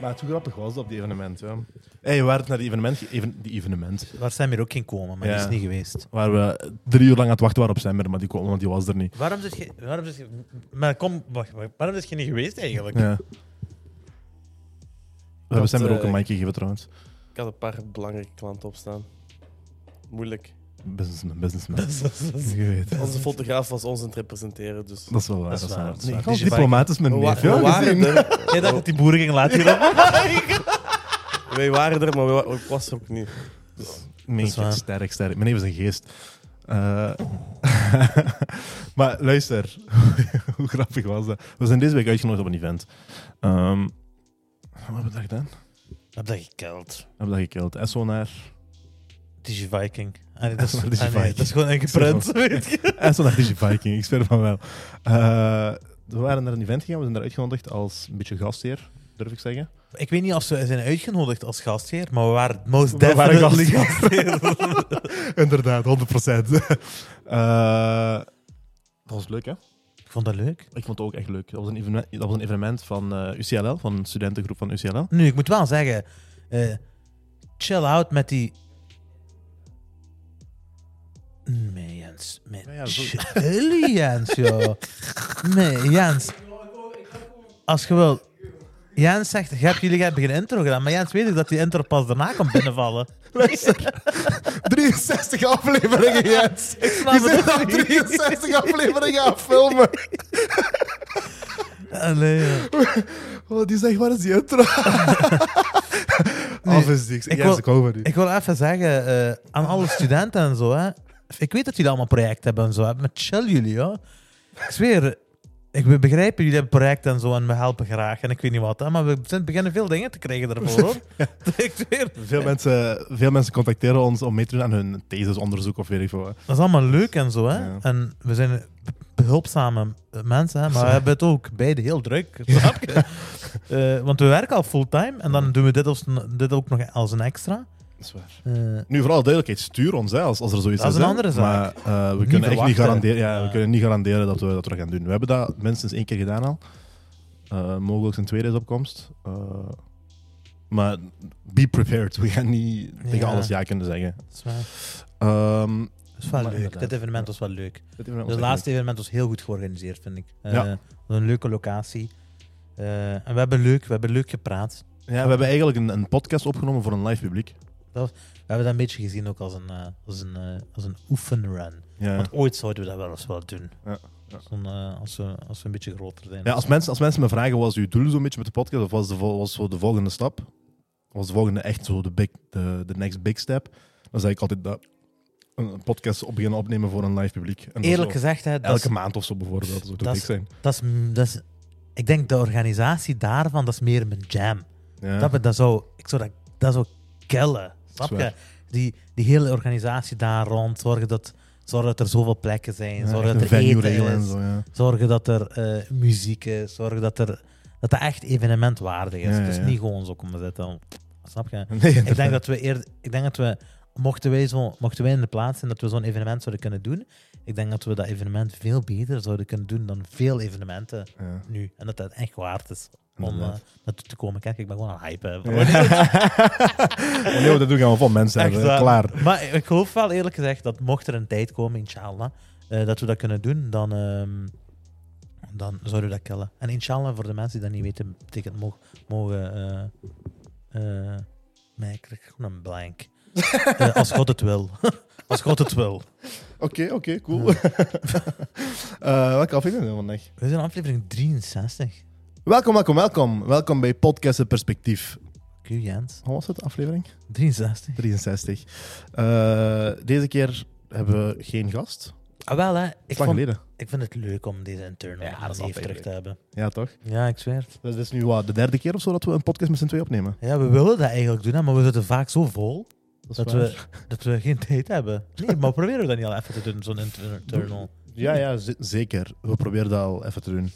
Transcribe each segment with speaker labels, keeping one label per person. Speaker 1: Maar hoe grappig was dat, die evenement? Ja. Hey, we waren naar die evenement, ge- even, die evenement,
Speaker 2: Waar zijn we ook ging komen, maar
Speaker 1: Ja.
Speaker 2: die is niet geweest.
Speaker 1: waar we drie uur lang aan het wachten waren op Semmer, maar die, kwam, want die was er niet.
Speaker 2: Waarom zit je. Waarom zit je maar kom, wacht, wacht, waarom zit je niet geweest eigenlijk?
Speaker 1: Ja. We hebben
Speaker 3: Dat,
Speaker 1: Semmer ook
Speaker 3: eh,
Speaker 1: een mic gegeven trouwens.
Speaker 3: Ik had een paar belangrijke klanten opstaan. Moeilijk.
Speaker 1: Businessman, businessman.
Speaker 2: Is
Speaker 1: Je weet.
Speaker 3: Onze fotograaf was ons aan het representeren, dus...
Speaker 1: Dat is wel waar.
Speaker 2: Dat is
Speaker 1: Dat is
Speaker 2: waar,
Speaker 1: waar.
Speaker 2: dat is
Speaker 1: Nee,
Speaker 2: waar.
Speaker 1: gewoon
Speaker 2: Die is
Speaker 1: diplomaat is mijn
Speaker 3: We, wa-
Speaker 1: neef.
Speaker 3: we
Speaker 1: Ja, gezien.
Speaker 3: waren er,
Speaker 2: Jij dacht dat die boeren gingen laten hierop.
Speaker 3: wij waren er, maar we wa- ik was er ook niet.
Speaker 1: Nee,
Speaker 2: Dat is waar.
Speaker 1: sterk, sterk. Mijn neef is een geest. Eh, maar luister, hoe grappig was dat? We zijn deze week uitgenodigd op een event. Ehm, wat hebben we daar gedaan?
Speaker 2: Heb dat gekeld?
Speaker 1: We hebben dat gekild. Esso naar,
Speaker 2: Digi Viking. Ah, nee, dat, is,
Speaker 1: Dat is
Speaker 2: ah, nee,
Speaker 1: Viking.
Speaker 2: dat is gewoon een geprint.
Speaker 1: Zo.
Speaker 2: weet je.
Speaker 1: Esso naar Digiviking, ik zweer van wel. Eh, we waren naar een event gegaan, we zijn daar uitgenodigd als een beetje gastheer, durf ik zeggen.
Speaker 2: Ik weet niet of ze zijn uitgenodigd als gastheer, maar we waren het most
Speaker 1: We waren
Speaker 2: definitely
Speaker 1: gastheer.
Speaker 2: gastheer.
Speaker 1: Inderdaad, 100%. Eh, dat was leuk, hè?
Speaker 2: ik vond dat leuk.
Speaker 1: Ik vond het ook echt leuk. Dat was een evenement, dat was een evenement van eh, UCLL, van een studentengroep van UCLL.
Speaker 2: Nu, ik moet wel zeggen, eh, chill out met die... Nee, Jens. Nee,
Speaker 1: Ja, ja, zo-
Speaker 2: chill, Jens, joh. Nee, Jens. Als je wil... Jens zegt, "Je hebt jullie hebben geen intro gedaan, maar Jens weet ik dat die intro pas daarna komt binnenvallen.
Speaker 1: Luister, 63 afleveringen, Jens.
Speaker 2: Ik snap het ook niet.
Speaker 1: 63 afleveringen aan filmen.
Speaker 2: Allee, joh.
Speaker 1: Oh, die zegt, waar is die intro?
Speaker 2: Nee,
Speaker 1: Af is niks.
Speaker 2: ik
Speaker 1: Jens,
Speaker 2: wil-
Speaker 1: ik hou van u.
Speaker 2: Ik wil even zeggen eh, aan alle studenten en zo. Hè. Ik weet dat jullie allemaal projecten hebben en zo. hè, Maar chill jullie, hoor. Ik zweer, ik we begrijpen jullie hebben projecten en zo en we helpen graag. En ik weet niet wat, hè, maar we zijn- beginnen veel dingen te krijgen daarvoor. Hoor. ik zweer,
Speaker 1: Veel mensen, veel mensen contacteren ons om mee te doen aan hun thesisonderzoek of weet ik veel. wat.
Speaker 2: dat is allemaal leuk en zo. Hè.
Speaker 1: Ja.
Speaker 2: En we zijn behulpzame eh, mensen, hè, maar we
Speaker 1: Zo.
Speaker 2: hebben het ook beide heel druk. Snap je? Eh, want we werken al fulltime en dan doen we dit, als, dit ook nog als een extra.
Speaker 1: Dat is waar.
Speaker 2: Eh,
Speaker 1: Nu, vooral duidelijkheid, stuur ons hè, als, als er zoiets
Speaker 2: Dat is
Speaker 1: is.
Speaker 2: een
Speaker 1: hè.
Speaker 2: andere zaak.
Speaker 1: Maar eh, we, kunnen echt niet
Speaker 2: verwachten.
Speaker 1: garanderen, ja, we
Speaker 2: Ja.
Speaker 1: kunnen niet garanderen dat we dat we gaan doen. We hebben dat minstens één keer gedaan al. Eh, mogelijk een tweede is op komst. Eh, maar be prepared. We gaan niet tegen
Speaker 2: Ja.
Speaker 1: alles ja kunnen zeggen.
Speaker 2: dat is waar.
Speaker 1: Ehm,
Speaker 2: Dat is wel
Speaker 1: Maar
Speaker 2: leuk.
Speaker 1: inderdaad.
Speaker 2: Dit evenement was wel leuk.
Speaker 1: dit evenement was
Speaker 2: Het
Speaker 1: echt
Speaker 2: laatste evenement was heel goed georganiseerd, vind ik. Eh,
Speaker 1: Ja.
Speaker 2: het was een leuke locatie. Eh, en we hebben, leuk, we hebben leuk gepraat.
Speaker 1: leuk. Ja, we hebben eigenlijk een, een podcast opgenomen voor een live publiek.
Speaker 2: We hebben dat een beetje gezien ook als een, eh, als een, eh, als een oefenrun.
Speaker 1: Ja.
Speaker 2: Want ooit zouden we dat wel eens wel doen.
Speaker 1: Ja, ja.
Speaker 2: Zo'n, eh, als, we, als we een beetje groter zijn.
Speaker 1: Ja, als, mensen, als mensen me vragen, wat is uw doel zo'n beetje met de podcast? Of was de, vol- was zo de volgende stap? Was de volgende echt zo de, big, de, de next big step? Dan zeg ik altijd dat. Een een podcast op beginnen opnemen voor een live publiek. En dan
Speaker 2: Eerlijk
Speaker 1: zo
Speaker 2: gezegd, hè, dat,
Speaker 1: elke
Speaker 2: is,
Speaker 1: maand of zo bijvoorbeeld. Zo
Speaker 2: dat
Speaker 1: dat ik
Speaker 2: is-
Speaker 1: zijn.
Speaker 2: dat, is, dat is- Ik denk de organisatie daarvan, dat is meer mijn jam.
Speaker 1: Ja.
Speaker 2: Dat, dat zou, ik zou dat, dat zou killen. Snap
Speaker 1: is
Speaker 2: je?
Speaker 1: waar.
Speaker 2: Die, die hele organisatie daar rond, zorgen dat, zorgen dat er zoveel plekken zijn,
Speaker 1: Ja, echt
Speaker 2: zorgen
Speaker 1: een
Speaker 2: dat er
Speaker 1: venue
Speaker 2: eten
Speaker 1: regelen en
Speaker 2: is,
Speaker 1: zo, ja.
Speaker 2: zorgen dat er eh, muziek is, zorgen dat er dat, dat echt evenementwaardig is.
Speaker 1: Ja, ja,
Speaker 2: Dus
Speaker 1: ja.
Speaker 2: niet gewoon zo komen zitten. Snap je?
Speaker 1: Nee,
Speaker 2: Ik denk
Speaker 1: inderdaad.
Speaker 2: dat we eerder, ik denk dat we, mochten wij, zo, mochten wij in de plaats zijn dat we zo'n evenement zouden kunnen doen, ik denk dat we dat evenement veel beter zouden kunnen doen dan veel evenementen
Speaker 1: Ja.
Speaker 2: nu. En dat dat echt waard is om
Speaker 1: Inderdaad.
Speaker 2: eh, naartoe te komen. Kijk, ik ben gewoon aan het hypen.
Speaker 1: Ja. Oh nee, dat doen we van mensen
Speaker 2: Echt
Speaker 1: hebben.
Speaker 2: waar.
Speaker 1: Klaar.
Speaker 2: Maar ik geloof wel eerlijk gezegd dat mocht er een tijd komen, inshallah, eh, dat we dat kunnen doen, dan, ehm, dan zouden we dat killen. En inshallah, voor de mensen die dat niet weten, betekent mogen... mogen eh, eh, nee, ik krijg gewoon een blank. Eh, als God het wil. als God het wil.
Speaker 1: Oké, oké, cool. Eh, welke aflevering zijn we vandaag?
Speaker 2: We zijn aflevering 63.
Speaker 1: Welkom, welkom, welkom. Welkom bij Podcast Het Perspectief.
Speaker 2: Q Jens.
Speaker 1: Hoe was het, aflevering?
Speaker 2: 63.
Speaker 1: 63. Eh, deze keer hebben we geen gast.
Speaker 2: Ah wel hè, ik,
Speaker 1: Ik lang
Speaker 2: vond-
Speaker 1: geleden.
Speaker 2: ik vind het leuk om deze internal
Speaker 1: Ja, dat is
Speaker 2: ja,
Speaker 1: altijd
Speaker 2: terug te hebben.
Speaker 1: Ja, toch?
Speaker 2: Ja, ik zweer het.
Speaker 1: Dat is nu wat, de derde keer of zo dat we een podcast met z'n twee opnemen.
Speaker 2: Ja, we willen dat eigenlijk doen, hè, maar we zitten vaak zo vol
Speaker 1: is
Speaker 2: dat,
Speaker 1: waar.
Speaker 2: we, dat we geen tijd hebben. Nee, maar proberen we dat niet al even te doen, zo'n inter- internal.
Speaker 1: Ja, ja, z- zeker. We proberen dat al even te doen.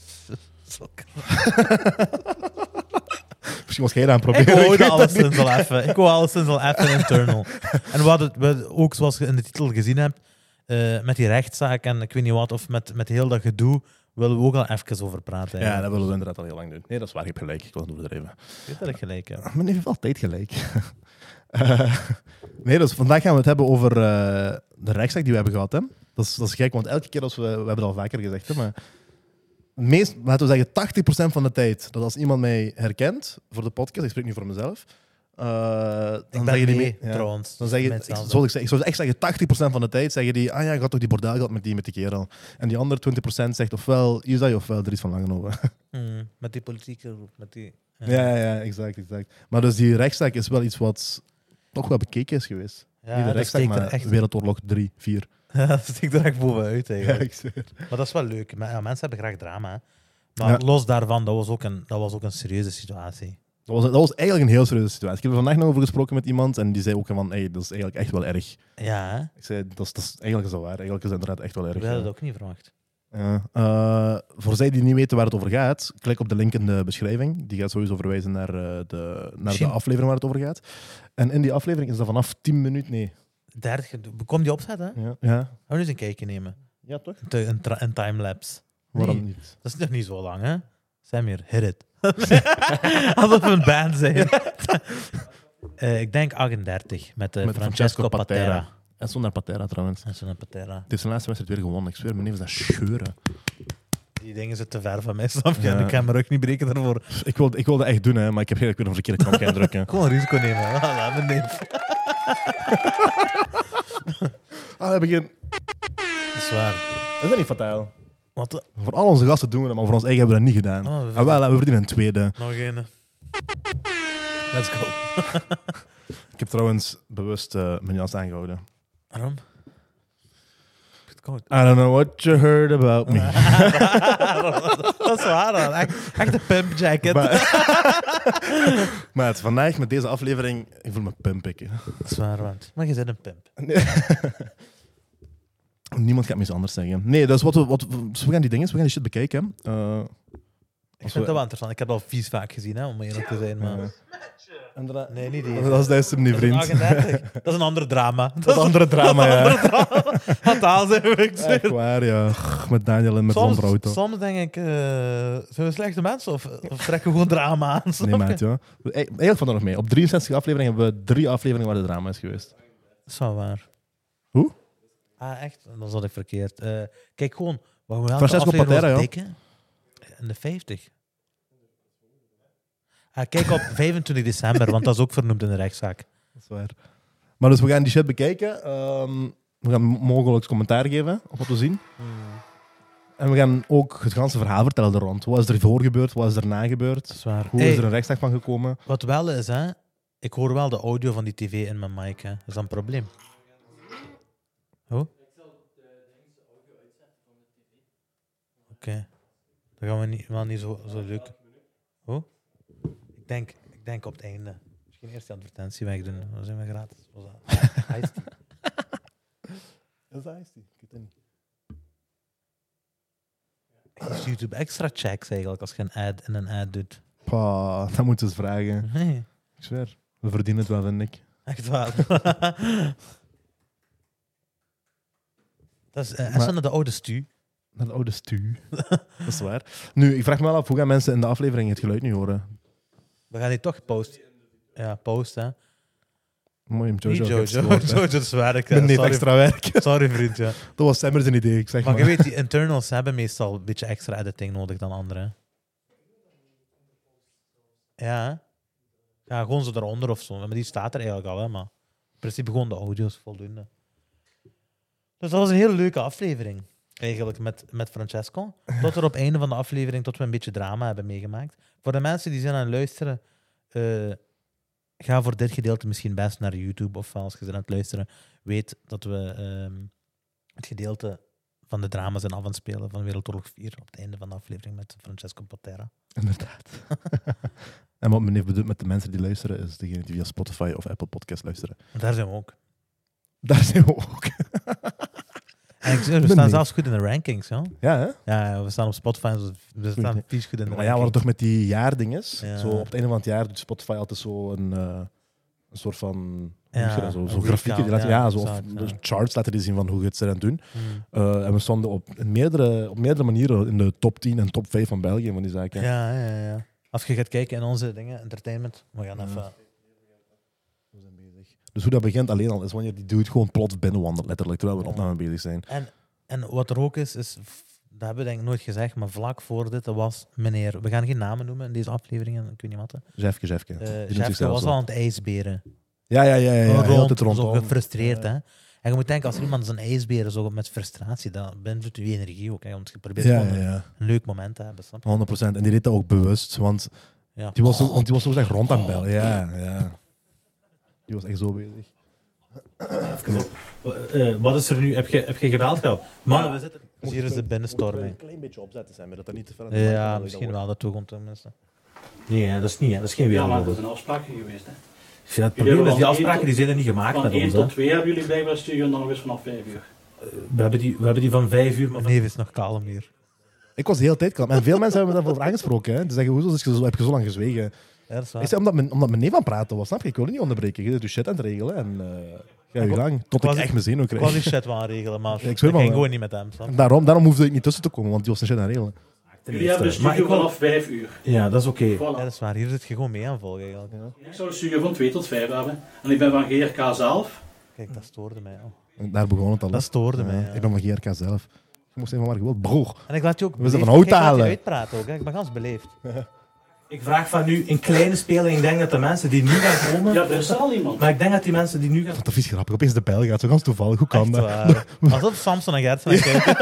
Speaker 1: Misschien was jij dat aan het
Speaker 2: Ik
Speaker 1: proberen.
Speaker 2: wou
Speaker 1: ik weet
Speaker 2: dat
Speaker 1: dat niet.
Speaker 2: alleszins al even. Ik wou alleszins al even internal. En we hadden we, ook, zoals je in de titel gezien hebt, eh, met die rechtszaak en ik weet niet wat, of met, met heel dat gedoe, willen we ook al even over praten.
Speaker 1: Ja,
Speaker 2: eigenlijk.
Speaker 1: dat willen we inderdaad al heel lang doen. Nee, dat is waar. Je hebt gelijk. Ik was het overdreven.
Speaker 2: Ik weet dat ik gelijk heb.
Speaker 1: Men Ah, heeft altijd gelijk. Eh, nee, dus vandaag gaan we het hebben over eh, de rechtszaak die we hebben gehad. Hè? Dat, is, dat is gek, want elke keer als we... We hebben het al vaker gezegd, hè, maar... het Meest, laten we zeggen 80% van de tijd dat als iemand mij herkent voor de podcast, ik spreek nu voor mezelf, eh,
Speaker 2: Ik
Speaker 1: dan
Speaker 2: ben
Speaker 1: zeggen die
Speaker 2: mee,
Speaker 1: ja.
Speaker 2: trouwens.
Speaker 1: Dan zeg je, ik,
Speaker 2: Mensen
Speaker 1: zou ik,
Speaker 2: hadden-
Speaker 1: zeggen- ik zou echt zeggen, 80% van de tijd zeggen die, ah ja, ik had toch die bordel gehad met die, met die kerel. En die andere 20% zegt ofwel Isai ofwel Dries van Langenhoven.
Speaker 2: Mm, met die politieke groep, met die...
Speaker 1: Ja. ja, ja, exact, exact. Maar dus die rechtszaak is wel iets wat toch wel bekeken is geweest.
Speaker 2: Ja,
Speaker 1: Niet de
Speaker 2: dat
Speaker 1: rechtszaak,
Speaker 2: steekt er
Speaker 1: maar
Speaker 2: echt-
Speaker 1: Wereldoorlog 3, 4.
Speaker 2: dat steekt er echt bovenuit,
Speaker 1: Ja,
Speaker 2: eigenlijk.
Speaker 1: ik zweer.
Speaker 2: Maar dat is wel leuk. Maar, ja, mensen hebben graag drama. hè. Maar
Speaker 1: Ja.
Speaker 2: los daarvan, dat was, ook een, dat was ook een serieuze situatie.
Speaker 1: Dat was, dat was eigenlijk een heel serieuze situatie. Ik heb er vandaag nog over gesproken met iemand en die zei ook van, hey, dat is eigenlijk echt wel erg.
Speaker 2: Ja, hè?
Speaker 1: Ik zei, dat is, dat is, eigenlijk is dat waar. Eigenlijk is het inderdaad echt wel erg.
Speaker 2: we hadden
Speaker 1: ja.
Speaker 2: dat ook niet verwacht.
Speaker 1: Ja. Eh, voor zij die niet weten waar het over gaat, klik op de link in de beschrijving. Die gaat sowieso verwijzen naar, eh, de, naar de
Speaker 2: Misschien-
Speaker 1: aflevering waar het over gaat. En in die aflevering is dat vanaf 10 minuten. Nee.
Speaker 2: 30, kom die opzetten, hè? Gaan
Speaker 1: Ja, ja.
Speaker 2: we eens een kijkje nemen.
Speaker 1: ja toch?
Speaker 2: Te- Een, tra- een timelapse.
Speaker 1: Waarom
Speaker 2: Nee.
Speaker 1: niet?
Speaker 2: Dat is nog niet zo lang, hè? Samir, hit it. Alsof we een band zijn. Eh, ik denk 38 met, eh,
Speaker 1: Met
Speaker 2: Francesco,
Speaker 1: Francesco
Speaker 2: Patera.
Speaker 1: Patera. En zonder Patera trouwens.
Speaker 2: En zo'n Patera.
Speaker 1: Het is zijn laatste wedstrijd weer gewonnen. Ik zweer, mijn neef is dat scheuren.
Speaker 2: Die dingen zitten te ver van mij, snap je?
Speaker 1: Ja.
Speaker 2: Ik kan mijn rug niet breken daarvoor.
Speaker 1: Pff, Ik wilde, ik wilde echt doen, hè, maar ik heb eigenlijk weer een verkeerde knop gaan drukken.
Speaker 2: Gewoon risico nemen. Voilà, mijn neef.
Speaker 1: Ah, heb ik geen...
Speaker 2: Dat is waar.
Speaker 1: Is dat niet fataal?
Speaker 2: Wat? eh, de-
Speaker 1: Voor al onze gasten doen we dat, maar voor ons eigen hebben we dat niet gedaan.
Speaker 2: Oh, we-
Speaker 1: Ah, wel, hè, we verdienen een tweede.
Speaker 2: Nog een. eh, Let's go.
Speaker 1: Ik heb trouwens bewust eh, mijn jas aangehouden.
Speaker 2: Waarom? Het koud.
Speaker 1: I don't know what you heard about
Speaker 2: Ah,
Speaker 1: me.
Speaker 2: dat is waar, man. Echt, echt een pimp jacket.
Speaker 1: Maar, maar het, vandaag met deze aflevering, ik voel me pimpikken.
Speaker 2: Dat is waar, want. Maar je bent een pimp.
Speaker 1: Niemand gaat me iets anders zeggen. Nee, dus wat we, wat, we- dus we gaan die dingen, we gaan die shit bekijken. hè. Eh,
Speaker 2: Ik vind dat wel interessant. Ik heb dat al vies vaak gezien, hè, om eerlijk te zijn. Maar...
Speaker 1: eh,
Speaker 2: Nee, niet die.
Speaker 1: dat is dat hem niet,
Speaker 2: Dat is een
Speaker 1: vriend.
Speaker 2: 38. Dat is een ander drama.
Speaker 1: Dat is andere drama, ja.
Speaker 2: Fataal zijn we, ik zweer.
Speaker 1: Echt waar, ja. Goh, Met Daniel en met
Speaker 2: soms,
Speaker 1: zonder auto.
Speaker 2: soms denk ik, eh, zijn we slechte mensen of, of trekken we gewoon drama aan?
Speaker 1: Nee, maat, ja. E- Eigenlijk valt dat nog mee. Op 63 afleveringen hebben we drie afleveringen waar de drama is geweest.
Speaker 2: Dat is wel waar.
Speaker 1: Hoe?
Speaker 2: Ah, echt? Dan zat ik verkeerd. Eh, kijk gewoon, wat we
Speaker 1: Francesco Patera, ja.
Speaker 2: dikke. In de 50. Ah, kijk op 25 december, want dat is ook vernoemd in de rechtszaak.
Speaker 1: Dat is waar. Maar dus we gaan die shit bekijken. Ehm, we gaan m- mogelijk commentaar geven op wat we zien.
Speaker 2: Hmm.
Speaker 1: En we gaan ook het ganse verhaal vertellen er rond. Wat is er voor gebeurd? Wat is erna gebeurd?
Speaker 2: Dat is waar.
Speaker 1: Hoe
Speaker 2: Hey,
Speaker 1: is er een rechtszaak van gekomen?
Speaker 2: Wat wel is, hè? Ik hoor wel de audio van die tv in mijn mic. Hè. Is dat een probleem? Hoe? Oké. Dat gaan we niet, wel niet zo, zo leuk. Hoe? Ik denk, ik denk op het einde. Misschien eerst die advertentie wegdoen. Dan zijn we gratis. Was dat? Iced tea.
Speaker 1: Dat is
Speaker 2: Geeft YouTube extra checks eigenlijk als je een ad en een ad doet.
Speaker 1: Pa, dat moeten ze vragen.
Speaker 2: Nee,
Speaker 1: Ik zweer. We verdienen het wel, vind ik.
Speaker 2: echt waar. dat is, eh,
Speaker 1: Maar-
Speaker 2: is dat de oude stu.
Speaker 1: Naar de oude stu. dat is waar. Nu, ik vraag me wel af, hoe gaan mensen in de aflevering het geluid nu horen?
Speaker 2: We gaan die toch posten. Ja, posten. hè.
Speaker 1: Mooi, hem Jojo.
Speaker 2: Niet Jojo.
Speaker 1: heeft
Speaker 2: Jojo,
Speaker 1: gehoord, hè.
Speaker 2: is werk. hè.
Speaker 1: Ik ben niet
Speaker 2: sorry,
Speaker 1: extra werk.
Speaker 2: sorry, vriend. Ja.
Speaker 1: Dat was Sammer zijn idee, ik zeg
Speaker 2: Maar
Speaker 1: maar.
Speaker 2: je weet, die internals hebben meestal een beetje extra editing nodig dan anderen. Ja. hè. Ja, gewoon zo eronder of zo. Maar die staat er eigenlijk al, hè. Maar in principe gewoon de audio is voldoende. Dus dat was een hele leuke aflevering. Eigenlijk met, met Francesco. Tot er op het einde van de aflevering, tot we een beetje drama hebben meegemaakt. Voor de mensen die zijn aan het luisteren, eh, ga voor dit gedeelte misschien best naar YouTube. Of als je bent aan het luisteren, weet dat we ehm, het gedeelte van de drama zijn af aan het spelen van Wereldoorlog 4 op het einde van de aflevering met Francesco Patera.
Speaker 1: Inderdaad. en wat meneer bedoelt met de mensen die luisteren, is degene die via Spotify of Apple Podcast luisteren.
Speaker 2: Daar zijn we ook.
Speaker 1: Daar zijn we ook.
Speaker 2: En ik, zeg, we
Speaker 1: Ben
Speaker 2: staan
Speaker 1: benieuwd.
Speaker 2: zelfs goed in de rankings. Ja,
Speaker 1: Ja, hè?
Speaker 2: ja we staan op Spotify, en zo- we staan vies goed in de
Speaker 1: Maar ja, wat
Speaker 2: rankings.
Speaker 1: toch met die jaardinges.
Speaker 2: Ja.
Speaker 1: Zo op het einde van het jaar doet Spotify altijd zo een, eh, een soort van Noemt je dat zo, zo grafieken. die laten- Ja, zo, of charts laten die zien van hoe goed ze dat doen.
Speaker 2: Hmm.
Speaker 1: Eh, en we stonden op meerdere, op meerdere manieren in de top 10 en top 5 van België van die zaken.
Speaker 2: Ja, ja, ja, ja. Als je gaat kijken in onze dingen, entertainment, we gaan even...
Speaker 1: We zijn bezig. Dus hoe dat begint alleen al is wanneer die dude gewoon plots binnenwandelt, letterlijk, terwijl we een
Speaker 2: Ja.
Speaker 1: opname bezig zijn.
Speaker 2: En, en wat er ook is, is, v- dat hebben we denk ik nooit gezegd, maar vlak voor dit was meneer, we gaan geen namen noemen in deze afleveringen, ik weet niet wat. hè.
Speaker 1: Jeffke, Jeffke. Die
Speaker 2: Eh
Speaker 1: noemt
Speaker 2: Jeffke
Speaker 1: zichzelf
Speaker 2: was
Speaker 1: zo.
Speaker 2: al aan het ijsberen.
Speaker 1: Ja, ja, ja. ja, ja. Heel de tijd
Speaker 2: rond, zo
Speaker 1: rondom.
Speaker 2: gefrustreerd.
Speaker 1: Ja.
Speaker 2: Hè? En je moet denken, als iemand zijn ijsberen zo met frustratie, dan bent je energie ook. Hè? Want je probeert
Speaker 1: Ja,
Speaker 2: gewoon
Speaker 1: ja, ja.
Speaker 2: een leuk moment te hebben, snap je?
Speaker 1: 100%. En die deed dat ook bewust, want
Speaker 2: Ja.
Speaker 1: die was, zo- want die was zo echt rond
Speaker 2: Oh.
Speaker 1: aan het bellen. Ja, ja. Die was echt zo bezig.
Speaker 4: Eh,
Speaker 2: wat is er nu? Heb je, heb je gedaald gehad? Mannen, we zitten... Dus Hier is de binnenstorm. hè.
Speaker 1: Een klein beetje opzetten zijn, maar dat dat niet te veel
Speaker 2: Ja, misschien wel. Dat toe komt tenminste. Nee, hè, dat is niet. hè, Dat is geen
Speaker 5: Ja, maar
Speaker 2: wereld.
Speaker 5: dat is een afspraak geweest. Hè.
Speaker 2: Ik vind het
Speaker 5: Jullie
Speaker 2: probleem is, die
Speaker 5: hebben van
Speaker 2: afspraken die zijn er niet gemaakt
Speaker 5: Van
Speaker 2: met
Speaker 5: 1
Speaker 2: ons.
Speaker 5: tot
Speaker 2: hè.
Speaker 5: 2 hebben jullie blijkbaar studio en dan weer vanaf 5 uur.
Speaker 2: We hebben die, we hebben die van vijf uur... Maar van... Nee, is nog kalm hier.
Speaker 1: Ik was de hele tijd kalm. En veel mensen hebben me daarvoor aangesproken. Hè. Die zeggen, hoezo is je zo- heb je zo lang gezwegen?
Speaker 2: Ja, dat is waar.
Speaker 1: Ik zei, omdat mijn, omdat mijn neef aan het praten was, snap je? Ik wilde niet onderbreken. Je bent je shit aan het regelen en eh ga je gang. Tot ik
Speaker 2: Quasi-
Speaker 1: echt mijn zenuw
Speaker 2: Ik
Speaker 1: kreeg.
Speaker 2: was die shit wel aan regelen, maar
Speaker 1: Ja, ik
Speaker 2: ik,
Speaker 1: zweer
Speaker 2: ging
Speaker 1: wel, hè.
Speaker 2: gewoon niet met hem. snap je?
Speaker 1: En daarom, daarom hoefde ik niet tussen te komen, want die was zijn shit aan het regelen.
Speaker 5: Jullie hebben de
Speaker 2: Maar
Speaker 5: studio
Speaker 2: ik wil-
Speaker 5: vanaf 5 uur.
Speaker 2: Ja, dat is oké. Ja,
Speaker 5: Voilà.
Speaker 2: dat is waar. Hier zit je gewoon mee aan volgen eigenlijk.
Speaker 5: Ik zou de studio van 2 tot 5 hebben. En ik ben van GRK zelf.
Speaker 2: Kijk, dat stoorde mij al.
Speaker 1: En daar begon het al. hè.
Speaker 2: Dat stoorde mij.
Speaker 1: Ja,
Speaker 2: ja.
Speaker 1: Ik ben van GRK zelf. Ik moest even maar gewoon, broer.
Speaker 2: En ik laat je ook
Speaker 1: We zijn
Speaker 2: beleefd-
Speaker 1: van hout
Speaker 2: Kijk, ik laat je
Speaker 1: halen.
Speaker 2: uitpraten ook, hè. ik ben gans beleefd.
Speaker 4: Ik vraag van nu een kleine speler. Ik denk dat de mensen die nu gaan komen.
Speaker 5: Ja, er is al iemand.
Speaker 4: Maar ik denk dat die mensen die nu gaan.
Speaker 1: Wat een vies grappig. Opeens de pijl gaat. Zo gans toevallig. Hoe kan
Speaker 2: Echt
Speaker 1: dat?
Speaker 2: waar. Alsof Samson en Gert zijn kijken.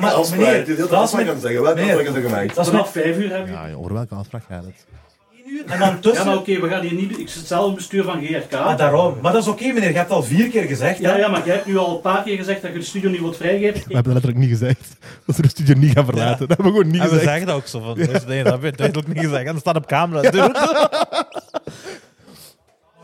Speaker 4: Maar meneer, dat is met
Speaker 6: zeggen. Wat
Speaker 4: meneer.
Speaker 6: zeggen gemaakt?
Speaker 4: dat is met
Speaker 5: Vanaf 5 uur hebben jullie.
Speaker 1: Ja, joh, over welke afspraak gaat het?
Speaker 4: één uur en dan
Speaker 5: Ja, maar
Speaker 4: tussen.
Speaker 5: oké, we gaan hier niet. doen. Ik zit zelf in het bestuur van GRK.
Speaker 4: Ah, daarom. Maar dat is oké, meneer. Je hebt het al vier keer gezegd.
Speaker 5: Ja,
Speaker 4: hè?
Speaker 5: ja, maar jij hebt nu al een paar keer gezegd dat je de studio niet wilt vrijgeven.
Speaker 1: We hebben dat letterlijk niet gezegd. Dat ze de studio niet gaan verlaten. Dat hebben we gewoon niet
Speaker 2: En we
Speaker 1: gezegd.
Speaker 2: zeggen dat ook zo van. Dus nee, dat heb je duidelijk niet gezegd. En dat staat op camera. Doe het.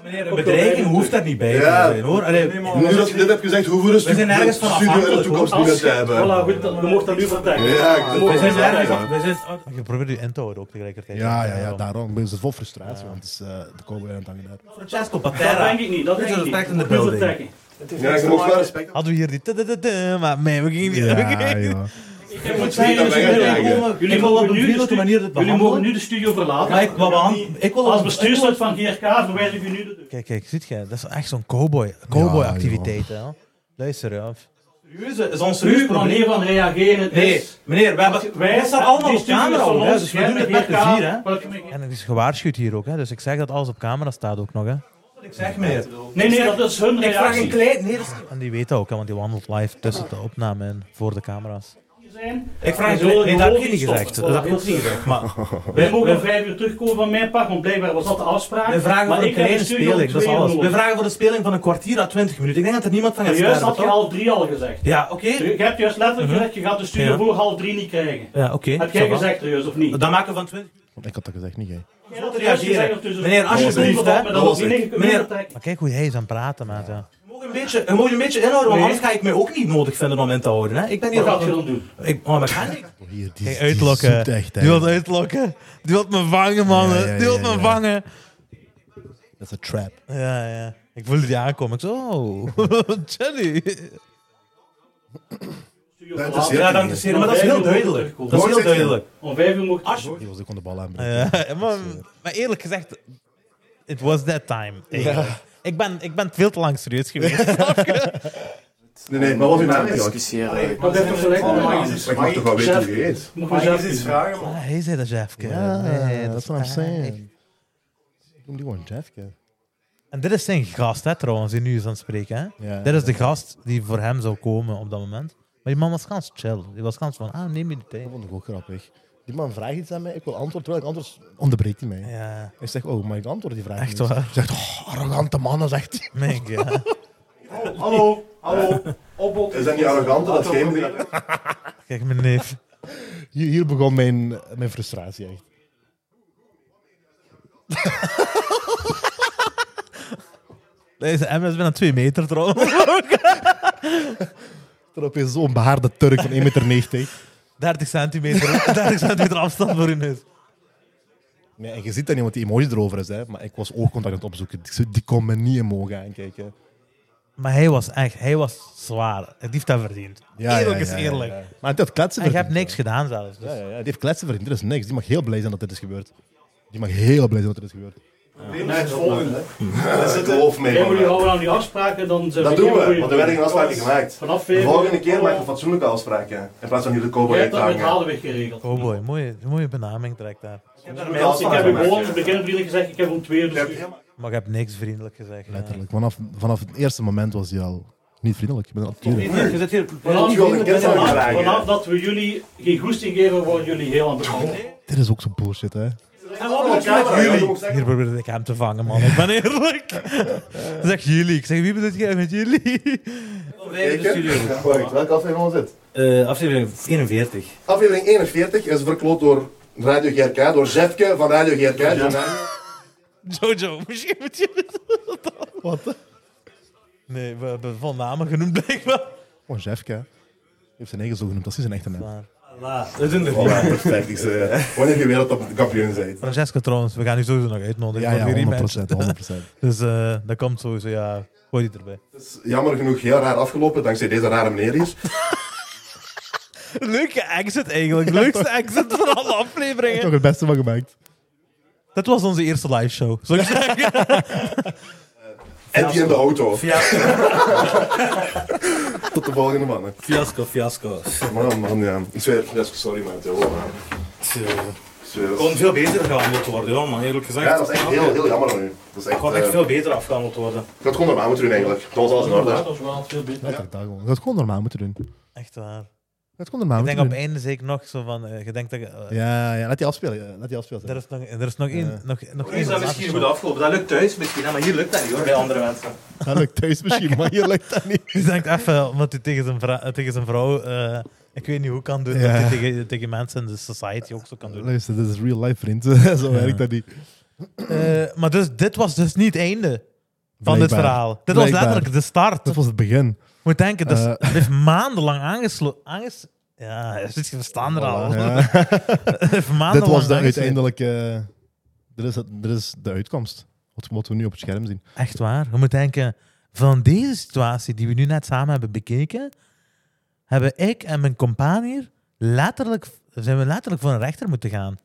Speaker 4: Meneer, een bedreiging hoeft daar niet bij te zijn hoor. Allee,
Speaker 6: Nu dat je dit hebt gezegd, hoeveel is
Speaker 4: We zijn ergens van
Speaker 6: studio in de
Speaker 4: afhankelijk,
Speaker 6: toekomst niet
Speaker 5: Als
Speaker 6: meer
Speaker 5: je,
Speaker 6: te hebben?
Speaker 5: voilà, goed, dan- je mocht dat nu vertrekken.
Speaker 6: Ja, ik-
Speaker 5: Je
Speaker 6: we
Speaker 5: mocht
Speaker 4: we
Speaker 5: dat
Speaker 4: zijn
Speaker 5: nu vertrekken.
Speaker 4: ergens. We zijn,
Speaker 2: Je probeert je in te houden ook tegelijkertijd.
Speaker 1: Ja, ja, ja. Daarom. Ik ben vol frustratie, want het is eh, de cowboy aan het hangen daar.
Speaker 4: Francesco
Speaker 5: Dat
Speaker 4: Patera.
Speaker 5: denk ik niet, dat
Speaker 4: Dit
Speaker 5: denk
Speaker 4: is
Speaker 5: ik niet.
Speaker 4: respect in de
Speaker 5: Je moet
Speaker 4: building.
Speaker 5: vertrekken.
Speaker 6: Ja, ik mocht wel respect
Speaker 2: Hadden we hier die... tudududu, Maar nee, we gingen weer. we
Speaker 1: Ja,
Speaker 2: gingen-
Speaker 1: ja.
Speaker 5: Ik moet
Speaker 6: niet dat wij gaan
Speaker 5: jullie-
Speaker 6: krijgen.
Speaker 5: Jullie
Speaker 4: Ik wil op
Speaker 5: mogen
Speaker 4: een
Speaker 5: nu de
Speaker 4: vriendelijke
Speaker 5: stu-
Speaker 4: manier dit
Speaker 5: jullie mogen
Speaker 4: behandelen.
Speaker 5: nu de studio verlaten.
Speaker 4: Maar ik wil behandelen. Ik wil
Speaker 5: Als bestuurslid van GRK verwijs ik u nu de deur.
Speaker 2: Kijk, kijk, ziet je? Dat is echt zo'n cowboy, cowboy
Speaker 1: Ja,
Speaker 2: activiteit. Hè? Luister, ja.
Speaker 4: Serieus, is ons serieus
Speaker 5: Nu
Speaker 4: probleem.
Speaker 5: manier van reageren
Speaker 4: Nee,
Speaker 5: is...
Speaker 4: meneer, we hebben. Wij staan allemaal op camera hoor. hè, Dus we doen het met de vier, hè?
Speaker 2: En het is gewaarschuwd hier ook, hè? dus ik zeg dat alles op camera staat ook nog. Hè?
Speaker 4: Wat ik zeg, meneer.
Speaker 5: Nee, nee, dat is hun
Speaker 4: Ik vraag
Speaker 5: reactie.
Speaker 4: een klein. Nee, dat is-
Speaker 2: En die weet dat ook, hè, want die wandelt live tussen de opname en voor de camera's.
Speaker 5: Zijn,
Speaker 4: Ik vraag een
Speaker 5: we zullen
Speaker 4: klein. Nee, dat heb
Speaker 5: gewoon
Speaker 4: je niet gezegd.
Speaker 5: stoppen.
Speaker 4: Dat heb je ook niet gezegd. Maar.
Speaker 5: Wij
Speaker 4: We-
Speaker 5: mogen om
Speaker 4: we-
Speaker 5: vijf uur terugkomen van mijn part, want blijkbaar was dat de afspraak.
Speaker 4: We vragen
Speaker 5: maar
Speaker 4: voor een
Speaker 5: ik heb
Speaker 4: kleine
Speaker 5: de studio om
Speaker 4: speling, dat is
Speaker 5: twee uur
Speaker 4: alles. We
Speaker 5: nodig.
Speaker 4: vragen voor een speling van een kwartier à 20 minuten. Ik denk dat er niemand van gaat
Speaker 5: Juist had je
Speaker 4: sterven, toch?
Speaker 5: half drie al gezegd.
Speaker 4: Ja, oké.
Speaker 5: Je hebt juist letterlijk gezegd, je gaat de studio
Speaker 4: Ja.
Speaker 5: voor half drie niet krijgen.
Speaker 4: Ja, oké.
Speaker 5: Heb jij
Speaker 4: ça va.
Speaker 5: gezegd, serieus, of niet?
Speaker 4: Dan maken we van 20
Speaker 1: Want Ik had dat gezegd, niet Oh, jij.
Speaker 5: Jij had
Speaker 4: te
Speaker 5: juist
Speaker 4: reageren.
Speaker 5: gezegd, dus-
Speaker 4: Meneer, alsjeblieft, hè.
Speaker 5: Dat was niet negen
Speaker 4: Meneer-
Speaker 5: minuten.
Speaker 2: Maar kijk hoe hij is aan het praten, maat. Ja.
Speaker 4: Je moet een beetje, je moet een beetje inhouden, want
Speaker 5: Nee.
Speaker 4: anders ga ik mij ook niet nodig vinden om in te houden. Hè. Ik ben hier...
Speaker 5: Wat gaat je dan doen?
Speaker 4: Ik, oh, maar ik ga niet.
Speaker 1: Oh, Hier, die,
Speaker 2: Kijk,
Speaker 1: die
Speaker 2: uitlokken.
Speaker 1: zoekt echt, hè.
Speaker 2: Die wil uitlokken. Die wil me vangen, man.
Speaker 1: Ja, ja,
Speaker 2: die wil
Speaker 1: ja,
Speaker 2: me
Speaker 1: ja.
Speaker 2: vangen.
Speaker 1: Dat is een trap.
Speaker 2: Ja, ja. Ik voelde die aankomen. Ik zo, oh, Jenny.
Speaker 5: Studio
Speaker 6: Dat is
Speaker 5: verlaten.
Speaker 6: heel-
Speaker 4: Ja, dank je zeer. Maar dat is heel duidelijk. Dat is heel duidelijk.
Speaker 5: Om vijf uur mocht
Speaker 4: Als je-
Speaker 1: Die was ook aan de bal aan.
Speaker 2: Ja, maar, maar eerlijk gezegd, it was that time. eigenlijk. Ik, ben, ik ben veel te lang serieus geweest.
Speaker 6: Nee, nee, maar wat is uw naam eigenlijk?
Speaker 7: discussiëren.
Speaker 5: Maar dat heeft toch gelijk
Speaker 7: Oh,
Speaker 5: allemaal
Speaker 7: mag
Speaker 5: aan.
Speaker 7: ik eens-
Speaker 6: Maar Ik mag toch wel weten wie hij is?
Speaker 5: Moet
Speaker 7: mag ik
Speaker 5: mezelf
Speaker 7: eens iets
Speaker 5: doen.
Speaker 7: vragen? man?
Speaker 2: Ah, hij zei dat, Jeffke.
Speaker 1: Ja,
Speaker 2: Nee,
Speaker 1: dat is wat
Speaker 2: ah,
Speaker 1: I'm saying. Noem die gewoon Jeffke.
Speaker 2: En dit is zijn gast, hè, trouwens, die nu is aan het spreken. Hè?
Speaker 1: Ja,
Speaker 2: dit is de gast die voor hem zou komen op dat moment. Maar die man was gans chill. Die was gans van, ah, neem je die tijd.
Speaker 1: Dat vond ik ook grappig. Die man vraagt iets aan mij, ik wil antwoord, terwijl ik anders onderbreekt hij mij.
Speaker 2: Ja,
Speaker 1: Ik zeg, oh, mag ik antwoord die vraag?
Speaker 2: Echt
Speaker 1: niet?
Speaker 2: waar?
Speaker 1: Hij zegt, oh, arrogante mannen, zegt hij.
Speaker 2: mega. ja.
Speaker 7: Hallo, hallo, opbod.
Speaker 6: Is dat niet arrogant dat
Speaker 7: Laten we
Speaker 6: geen-
Speaker 7: proberen.
Speaker 2: Kijk, mijn neef.
Speaker 1: Hier, hier begon mijn, mijn frustratie echt.
Speaker 2: Deze M is bijna twee meter trouwens.
Speaker 1: Terwijl opeens zo'n behaarde Turk van 1,90 meter.
Speaker 2: 30 centimeter, 30 centimeter afstand voor je neus.
Speaker 1: Ja, en je ziet dat niet, want die emoji erover is. Hè. Maar ik was oogcontact aan het opzoeken. Ik zei, Die kon me niet in mogen aankijken.
Speaker 2: Maar hij was echt, hij was zwaar. Die heeft dat verdiend. eerlijk is eerlijk.
Speaker 1: ja. Maar dat kletsen
Speaker 2: En je hebt
Speaker 1: verdient
Speaker 2: niks gedaan zelfs. Dus.
Speaker 1: Ja, ja, ja, die heeft kletsen verdiend. Er is niks. Die mag heel blij zijn dat dit is gebeurd. Die mag heel blij zijn dat dit is gebeurd.
Speaker 7: Nee, het volgende.
Speaker 6: Dat zit geloof mee.
Speaker 5: Jij moet je
Speaker 6: man.
Speaker 5: houden aan die afspraken, dan zijn
Speaker 6: Dat
Speaker 5: heel
Speaker 6: doen we,
Speaker 5: goeie-
Speaker 6: want er werden geen afspraken gemaakt.
Speaker 5: Vanaf
Speaker 6: De
Speaker 5: februari.
Speaker 6: volgende keer maak ik een fatsoenlijke afspraak. hè. In plaats van jullie
Speaker 5: Jij
Speaker 6: cowboy
Speaker 5: hebt dat met
Speaker 6: uitdagen.
Speaker 5: Halenweg geregeld.
Speaker 2: Oh boy, mooie, mooie benaming trekt daar.
Speaker 5: Ik heb u gewoon te beginnen vriendelijk gezegd, ik heb om twee uur. dus ik-
Speaker 2: Maar je hebt niks vriendelijk gezegd. ja.
Speaker 1: Letterlijk. Vanaf, vanaf het eerste moment was hij al niet vriendelijk. Ik ben al
Speaker 4: Je
Speaker 1: turen.
Speaker 4: zit hier...
Speaker 5: Vanaf,
Speaker 6: Ik wil een kind van
Speaker 5: vanaf,
Speaker 6: vragen.
Speaker 5: vanaf dat we jullie geen goesting geven, worden jullie heel aan de hand.
Speaker 1: Dit is ook zo'n bullshit, hè.
Speaker 6: En wat moet jullie?
Speaker 2: Hier probeerde ik hem te vangen, man. Ik ben eerlijk. Ik Zeg jullie. Ik zeg, wie bedoelt jij met jullie?
Speaker 6: Wacht, welke aflevering was dit?
Speaker 4: Eh, aflevering 41.
Speaker 6: Aflevering 41 is verkloot door Radio GRK, door Zefke van Radio GRK.
Speaker 2: Jojo, misschien moet je...
Speaker 1: Wat?
Speaker 2: Nee, we hebben van namen genoemd, blijkbaar.
Speaker 1: Oh, Jeffke. hè. Die heeft zijn eigen zo genoemd. Dat is niet zijn echte naam.
Speaker 4: Dat doen we.
Speaker 6: Voilà, perfect. Ik zei, eh, Wanneer je wereldkampioen bent.
Speaker 2: Francesco, trouwens, we gaan u sowieso nog uitnodigen.
Speaker 1: Ja,
Speaker 2: voor die rematch.
Speaker 1: ja, 100%. 100%.
Speaker 2: Dus eh, dat komt sowieso, ja. Gooi die erbij.
Speaker 6: Het is jammer genoeg heel raar afgelopen, dankzij deze rare meneer hier.
Speaker 2: Leuke exit eigenlijk. Leukste exit van alle afleveringen.
Speaker 1: Nog het beste van gemaakt.
Speaker 2: Dat was onze eerste live show. Zal ik zeggen?
Speaker 6: En die in de auto.
Speaker 4: Fiasco,
Speaker 6: Tot de volgende mannen.
Speaker 4: fiasco, fiasco.
Speaker 6: Man, man, ja. Ik zweer, ja, sorry man, Theo. man. eh, Ik zweer.
Speaker 4: kon veel beter gehandeld worden, ja, man. Eerlijk gezegd.
Speaker 6: Ja, dat is echt heel, heel jammer van u. Dat is echt,
Speaker 4: Ik kon echt
Speaker 6: eh,
Speaker 4: veel beter afgehandeld worden.
Speaker 6: Ik had gewoon normaal moeten doen eigenlijk. Dat was alles in
Speaker 5: Ja,
Speaker 6: orde.
Speaker 5: dat is wel veel beter.
Speaker 1: Dat, dat gewoon. dat gewoon normaal moeten doen.
Speaker 2: Echt waar.
Speaker 1: Dat gewoon normaal
Speaker 2: Ik denk op
Speaker 1: moeten
Speaker 2: het
Speaker 1: doen.
Speaker 2: einde zeker nog zo van... eh, je denkt dat... je, eh,
Speaker 1: Ja, ja, laat die afspelen. ja, Laat die afspelen.
Speaker 2: Er is nog, er is nog één...
Speaker 1: Ja.
Speaker 2: Nog, nog
Speaker 7: Is
Speaker 2: één
Speaker 7: dat misschien goed afgelopen? Dat lukt thuis misschien, hè, maar hier lukt dat niet hoor, bij andere mensen.
Speaker 1: Dat lukt thuis misschien, maar hier lukt dat niet.
Speaker 2: Die denkt even, omdat hij tegen zijn, vrou- eh, tegen zijn vrouw... eh, ik weet niet hoe kan doen,
Speaker 1: Ja.
Speaker 2: dat hij tegen, tegen mensen in de society ook zo kan doen.
Speaker 1: Luister, dit is real life, vriend. zo werkt dat niet.
Speaker 2: Eh, maar dus, dit was dus niet het einde van dit
Speaker 1: Blijkbaar.
Speaker 2: verhaal. Dit was Eh,
Speaker 1: Blijkbaar.
Speaker 2: letterlijk de start.
Speaker 1: Dat was het begin.
Speaker 2: Moet denken, dat is-
Speaker 1: Eh.
Speaker 2: dat heeft maandenlang aangesloten. Aanges ja, je zit- je verstaan er al.
Speaker 1: Voilà,
Speaker 2: Het
Speaker 1: ja.
Speaker 2: heeft
Speaker 1: Dit
Speaker 2: maandenlang
Speaker 1: was de
Speaker 2: aangesloten.
Speaker 1: uiteindelijke... Dit is, het- dit is de uitkomst. Wat moeten we nu op het scherm zien?
Speaker 2: Echt waar. Je moet denken, van deze situatie die we nu net samen hebben bekeken, hebben ik en mijn compaan hier letterlijk, zijn we letterlijk voor een rechter moeten gaan.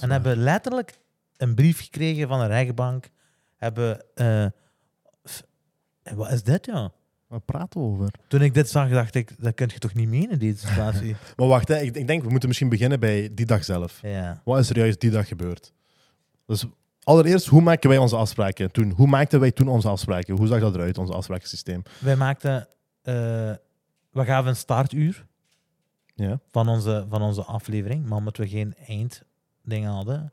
Speaker 2: En hebben letterlijk een brief gekregen van een rechtbank. Hebben... eh, f- wat is dit, ja?
Speaker 1: Waar praten we over?
Speaker 2: Toen ik dit zag, dacht ik, dat kun je toch niet menen, deze situatie?
Speaker 1: Maar wacht, hè, ik, ik denk we moeten misschien beginnen bij die dag zelf.
Speaker 2: ja.
Speaker 1: Wat is er juist die dag gebeurd? Dus allereerst, hoe maken wij onze afspraken toen? Hoe maakten wij toen onze afspraken? Hoe zag dat eruit, ons afsprakensysteem?
Speaker 2: Wij maakten... eh, we gaven een startuur
Speaker 1: Ja.
Speaker 2: van onze, van onze aflevering, maar omdat we geen eindding hadden,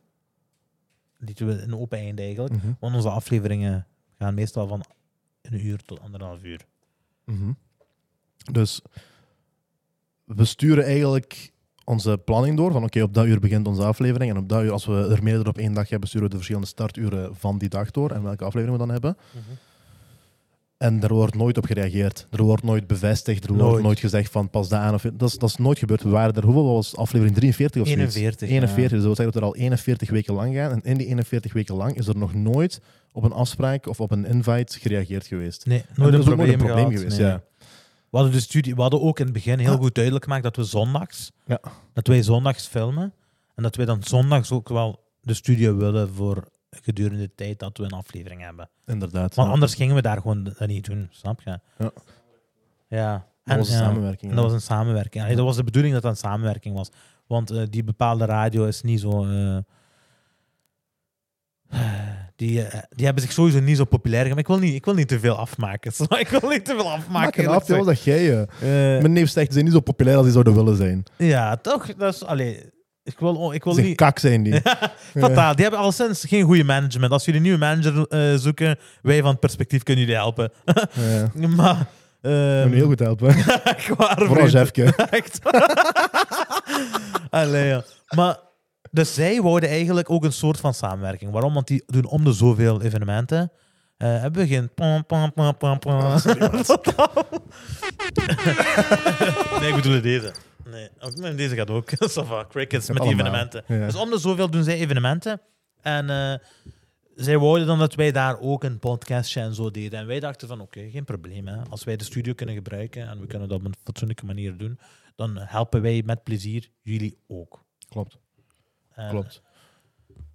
Speaker 2: lieten we een open eind eigenlijk.
Speaker 1: Mhm.
Speaker 2: Want onze afleveringen gaan meestal van een uur tot anderhalf uur.
Speaker 1: Mhm. Dus we sturen eigenlijk onze planning door van oké, op dat uur begint onze aflevering en op dat uur, als we er meerdere op één dag hebben, sturen we de verschillende starturen van die dag door en welke aflevering we dan hebben.
Speaker 2: Mhm.
Speaker 1: En er wordt nooit op gereageerd. Er wordt nooit bevestigd. Er wordt
Speaker 2: Nooit.
Speaker 1: nooit gezegd van pas daar aan. Of, dat, is, dat is nooit gebeurd. We waren er, hoeveel was het? aflevering 43 of zoiets?
Speaker 2: 41,
Speaker 1: 41.
Speaker 2: ja.
Speaker 1: Dus dat wil zeggen dat we er al 41 weken lang gaan. En in die 41 weken lang is er nog nooit op een afspraak of op een invite gereageerd geweest.
Speaker 2: Nee,
Speaker 1: En
Speaker 2: nooit
Speaker 1: er
Speaker 2: een
Speaker 1: is ook nooit
Speaker 2: probleem,
Speaker 1: een probleem
Speaker 2: gehad,
Speaker 1: geweest.
Speaker 2: nee.
Speaker 1: Ja. Ah.
Speaker 2: We, hadden de studie, we hadden ook in het begin heel goed duidelijk gemaakt dat we zondags,
Speaker 1: Ja.
Speaker 2: dat wij zondags filmen en dat wij dan zondags ook wel de studio willen voor gedurende de tijd dat we een aflevering hebben.
Speaker 1: Inderdaad.
Speaker 2: Want
Speaker 1: ja.
Speaker 2: anders gingen we daar gewoon dat niet doen, snap je?
Speaker 1: Ja.
Speaker 2: Ja.
Speaker 1: Dat was een
Speaker 2: ja,
Speaker 1: samenwerking.
Speaker 2: en dat was een samenwerking. Allee, dat was de bedoeling dat dat een samenwerking was. Want eh, die bepaalde radio is niet zo... eh, die, eh, die hebben zich sowieso niet zo populair gemaakt. Ik wil niet, ik wil niet te veel afmaken. snap je? Ik wil niet te veel
Speaker 1: Maak
Speaker 2: afmaken.
Speaker 1: het
Speaker 2: eerlijk
Speaker 1: af, joh, dat
Speaker 2: gezegd.
Speaker 1: jij. eh,
Speaker 2: Eh,
Speaker 1: Mijn neef zegt, ze zijn niet zo populair als die zouden willen zijn.
Speaker 2: Ja, toch? Dat is, allee, ik wil, oh, ik wil
Speaker 1: Ze zijn
Speaker 2: niet...
Speaker 1: kak zijn die.
Speaker 2: Fataal. Die hebben al sinds geen goede management. Als jullie een nieuwe manager eh, zoeken, wij van het perspectief kunnen jullie helpen.
Speaker 1: Ja.
Speaker 2: maar...
Speaker 1: Ze
Speaker 2: ehm
Speaker 1: kunnen heel goed helpen.
Speaker 2: echt waar,
Speaker 1: Vooral
Speaker 2: vriend.
Speaker 1: Jeffke.
Speaker 2: Echt. Allee, ja. Maar, dus zij wouden eigenlijk ook een soort van samenwerking. Waarom? Want die doen om de zoveel evenementen. Eh hebben we geen... Pam, pam, pam, pam, pam. nee, ik bedoel deze. Nee, ook- maar deze gaat ook. Ça va, crickets met die
Speaker 1: Allemaal.
Speaker 2: evenementen.
Speaker 1: Ja.
Speaker 2: Dus om de zoveel doen zij evenementen. En eh, zij wouden dan dat wij daar ook een podcastje en zo deden. En wij dachten van, oké, geen probleem. Hè. Als wij de studio kunnen gebruiken en we kunnen dat op een fatsoenlijke manier doen, dan helpen wij met plezier jullie ook.
Speaker 1: Klopt,
Speaker 2: En
Speaker 1: klopt.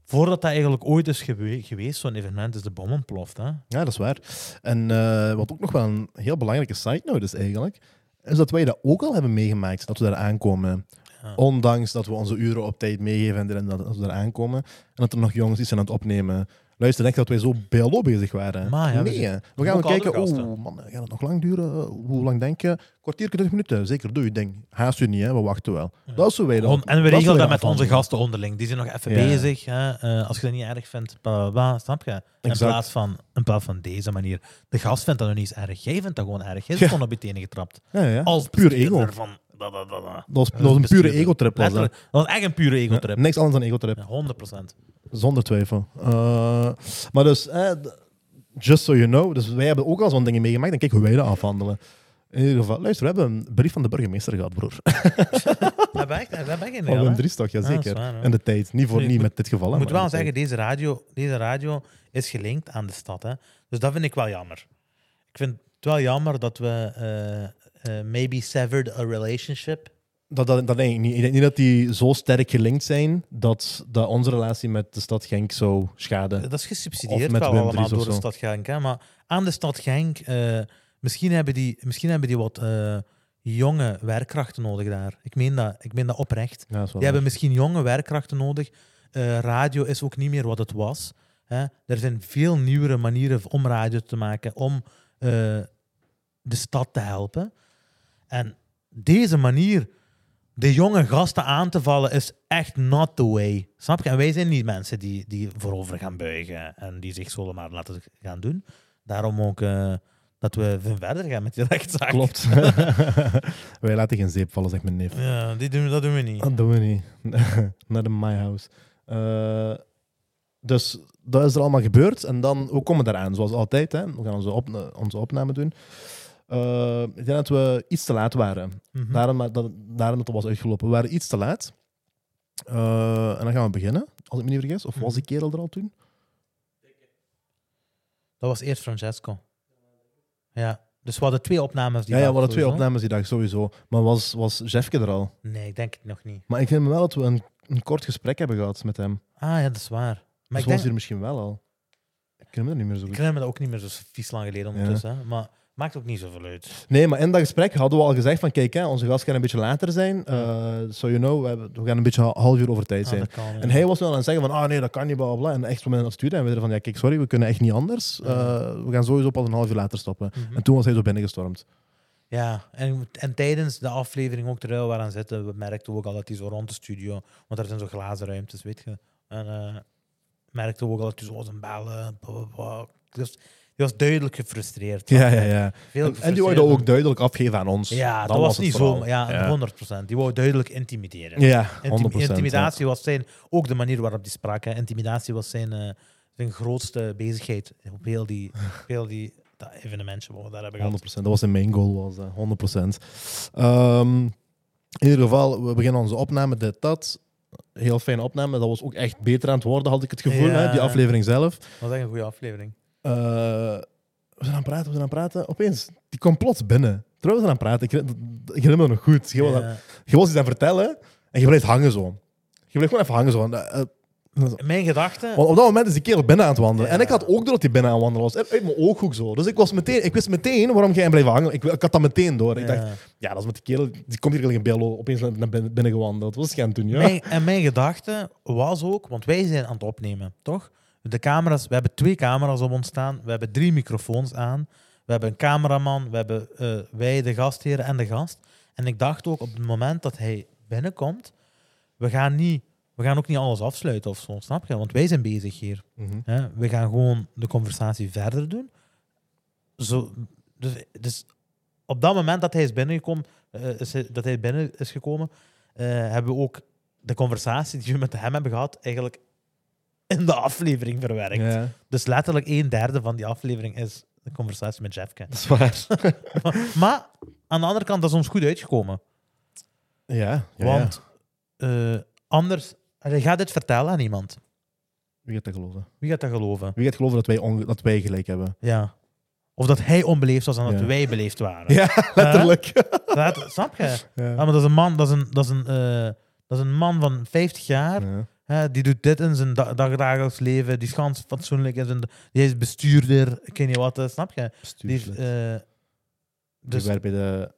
Speaker 2: Voordat dat eigenlijk ooit is gewe- geweest, zo'n evenement, is de bom ontploft. Hè?
Speaker 1: Ja, dat is waar. En eh, wat ook nog wel een heel belangrijke side note is eigenlijk, is dat wij dat ook al hebben meegemaakt, dat we daar aankomen.
Speaker 2: Ja.
Speaker 1: Ondanks dat we onze uren op tijd meegeven en dit en dat, als we daar aankomen. En dat er nog jongens iets zijn aan het opnemen. Luister, denk dat wij zo BLO bezig waren.
Speaker 2: Maar ja, we
Speaker 1: nee,
Speaker 2: zijn-
Speaker 1: hè. we gaan
Speaker 2: ook
Speaker 1: wel kijken.
Speaker 2: oude gasten.
Speaker 1: Oeh, man, gaat het nog lang duren? Hoe lang denk je? Kwartier, 20 minuten. Zeker, doe je ding. Haast u niet, hè. we wachten wel. Dat is zo wij dan-
Speaker 2: Gewoon- en we
Speaker 1: is zo
Speaker 2: regelen
Speaker 1: wij
Speaker 2: dat
Speaker 1: dan
Speaker 2: met onze
Speaker 1: afhandelen.
Speaker 2: gasten onderling. Die zijn nog even
Speaker 1: Ja.
Speaker 2: bezig. Hè? Eh, als je dat niet erg vindt, bla, bla, bla, snap je? In
Speaker 1: Exact.
Speaker 2: plaats, van, in plaats van deze manier. De gast vindt dat nog niet eens erg. Jij vindt dat gewoon erg. Jij is
Speaker 1: Ja.
Speaker 2: gewoon op je tenen getrapt.
Speaker 1: Ja, ja.
Speaker 2: Als
Speaker 1: puur
Speaker 2: bestuurder
Speaker 1: ego.
Speaker 2: Van, bla, bla, bla, bla.
Speaker 1: Dat was, dat was een
Speaker 2: Bestuurder.
Speaker 1: pure ego-trip. was dat.
Speaker 2: Letterlijk. Dat was echt een pure ego-trip.
Speaker 1: Ja, niks anders dan ego-trip.
Speaker 2: Ja, 100%.
Speaker 1: Zonder twijfel. Eh, maar dus, eh, d- just so you know, dus wij hebben ook al zo'n dingen meegemaakt en kijk hoe wij dat afhandelen. In ieder geval, luister, we hebben een brief van de burgemeester gehad, broer.
Speaker 2: Dat ben ik, dat ben ik in
Speaker 1: Van Wim Driestok,
Speaker 2: Ja, dat
Speaker 1: jazeker.
Speaker 2: is waar, hè.
Speaker 1: en de tijd, niet voor
Speaker 2: Ik
Speaker 1: niet
Speaker 2: moet-
Speaker 1: met dit geval. hè,
Speaker 2: Ik moet
Speaker 1: maar
Speaker 2: wel
Speaker 1: in de
Speaker 2: zeggen, deze radio, deze radio is gelinkt aan de stad. Hè? Dus dat vind ik wel jammer. Ik vind het wel jammer dat we eh, eh, maybe severed a relationship.
Speaker 1: tijd. Dat, dat, dat denk ik niet. Ik denk niet dat die zo sterk gelinkt zijn dat, dat onze relatie met de stad Genk zou schaden.
Speaker 2: Dat is
Speaker 1: Of
Speaker 2: gesubsidieerd
Speaker 1: met
Speaker 2: wel
Speaker 1: Wim
Speaker 2: allemaal
Speaker 1: Dries of
Speaker 2: door de
Speaker 1: zo.
Speaker 2: stad Genk. Hè? Maar aan de stad Genk, eh, misschien, hebben die, misschien hebben die wat eh, jonge werkkrachten nodig daar. Ik meen dat, ik meen dat oprecht.
Speaker 1: Ja, dat is wel
Speaker 2: Die hebben misschien jonge werkkrachten nodig. Eh, radio is ook niet meer wat het was. Hè. Er zijn veel nieuwere manieren om radio te maken, om eh, de stad te helpen. En deze manier, de jonge gasten aan te vallen, is echt not the way. Snap je? En wij zijn niet mensen die, die voorover gaan buigen en die zich zomaar laten gaan doen. Daarom ook eh, dat we verder gaan met die rechtszaak.
Speaker 1: Klopt. wij laten geen zeep vallen, zegt mijn neef.
Speaker 2: Ja, die doen, dat doen we niet.
Speaker 1: Dat Ah, doen we niet. Not in my house. Eh, dus dat is er allemaal gebeurd. En dan, we komen daaraan, zoals altijd. Hè. We gaan onze, opna- onze opname doen. Eh, ik denk dat we iets te laat waren.
Speaker 2: Mhm.
Speaker 1: Daarom dat, daarom dat het was uitgelopen. We waren iets te laat. Eh, en dan gaan we beginnen, als ik me niet vergis. Of
Speaker 2: Hm.
Speaker 1: was die kerel er al toen?
Speaker 2: Dat was eerst Francesco. Ja, dus we hadden twee opnames. Die
Speaker 1: ja, ja, we
Speaker 2: dag
Speaker 1: hadden twee
Speaker 2: sowieso.
Speaker 1: opnames die dag, sowieso. Maar was, was Jeffke er al?
Speaker 2: Nee, ik denk het nog niet.
Speaker 1: Maar ik vind wel dat we een, een kort gesprek hebben gehad met hem.
Speaker 2: Ah ja, dat is waar.
Speaker 1: dus
Speaker 2: Maar
Speaker 1: was
Speaker 2: ik, denk,
Speaker 1: hier misschien wel al. Ik ken hem er niet meer zo goed.
Speaker 2: ik herinner me dat ook niet meer zo vies lang geleden ondertussen. hè. Maar maakt ook niet zoveel uit.
Speaker 1: Nee, maar in dat gesprek hadden we al gezegd van kijk, hè, onze gast kan een beetje later zijn. Eh so you know, we, hebben- we gaan een beetje een half uur over tijd
Speaker 2: Ah,
Speaker 1: zijn.
Speaker 2: dat kan, ja.
Speaker 1: en hij was wel aan het zeggen van, ah nee, dat kan niet, bla bla, bla. En echt van aan het sturen. En we zeiden van, ja kijk, sorry, we kunnen echt niet anders. Eh, we gaan sowieso pas een half uur later stoppen.
Speaker 2: Mhm.
Speaker 1: En toen was hij zo binnengestormd.
Speaker 2: Ja, en, en tijdens de aflevering ook terwijl we aan zitten, we merkten we ook al dat hij zo rond de studio, want er zijn zo glazen ruimtes, weet je. En eh, merkten we ook al dat hij zo was aan het bellen. bla, bla, bla. Dus die was duidelijk gefrustreerd.
Speaker 1: Ja, ja, ja.
Speaker 2: Veel
Speaker 1: En, en die
Speaker 2: gefrustreerd
Speaker 1: wilde
Speaker 2: dan-
Speaker 1: ook duidelijk afgeven aan ons.
Speaker 2: Ja, dat
Speaker 1: Dan
Speaker 2: was,
Speaker 1: het
Speaker 2: niet
Speaker 1: verhaal.
Speaker 2: zo. Ja,
Speaker 1: ja.
Speaker 2: 100%. Die wou duidelijk intimideren.
Speaker 1: Ja, 100%.
Speaker 2: Intim-
Speaker 1: ja.
Speaker 2: intimidatie was zijn, ook de manier waarop die sprak. Hè. Intimidatie was zijn, eh, zijn grootste bezigheid op heel die, op heel die dat evenementje wat we daar hebben
Speaker 1: 100%.
Speaker 2: gehad.
Speaker 1: Dat was zijn main goal, was dat. 100%. Ehm, in ieder geval, we beginnen onze opname, dit, dat. Heel fijne opname. Dat was ook echt beter aan het worden, had ik het gevoel,
Speaker 2: Ja.
Speaker 1: hè, die aflevering zelf.
Speaker 2: Dat was echt een goede aflevering.
Speaker 1: Eh, we zijn aan het praten, we zijn aan het praten. Opeens, die komt plots binnen. Terwijl we zijn aan het praten, ik, herinner- ik herinner me nog goed. Je, was,
Speaker 2: Ja.
Speaker 1: je was iets aan het vertellen en je blijft hangen zo. Je blijft gewoon even hangen zo. En, eh, eh,
Speaker 2: Mijn gedachten.
Speaker 1: want op dat moment is die kerel binnen aan het wandelen.
Speaker 2: Ja.
Speaker 1: En ik had ook door dat hij binnen aan het wandelen was. Uit uit mijn ooghoek zo. Dus ik, was meteen, ik wist meteen waarom jij blijft hangen. Ik, ik had dat meteen door. Ik
Speaker 2: Ja.
Speaker 1: dacht, ja, dat is met die kerel. Die komt hier in een bello opeens naar naar binnen, binnen gewandeld. Wat is hij aan het doen? Ja?
Speaker 2: Mijn, en mijn gedachte was ook, want wij zijn aan het opnemen, toch? De camera's, we hebben twee camera's op ons staan, we hebben drie microfoons aan, we hebben een cameraman, we hebben eh, wij, de gastheer en de gast. En ik dacht ook op het moment dat hij binnenkomt, we gaan, niet, we gaan ook niet alles afsluiten of zo, snap je? Want wij zijn bezig hier.
Speaker 1: Mhm.
Speaker 2: Hè? We gaan gewoon de conversatie verder doen. Zo, dus, dus op dat moment dat hij is binnengekomen, eh, is hij- dat hij binnen is gekomen, eh, hebben we ook de conversatie die we met hem hebben gehad, eigenlijk in de aflevering verwerkt.
Speaker 1: Ja,
Speaker 2: Dus letterlijk een derde van die aflevering is de conversatie met Jeffke.
Speaker 1: dat is waar.
Speaker 2: maar aan de andere kant, dat is ons goed uitgekomen.
Speaker 1: ja, ja, ja.
Speaker 2: Want eh, anders, hij gaat dit vertellen aan iemand.
Speaker 1: Wie gaat dat geloven?
Speaker 2: Wie gaat dat geloven?
Speaker 1: Wie gaat geloven dat wij, onge- dat wij gelijk hebben?
Speaker 2: Ja. Of dat hij onbeleefd was en dat
Speaker 1: Ja.
Speaker 2: wij beleefd waren.
Speaker 1: Ja, letterlijk.
Speaker 2: Dat, snap je?
Speaker 1: Ja.
Speaker 2: Ja, maar dat is een man, dat is een, dat is een, eh, dat is een man van 50 jaar.
Speaker 1: Ja.
Speaker 2: Hè, die doet dit in zijn da- dagdagelijks leven. Die is gans fatsoenlijk. In zijn, die is bestuurder. Ik weet niet wat, eh, snap je? Die, is,
Speaker 1: Bestuurslid.
Speaker 2: eh,
Speaker 1: Die
Speaker 2: dus, die,
Speaker 1: werkt bij de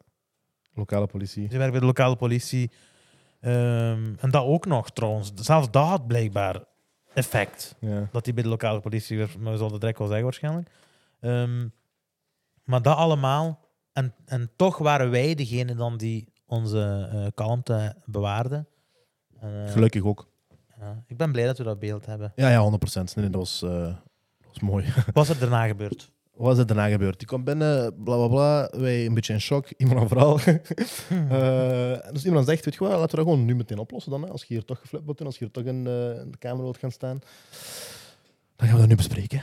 Speaker 1: lokale politie.
Speaker 2: werkt bij de lokale politie. Ehm, en dat ook nog trouwens. Zelfs dat had blijkbaar effect.
Speaker 1: Ja.
Speaker 2: Dat hij bij de lokale politie werd. Maar we zullen het direct wel zeggen waarschijnlijk. Ehm, maar dat allemaal. En, en toch waren wij degene dan die onze eh, kalmte bewaarden. En, eh,
Speaker 1: Gelukkig ook.
Speaker 2: ja, ik ben blij dat we dat beeld hebben.
Speaker 1: Ja, ja, 100%. Nee, nee, dat, was, eh, dat was mooi.
Speaker 2: Wat is er daarna gebeurd?
Speaker 1: Wat is er daarna gebeurd? Die komt binnen, bla bla bla. Wij een beetje in shock. Iemand aan verhaal. Eh, dus iemand zegt: Weet je wat, laten we dat gewoon nu meteen oplossen dan. hè. Als je hier toch geflipt wilt doen, als je hier toch in, eh, in de kamer wilt gaan staan, dan gaan we dat nu bespreken.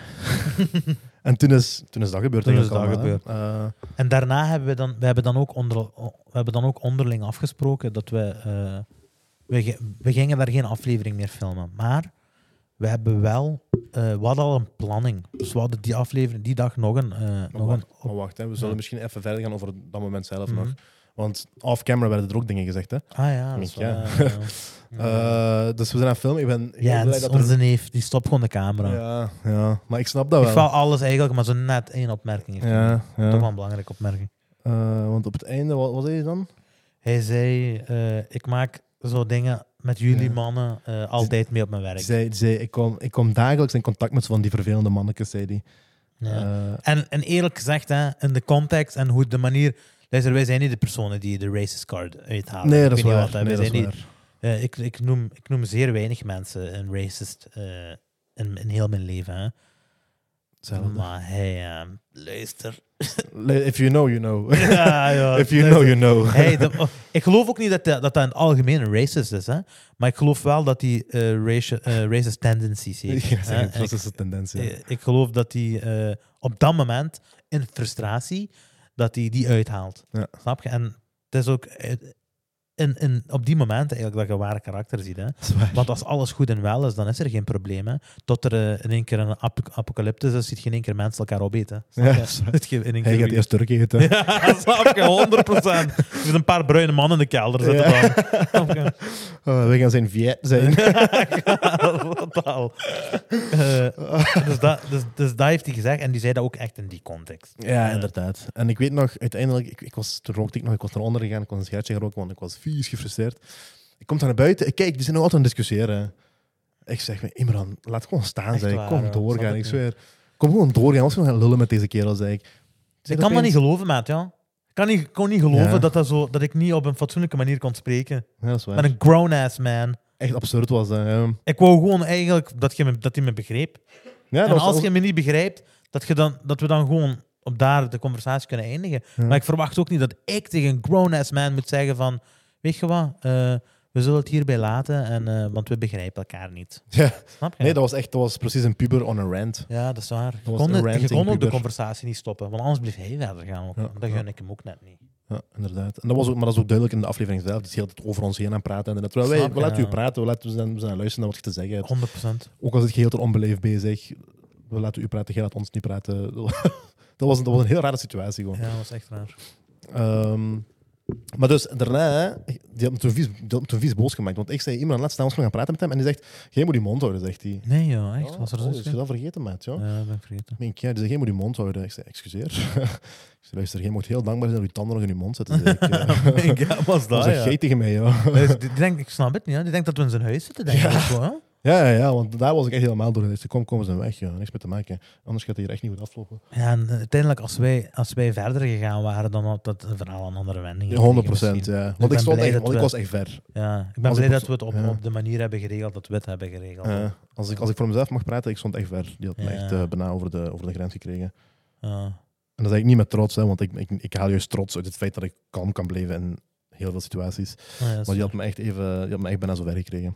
Speaker 1: en toen is, toen is dat gebeurd.
Speaker 2: Toen is
Speaker 1: eigenlijk
Speaker 2: dat
Speaker 1: allemaal, hè. Eh,
Speaker 2: En daarna hebben we dan, we hebben dan, ook, onder, we hebben dan ook onderling afgesproken dat we, eh, we, ge- we gingen daar geen aflevering meer filmen. Maar we hebben wel, eh, we hadden al een planning. Dus we hadden die aflevering, die dag nog een, eh, nog
Speaker 1: maar
Speaker 2: een
Speaker 1: wacht, maar wacht hè. we zullen
Speaker 2: Ja.
Speaker 1: misschien even verder gaan over dat moment zelf
Speaker 2: Mhm.
Speaker 1: nog. Want off-camera werden er ook dingen gezegd. Hè?
Speaker 2: Ah ja, dat is
Speaker 1: Denk, ja.
Speaker 2: wel, eh, ja.
Speaker 1: Eh, dus we zijn aan het filmen. Ik ben heel
Speaker 2: ja,
Speaker 1: blij
Speaker 2: dus
Speaker 1: dat er-
Speaker 2: onze neef, die stopt gewoon de camera.
Speaker 1: Ja, ja, maar ik snap dat
Speaker 2: Ik
Speaker 1: wel.
Speaker 2: val alles eigenlijk, maar zo net één opmerking. heeft hij.
Speaker 1: Ja, ja.
Speaker 2: Toch wel een belangrijke opmerking.
Speaker 1: Eh, want op het einde, wat was hij dan?
Speaker 2: Hij zei, eh, ik maak zo dingen met jullie
Speaker 1: Ja.
Speaker 2: mannen eh, altijd mee op mijn werk.
Speaker 1: Die zei, die zei ik, kom, ik kom dagelijks in contact met zo van die vervelende mannetjes, zei hij.
Speaker 2: Ja.
Speaker 1: Eh,
Speaker 2: En, en eerlijk gezegd, hè, in de context en hoe de manier. Luister, wij zijn niet de personen die de racist card uithalen.
Speaker 1: nee,
Speaker 2: Ah, Ik
Speaker 1: dat is
Speaker 2: weet
Speaker 1: waar.
Speaker 2: niet wat, hè.
Speaker 1: nee,
Speaker 2: Wij
Speaker 1: dat is
Speaker 2: zijn niet-
Speaker 1: waar.
Speaker 2: eh, ik, ik, noem, ik noem zeer weinig mensen een racist eh, in, in heel mijn leven. Hè.
Speaker 1: Hetzelfde.
Speaker 2: Maar hij, eh, luister.
Speaker 1: Le- If you know, you know.
Speaker 2: Ja, ja,
Speaker 1: If you
Speaker 2: luister.
Speaker 1: know, you know.
Speaker 2: Hey, dat- oh, ik geloof ook niet dat dat, dat dat in het algemeen een racist is, hè? maar ik geloof wel dat hij eh, racist tendencies heeft.
Speaker 1: Ja,
Speaker 2: hè. En ik-
Speaker 1: dat is de tendens. ja.
Speaker 2: eh, ik geloof dat hij eh, op dat moment in frustratie dat hij die uithaalt.
Speaker 1: Ja.
Speaker 2: Snap je? En het is ook eh, in, in, op die momenten eigenlijk dat je ware karakter ziet. Hè?
Speaker 1: Dat is waar.
Speaker 2: Want als alles goed en wel is, dan is er geen probleem. Hè? Tot er eh, in één keer een ap apocalyptus is, ziet je in één keer mensen elkaar opeten. Snap
Speaker 1: Ja,
Speaker 2: je?
Speaker 1: dat is waar.
Speaker 2: Zit je in één
Speaker 1: Hij
Speaker 2: keer
Speaker 1: gaat eerst Turk eten.
Speaker 2: ja, snap je, 100%. Er zitten een paar bruine mannen in de kelder zitten
Speaker 1: Ja.
Speaker 2: dan. Snap je?
Speaker 1: Oh, we gaan zijn Viet zijn.
Speaker 2: Totaal. Eh, dus, dat, dus, dus dat heeft hij gezegd. En die zei dat ook echt in die context. Dus
Speaker 1: Ja, inderdaad. En ik weet nog, uiteindelijk, ik, ik was, toen rookte ik nog, ik was naar onder gegaan, ik was een sigaretje geroken, want ik was vies gefrustreerd. Ik kom daar naar buiten, ik kijk, die zijn nog altijd aan het discussiëren. Ik zeg, Imran, laat gewoon staan,
Speaker 2: Echt
Speaker 1: zeg ik.
Speaker 2: waar,
Speaker 1: Kom
Speaker 2: hoor.
Speaker 1: doorgaan,
Speaker 2: Snap
Speaker 1: ik
Speaker 2: ik
Speaker 1: zweer. Kom gewoon doorgaan, als we gaan lullen met deze kerel, zeg ik.
Speaker 2: ik kan dat niet geloven, maat. Ja. Ik kan niet, ik kon niet geloven
Speaker 1: Ja.
Speaker 2: dat, dat, zo, dat ik niet op een fatsoenlijke manier kon spreken.
Speaker 1: Ja, dat is waar.
Speaker 2: Met een grown-ass man.
Speaker 1: Echt absurd was dat. Ja,
Speaker 2: Ik wou gewoon eigenlijk dat hij me, dat hij me begreep.
Speaker 1: ja
Speaker 2: en
Speaker 1: dat was
Speaker 2: als je me niet begrijpt, dat, je dan, dat we dan gewoon op daar de conversatie kunnen eindigen.
Speaker 1: Ja.
Speaker 2: Maar ik verwacht ook niet dat ik tegen een grown-ass man moet zeggen van... Weet je wat, eh, we zullen het hierbij laten, en, eh, want we begrijpen elkaar niet.
Speaker 1: Ja.
Speaker 2: Snap je?
Speaker 1: Nee, dat was echt, dat was precies een puber on a rant.
Speaker 2: Ja, dat is waar. Je
Speaker 1: was
Speaker 2: kon,
Speaker 1: een
Speaker 2: het- je
Speaker 1: ranting
Speaker 2: kon ook de
Speaker 1: puber.
Speaker 2: conversatie niet stoppen, want anders bleef hij verder gaan. ook.
Speaker 1: Ja,
Speaker 2: dat
Speaker 1: ja.
Speaker 2: gun ik hem ook net niet.
Speaker 1: Ja, inderdaad. En dat was ook, maar dat is ook duidelijk in de aflevering zelf. Die is heel de tijd over ons heen aan het praten. En dat, terwijl wij,
Speaker 2: Snap
Speaker 1: we
Speaker 2: je,
Speaker 1: laten u
Speaker 2: ja.
Speaker 1: praten, we laten we zijn, we zijn aan luisteren naar wat je te zeggen hebt.
Speaker 2: 100%.
Speaker 1: Ook als het geheel er onbeleefd bezig. We laten u praten, jij laat ons niet praten. dat, was, dat was een heel rare situatie gewoon.
Speaker 2: Ja, dat was echt raar.
Speaker 1: Ehm, maar dus daarna, hè, die had me toen vies, die had me toen vies boos gemaakt. Want ik zei, iemand laat staan, ons gaan praten met hem. En die zegt, jij moet je mond houden, zegt hij.
Speaker 2: Nee, joh, echt.
Speaker 1: Oh,
Speaker 2: was er
Speaker 1: oh, is
Speaker 2: zoiets?
Speaker 1: je
Speaker 2: Ja,
Speaker 1: dat vergeten, maat? Ja.
Speaker 2: dat ben ik vergeten.
Speaker 1: Ik denk, ja, die zei, jij moet je mond houden. Ik zei, excuseer. ik zei, luister, jij moet heel dankbaar zijn dat je tanden nog in je mond zitten. Zei ik, ja.
Speaker 2: ja, was
Speaker 1: Dat
Speaker 2: dat,
Speaker 1: zeg jij
Speaker 2: ja.
Speaker 1: tegen mij, joh.
Speaker 2: dus Die, die denkt, ik snap het niet, hè. die denkt dat we in zijn huis zitten, denk ik. ook wel, hè.
Speaker 1: Ja, ja, ja, want daar was ik echt helemaal door. Ik zei, kom, kom, we zijn weg, joh. Niks meer te maken. Anders gaat het hier echt niet goed aflopen.
Speaker 2: Ja, en eh, uiteindelijk, als wij, als wij verder gegaan waren, dan had dat verhaal een andere wending.
Speaker 1: Ja,
Speaker 2: gekregen
Speaker 1: 100 procent,
Speaker 2: misschien.
Speaker 1: ja. Want
Speaker 2: ben
Speaker 1: ik, stond
Speaker 2: blij
Speaker 1: echt,
Speaker 2: dat
Speaker 1: want ik
Speaker 2: we-
Speaker 1: was echt ver.
Speaker 2: Ja, ik ben
Speaker 1: Als
Speaker 2: blij
Speaker 1: ik-
Speaker 2: dat we het op,
Speaker 1: ja.
Speaker 2: op de manier hebben geregeld dat we het hebben geregeld.
Speaker 1: Ja, als, ik, als ik voor mezelf mag praten, ik stond echt ver. Die had me
Speaker 2: Ja.
Speaker 1: echt eh, bijna over de, over de grens gekregen.
Speaker 2: Ja.
Speaker 1: En dat zeg ik niet met trots, hè, want ik, ik, ik haal juist trots uit het feit dat ik kalm kan blijven in heel veel situaties.
Speaker 2: Ja, dat is
Speaker 1: Maar die had
Speaker 2: waar.
Speaker 1: me echt, even, die had me echt bijna zo ver gekregen.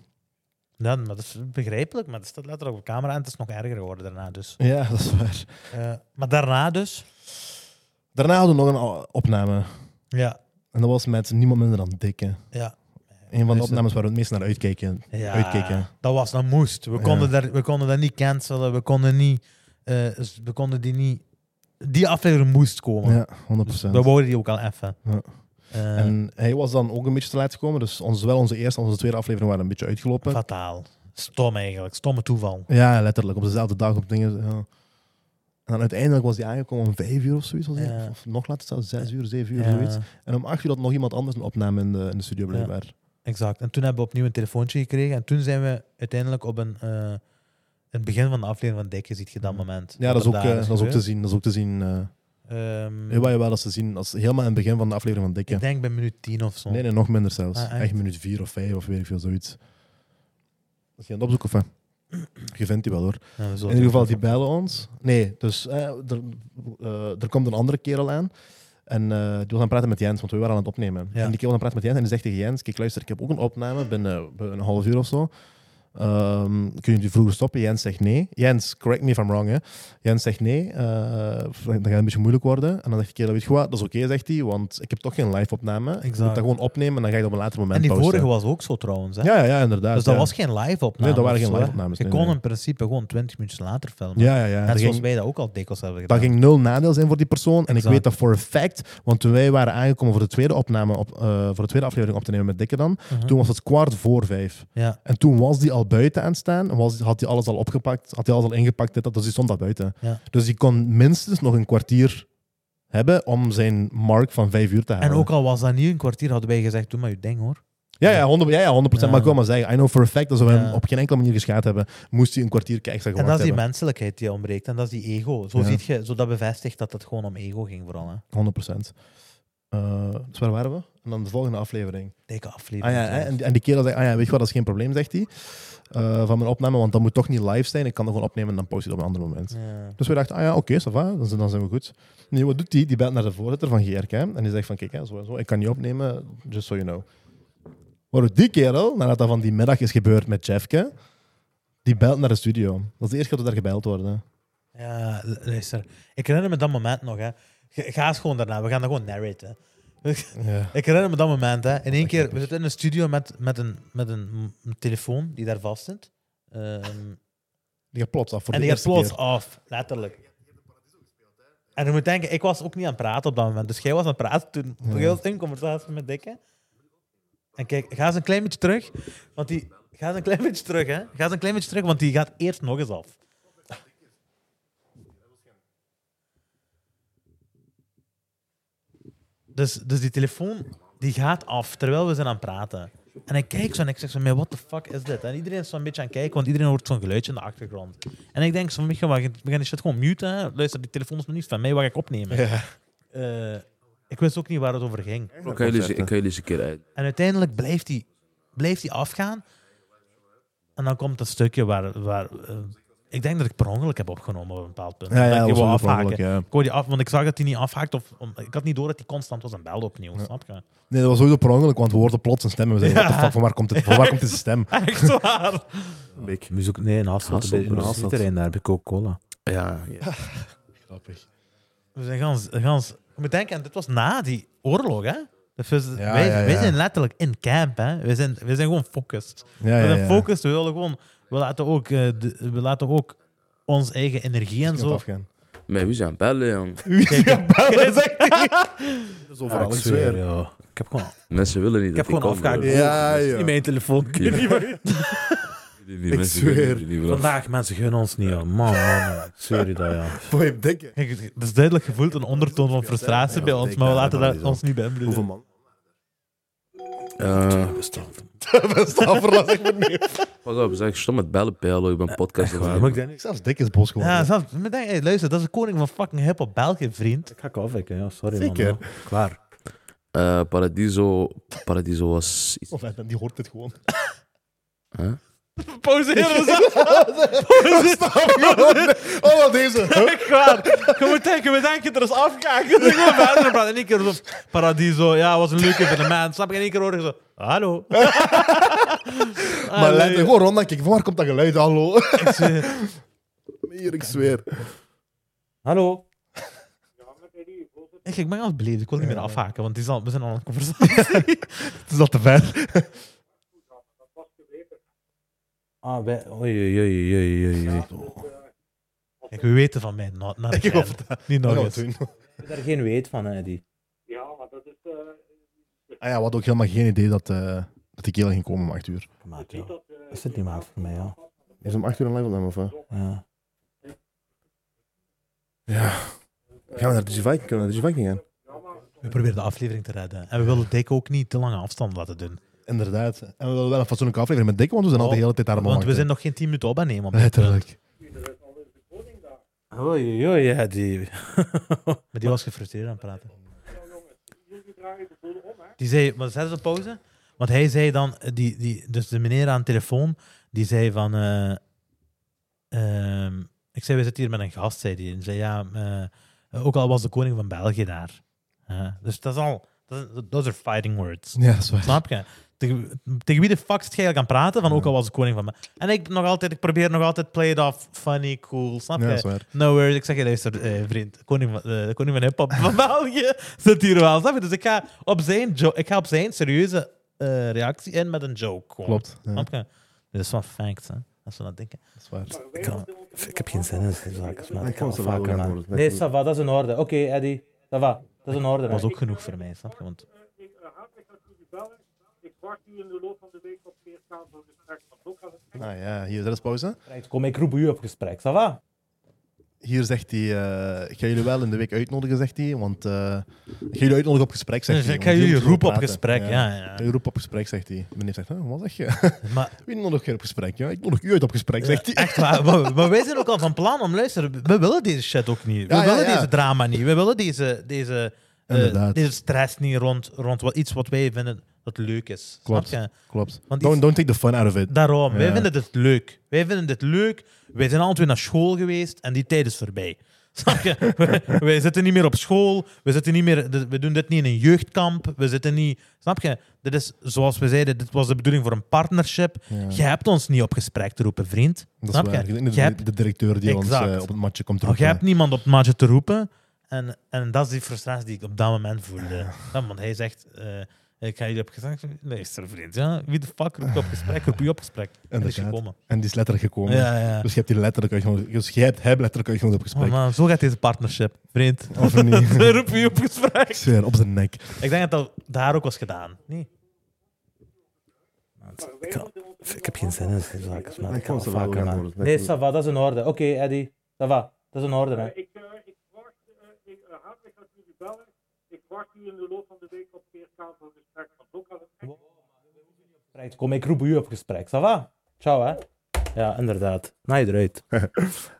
Speaker 2: Ja, maar dat is begrijpelijk, maar dat staat letterlijk op camera en het is nog erger geworden daarna dus.
Speaker 1: Ja, dat is waar.
Speaker 2: Eh, maar daarna dus,
Speaker 1: Daarna hadden we nog een o- opname.
Speaker 2: ja,
Speaker 1: En dat was met niemand minder dan Dikke.
Speaker 2: ja.
Speaker 1: een van de
Speaker 2: Dus,
Speaker 1: opnames waar we het meest naar uitkijken.
Speaker 2: Ja,
Speaker 1: uitkijken.
Speaker 2: dat was, dat moest. We
Speaker 1: Ja.
Speaker 2: konden, daar, we konden dat niet cancelen, we konden, niet, eh, s- we konden die niet... Die aflevering moest komen.
Speaker 1: Ja, 100%.
Speaker 2: Dus we wouden die ook al effen.
Speaker 1: Ja.
Speaker 2: Eh,
Speaker 1: En hij was dan ook een beetje te laat gekomen, dus ons, zowel onze eerste als onze tweede aflevering waren een beetje uitgelopen.
Speaker 2: fataal. Stom eigenlijk, stomme toeval.
Speaker 1: Ja, letterlijk. Op dezelfde dag op dingen. Ja. En dan uiteindelijk was hij aangekomen om vijf uur of zoiets. Was die?
Speaker 2: Ja.
Speaker 1: Of nog later zelfs zes uur, zeven uur,
Speaker 2: Ja,
Speaker 1: zoiets. En om acht uur had nog iemand anders een opname in de, in de studio blijkbaar.
Speaker 2: exact. En toen hebben we opnieuw een telefoontje gekregen. En toen zijn we uiteindelijk op een... eh, het begin van de aflevering van Dikke ziet je dat moment.
Speaker 1: Mm. Ja, dat is,
Speaker 2: er
Speaker 1: ook,
Speaker 2: daar
Speaker 1: eh, dat is ook
Speaker 2: gebeurd.
Speaker 1: te zien. Dat is ook te zien.
Speaker 2: Mm.
Speaker 1: eh
Speaker 2: Ehm,
Speaker 1: jawel, jawel, dat is te zien. Dat is helemaal in het begin van de aflevering van Dikke.
Speaker 2: Ik denk bij minuut 10 of zo.
Speaker 1: Nee, nee, nog minder zelfs.
Speaker 2: Ah, echt?
Speaker 1: echt? minuut vier of vijf of weet ik veel, zoiets. Als je aan het opzoeken of wat? Je vindt die wel hoor.
Speaker 2: Ja, we zullen
Speaker 1: In ieder geval,
Speaker 2: het
Speaker 1: die bellen ons. Nee, dus eh, er, eh, er komt een andere kerel aan. En eh, die was aan het praten met Jens, want we waren aan het opnemen.
Speaker 2: Ja.
Speaker 1: En die kerel was aan het praten met Jens en die zegt tegen Jens... Kijk, luister, ik heb ook een opname binnen, binnen een half uur of zo. Ehm, kun je die vroeger stoppen? Jens zegt nee. Jens, correct me if I'm wrong, hè. Jens zegt nee. eh, dan gaat het een beetje moeilijk worden. En dan zegt de kerel, weet je wat, dat is oké, zegt hij. Want ik heb toch geen live-opname. Ik moet
Speaker 2: Exact.
Speaker 1: dat gewoon opnemen en dan ga ik dat op een later moment
Speaker 2: En die
Speaker 1: posten.
Speaker 2: vorige was ook zo trouwens. Hè?
Speaker 1: Ja, ja, ja, inderdaad.
Speaker 2: dus dat
Speaker 1: ja.
Speaker 2: was geen live-opname.
Speaker 1: Nee, dat waren
Speaker 2: of
Speaker 1: geen
Speaker 2: zo, hè?
Speaker 1: live-opnames,
Speaker 2: Je
Speaker 1: nee,
Speaker 2: kon
Speaker 1: nee.
Speaker 2: in principe gewoon 20 minuten later filmen.
Speaker 1: Ja, ja, ja.
Speaker 2: Net
Speaker 1: Er
Speaker 2: zoals
Speaker 1: ging-
Speaker 2: wij dat ook al dikwijls hebben gedaan.
Speaker 1: Dat ging nul nadeel zijn voor die persoon. En ik
Speaker 2: Exact.
Speaker 1: weet dat voor een fact. Want toen wij waren aangekomen voor de tweede opname, op, eh, voor de tweede aflevering op te nemen met Dikke dan,
Speaker 2: Mhm.
Speaker 1: toen was het kwart voor vijf.
Speaker 2: Ja,
Speaker 1: En toen was die al buiten aan het staan. En was, had hij alles al opgepakt, had hij alles al ingepakt. Dit, dat, dus die stond al buiten.
Speaker 2: Ja.
Speaker 1: Dus die kon minstens nog een kwartier hebben om zijn mark van vijf uur te halen.
Speaker 2: en ook al was dat niet een kwartier, hadden wij gezegd, doe maar je ding hoor.
Speaker 1: Ja, ja, 100, ja, ja, 100%.
Speaker 2: Ja.
Speaker 1: Maar ik wil maar zeggen, I know for a fact dat we
Speaker 2: Ja.
Speaker 1: hem op geen enkele manier geschaad hebben, moest hij een kwartier extra
Speaker 2: En
Speaker 1: gewacht
Speaker 2: dat is die
Speaker 1: hebben.
Speaker 2: menselijkheid die ontbreekt. En dat is die ego. Zo
Speaker 1: Ja.
Speaker 2: ziet je, zo dat bevestigt dat het gewoon om ego ging vooral. Hè.
Speaker 1: 100%. Eh, dus waar waren we? En dan de volgende aflevering.
Speaker 2: Dikke
Speaker 1: Ah
Speaker 2: aflevering.
Speaker 1: ja, hè,
Speaker 2: trouwens.
Speaker 1: en, en die kerel zegt, ah ja, weet je wat, dat is geen probleem, zegt hij, eh, van mijn opname, want dat moet toch niet live zijn. Ik kan dat gewoon opnemen en dan post je het op een ander moment.
Speaker 2: Ja.
Speaker 1: Dus we dachten, ah ja, oké, ça va, dan, zijn- dan zijn we goed. Nee, wat doet die? Die belt naar de voorzitter van GRK en die zegt van, kijk, hè, zo, en zo, ik kan niet opnemen, just so you know. Maar doet die kerel, nadat dat van die middag is gebeurd met Jeffke, die belt naar de studio. Dat is de eerste keer dat we daar gebeld worden.
Speaker 2: Ja, lu- luister. Ik herinner me dat moment nog. Hè. Ga ga eens gewoon daarna. We gaan dat gewoon narraten. hè.
Speaker 1: Ja.
Speaker 2: Ik herinner me dat moment, hè. In één
Speaker 1: dus-
Speaker 2: keer, we zitten in een studio met, met, een, met een, een telefoon die daar vast zit. Ehm,
Speaker 1: Die gaat plots af voor
Speaker 2: en
Speaker 1: de
Speaker 2: die gaat
Speaker 1: eerste
Speaker 2: plots
Speaker 1: keer.
Speaker 2: af, letterlijk. En je moet denken, ik was ook niet aan het praten op dat moment. Dus jij was aan het praten toen. Jij was in conversatie met Dikke. En kijk, ga eens een klein beetje terug. Want die... Ga eens een klein beetje terug, hè. Ga eens een klein beetje terug, want die gaat eerst nog eens af. Dus, dus die telefoon, die gaat af, terwijl we zijn aan het praten. En ik kijk zo en ik zeg zo, "Maar what the fuck is dit? En iedereen is zo'n beetje aan het kijken, want iedereen hoort zo'n geluidje in de achtergrond. En ik denk zo, Michael, we gaan- we gaan die shit gewoon muten. hè. Luister, die telefoon is nog niet van mij, wat ga ik opnemen? Eh, ik wist ook niet waar het over ging.
Speaker 8: Ik kan jullie eens- ik kan jullie eens een keer uit.
Speaker 2: En uiteindelijk blijft die, blijft die afgaan. En dan komt dat stukje waar... waar eh, ik denk dat ik per ongeluk heb opgenomen op een bepaald punt.
Speaker 1: Ja, ja,
Speaker 2: dat ik
Speaker 1: dat
Speaker 2: die
Speaker 1: was
Speaker 2: wou
Speaker 1: ook per
Speaker 2: afhaken.
Speaker 1: ongeluk, ja.
Speaker 2: Ik wou die af, want ik zag dat hij niet afhaakt. Of, om- ik had niet door dat hij constant was en belde opnieuw, snap je?
Speaker 1: Nee, dat was sowieso per ongeluk, want we hoorden plots een stem en we zeiden, what the fuck, van waar komt, dit, van waar komt deze stem?
Speaker 2: Echt waar?
Speaker 8: Beek.
Speaker 2: Muziek, nee, een
Speaker 8: Hasselt, een beetje- een
Speaker 2: terrein daar bij Coca-Cola.
Speaker 8: Ja, ja.
Speaker 1: Grappig.
Speaker 2: We zijn gans, gans... Je moet denken, en dit was na die oorlog, hè? Dus we,
Speaker 1: Ja,
Speaker 2: wij,
Speaker 1: ja, ja.
Speaker 2: wij zijn letterlijk in camp, hè? We zijn, we zijn gewoon focused.
Speaker 1: Ja,
Speaker 2: we
Speaker 1: Ah, ja,
Speaker 2: zijn
Speaker 1: ja.
Speaker 2: focused, we willen gewoon... We laten ook, eh, de- we laten ook ons eigen energie en
Speaker 1: Gaat
Speaker 2: zo...
Speaker 1: afgaan.
Speaker 8: Maar wie zijn bellen, jong?
Speaker 1: Dat is overal, ik
Speaker 2: Ja,
Speaker 1: zweer.
Speaker 2: ja. Ik heb gewoon...
Speaker 8: Mensen willen niet
Speaker 4: Ik
Speaker 8: dat
Speaker 4: heb gewoon afgehaakt.
Speaker 8: Ik
Speaker 1: Ja, ja.
Speaker 4: In mijn telefoon.
Speaker 8: Ik
Speaker 1: zweer.
Speaker 4: Vandaag, mensen gunnen ons niet, man, man. man. Sorry dat, ja.
Speaker 1: Voor dikke.
Speaker 2: Kijk, het is duidelijk gevoeld een ondertoon van frustratie bij ons, maar we laten dat ons niet
Speaker 1: Hoeveel
Speaker 2: beïnvloeden.
Speaker 1: man?
Speaker 8: Pas op, zeg, stom met bellen, pijl. Ik ben
Speaker 4: Eh,
Speaker 8: podcast.
Speaker 4: Moet ik dat niet?
Speaker 1: Zelfs dik is bos geworden.
Speaker 2: Ja, zelfs, maar denk, hey, luister, dat is de koning van fucking hip-hop België, vriend.
Speaker 4: Ik ga ik afwijken, ja. Sorry,
Speaker 1: Zeker.
Speaker 4: man. man. Klaar.
Speaker 8: Eh, Paradiso. Paradiso was iets.
Speaker 1: Of eh, die hoort dit gewoon.
Speaker 8: Huh?
Speaker 2: Pauzeren we
Speaker 1: Oh, wat deze.
Speaker 2: Echt waar. Je moet denken, we denken er is afgegaan. Je moet gewoon verder praten. In één keer zo, Paradiso, ja, was een leuk evenement. Snap je? In één keer hoor je zo, hallo. Ah,
Speaker 1: Maar let gewoon rond en kijk, van waar komt dat geluid? Hallo. Hier, ik zweer.
Speaker 4: Hallo.
Speaker 2: Ik, ik ben al beleefd, ik wil niet meer afhaken, want die is al, we zijn al aan het conversatie.
Speaker 1: Oh, Het is al te ver.
Speaker 4: Ah, wij...
Speaker 2: Oei, oei, oei, oei, oei, oei. Kijk, we weten van mij. Not, not
Speaker 1: Ik
Speaker 2: again.
Speaker 1: hoop dat.
Speaker 2: Niet
Speaker 1: dat
Speaker 2: nog
Speaker 1: gaan we
Speaker 2: eens.
Speaker 1: doen.
Speaker 4: Ik heb daar geen weet van, hè, die.
Speaker 1: Ah ja, we hadden ook helemaal geen idee dat, eh dat die kelen ging komen om 8 uur.
Speaker 4: Maat, ja. Dat zit niet maat voor mij, ja.
Speaker 6: Is om 8 uur een live opname of wat?
Speaker 4: ja.
Speaker 6: Ja. Gaan we naar de G-Viking? Kunnen we naar de G-Viking gaan?
Speaker 2: We proberen de aflevering te redden. En we willen Dick ook niet te lange afstand laten doen.
Speaker 1: Inderdaad. En we willen wel een fatsoenlijke aflevering met Dikke, want we zijn al de
Speaker 2: Oh,
Speaker 1: hele tijd daar aan het
Speaker 2: Want we zijn
Speaker 1: wachten.
Speaker 2: nog geen 10 minuten op aan nemen.
Speaker 1: Letterlijk.
Speaker 4: Oei, oei, ja, die.
Speaker 2: Maar die was gefrustreerd aan het praten. Die zei, maar zet eens op pauze. Want hij zei dan, eh, die, die, dus de meneer aan de telefoon, die zei van... eh, ehm, ik zei, we zitten hier met een gast, zei die. En zei, ja, eh, ook al was de koning van België daar. Hè. dus dat is al... Dat, is- those are fighting words.
Speaker 1: Ja, dat is waar.
Speaker 2: Snap je? Tegen, tegen wie de fuck zit jij aan praten? Van, ook al was de koning van België. En ik, nog altijd, ik probeer nog altijd play it off, funny, cool. Snap
Speaker 1: Ja,
Speaker 2: je?
Speaker 1: dat is waar.
Speaker 2: No worries. Ik zeg je, luister, eh, vriend, koning van, eh, de koning van hip-hop van België zit hier wel. Snap je? Dus ik ga op zijn, jo- ik ga op zijn serieuze eh, reactie in met een joke. gewoon.
Speaker 1: Klopt. Ja,
Speaker 2: Snap je? Dit is wel facts, hè? Als we dat denken.
Speaker 1: dat is waar.
Speaker 4: Ik, kan- ik heb geen zin in deze zaken, man. Ik
Speaker 6: Ik kan
Speaker 4: kan
Speaker 6: ze
Speaker 4: het
Speaker 6: wel
Speaker 4: vaker
Speaker 6: gaan
Speaker 4: maken.
Speaker 6: horen.
Speaker 4: Nee, ça va, dat is in orde. Oké, Eddie, ça va, dat is in orde.
Speaker 2: Dat was ook genoeg voor mij, snap je? Want
Speaker 1: Nou ja, hier, dat is pauze.
Speaker 4: Right, Kom, ik roep u op gesprek, ça va?
Speaker 1: Hier zegt hij, eh, ik ga jullie wel in de week uitnodigen, zegt hij. Want eh, ik ga jullie uitnodigen op gesprek, zegt
Speaker 2: Dus
Speaker 1: hij.
Speaker 2: ik ga
Speaker 1: want
Speaker 2: jullie
Speaker 1: moeten
Speaker 2: roepen op
Speaker 1: praten.
Speaker 2: gesprek, ja. ja,
Speaker 1: Ik ga jullie roepen op gesprek, zegt hij. Meneer zegt, "Huh, wat zeg je?
Speaker 2: Maar
Speaker 1: Wie nodig jij op gesprek? Ja, ik nodig u uit op gesprek, zegt hij.
Speaker 2: echt waar, maar, maar wij zijn ook al van plan om, luister, we willen deze shit ook niet. We
Speaker 1: Ja, ja,
Speaker 2: willen
Speaker 1: ja.
Speaker 2: deze drama niet. We willen deze, deze, eh,
Speaker 1: Inderdaad.
Speaker 2: deze stress niet rond, rond wat, iets wat wij vinden dat leuk is.
Speaker 1: Klopt.
Speaker 2: Snap je?
Speaker 1: Klopt.
Speaker 2: Want
Speaker 1: Don't,
Speaker 2: iets-
Speaker 1: don't take the fun out of it.
Speaker 2: Daarom, wij
Speaker 1: Ja.
Speaker 2: vinden dit leuk. Wij vinden dit leuk. Wij zijn alle twee naar school geweest en die tijd is voorbij. Snap je? wij, wij zitten niet meer op school. We, zitten niet meer, dit- we doen dit niet in een jeugdkamp. We zitten niet... Snap je? Dit is, zoals we zeiden, dit was de bedoeling voor een partnership. Je hebt ons niet op gesprek te roepen, vriend.
Speaker 1: Dat is
Speaker 2: snap
Speaker 1: waar.
Speaker 2: je?
Speaker 1: De,
Speaker 2: Je hebt,
Speaker 1: de directeur die ons
Speaker 2: Exact. Oh,
Speaker 1: eh, op het matje komt
Speaker 2: je
Speaker 1: roepen.
Speaker 2: hebt niemand op het maatje te roepen. En, en dat is die frustratie die ik op dat moment voelde. Ja, want hij zegt... eh, ik ga jullie op gesprek... Luister, vriend. Ja? Wie de fuck roept op gesprek? Roep je op gesprek. En dat is
Speaker 1: Inderdaad.
Speaker 2: gekomen.
Speaker 1: En die is letterlijk gekomen.
Speaker 2: Ja, ja.
Speaker 1: Dus je hebt die letterlijk uitgenodigd. Dus jij hebt hem letterlijk uitgenodigd op
Speaker 2: Oh
Speaker 1: gesprek.
Speaker 2: man, zo gaat deze partnership, vriend.
Speaker 1: of niet?
Speaker 2: Ze roepen je op gesprek.
Speaker 1: Ik zweer, op zijn nek.
Speaker 2: Ik denk dat dat daar ook was gedaan. Nee.
Speaker 4: Ik, kan- ik heb geen zin in deze zaken, man.
Speaker 6: Ik
Speaker 4: Ik kan
Speaker 6: kan
Speaker 4: het
Speaker 6: ze wel
Speaker 4: vaker
Speaker 6: gaan
Speaker 4: maken.
Speaker 6: horen.
Speaker 4: Nee, ça va, dat is in orde. Oké, Eddie, ça va, dat is in orde, hè. Right, Kom, ik roep u op gesprek, ça va? Ciao, hè. Ja, inderdaad. Naai eruit.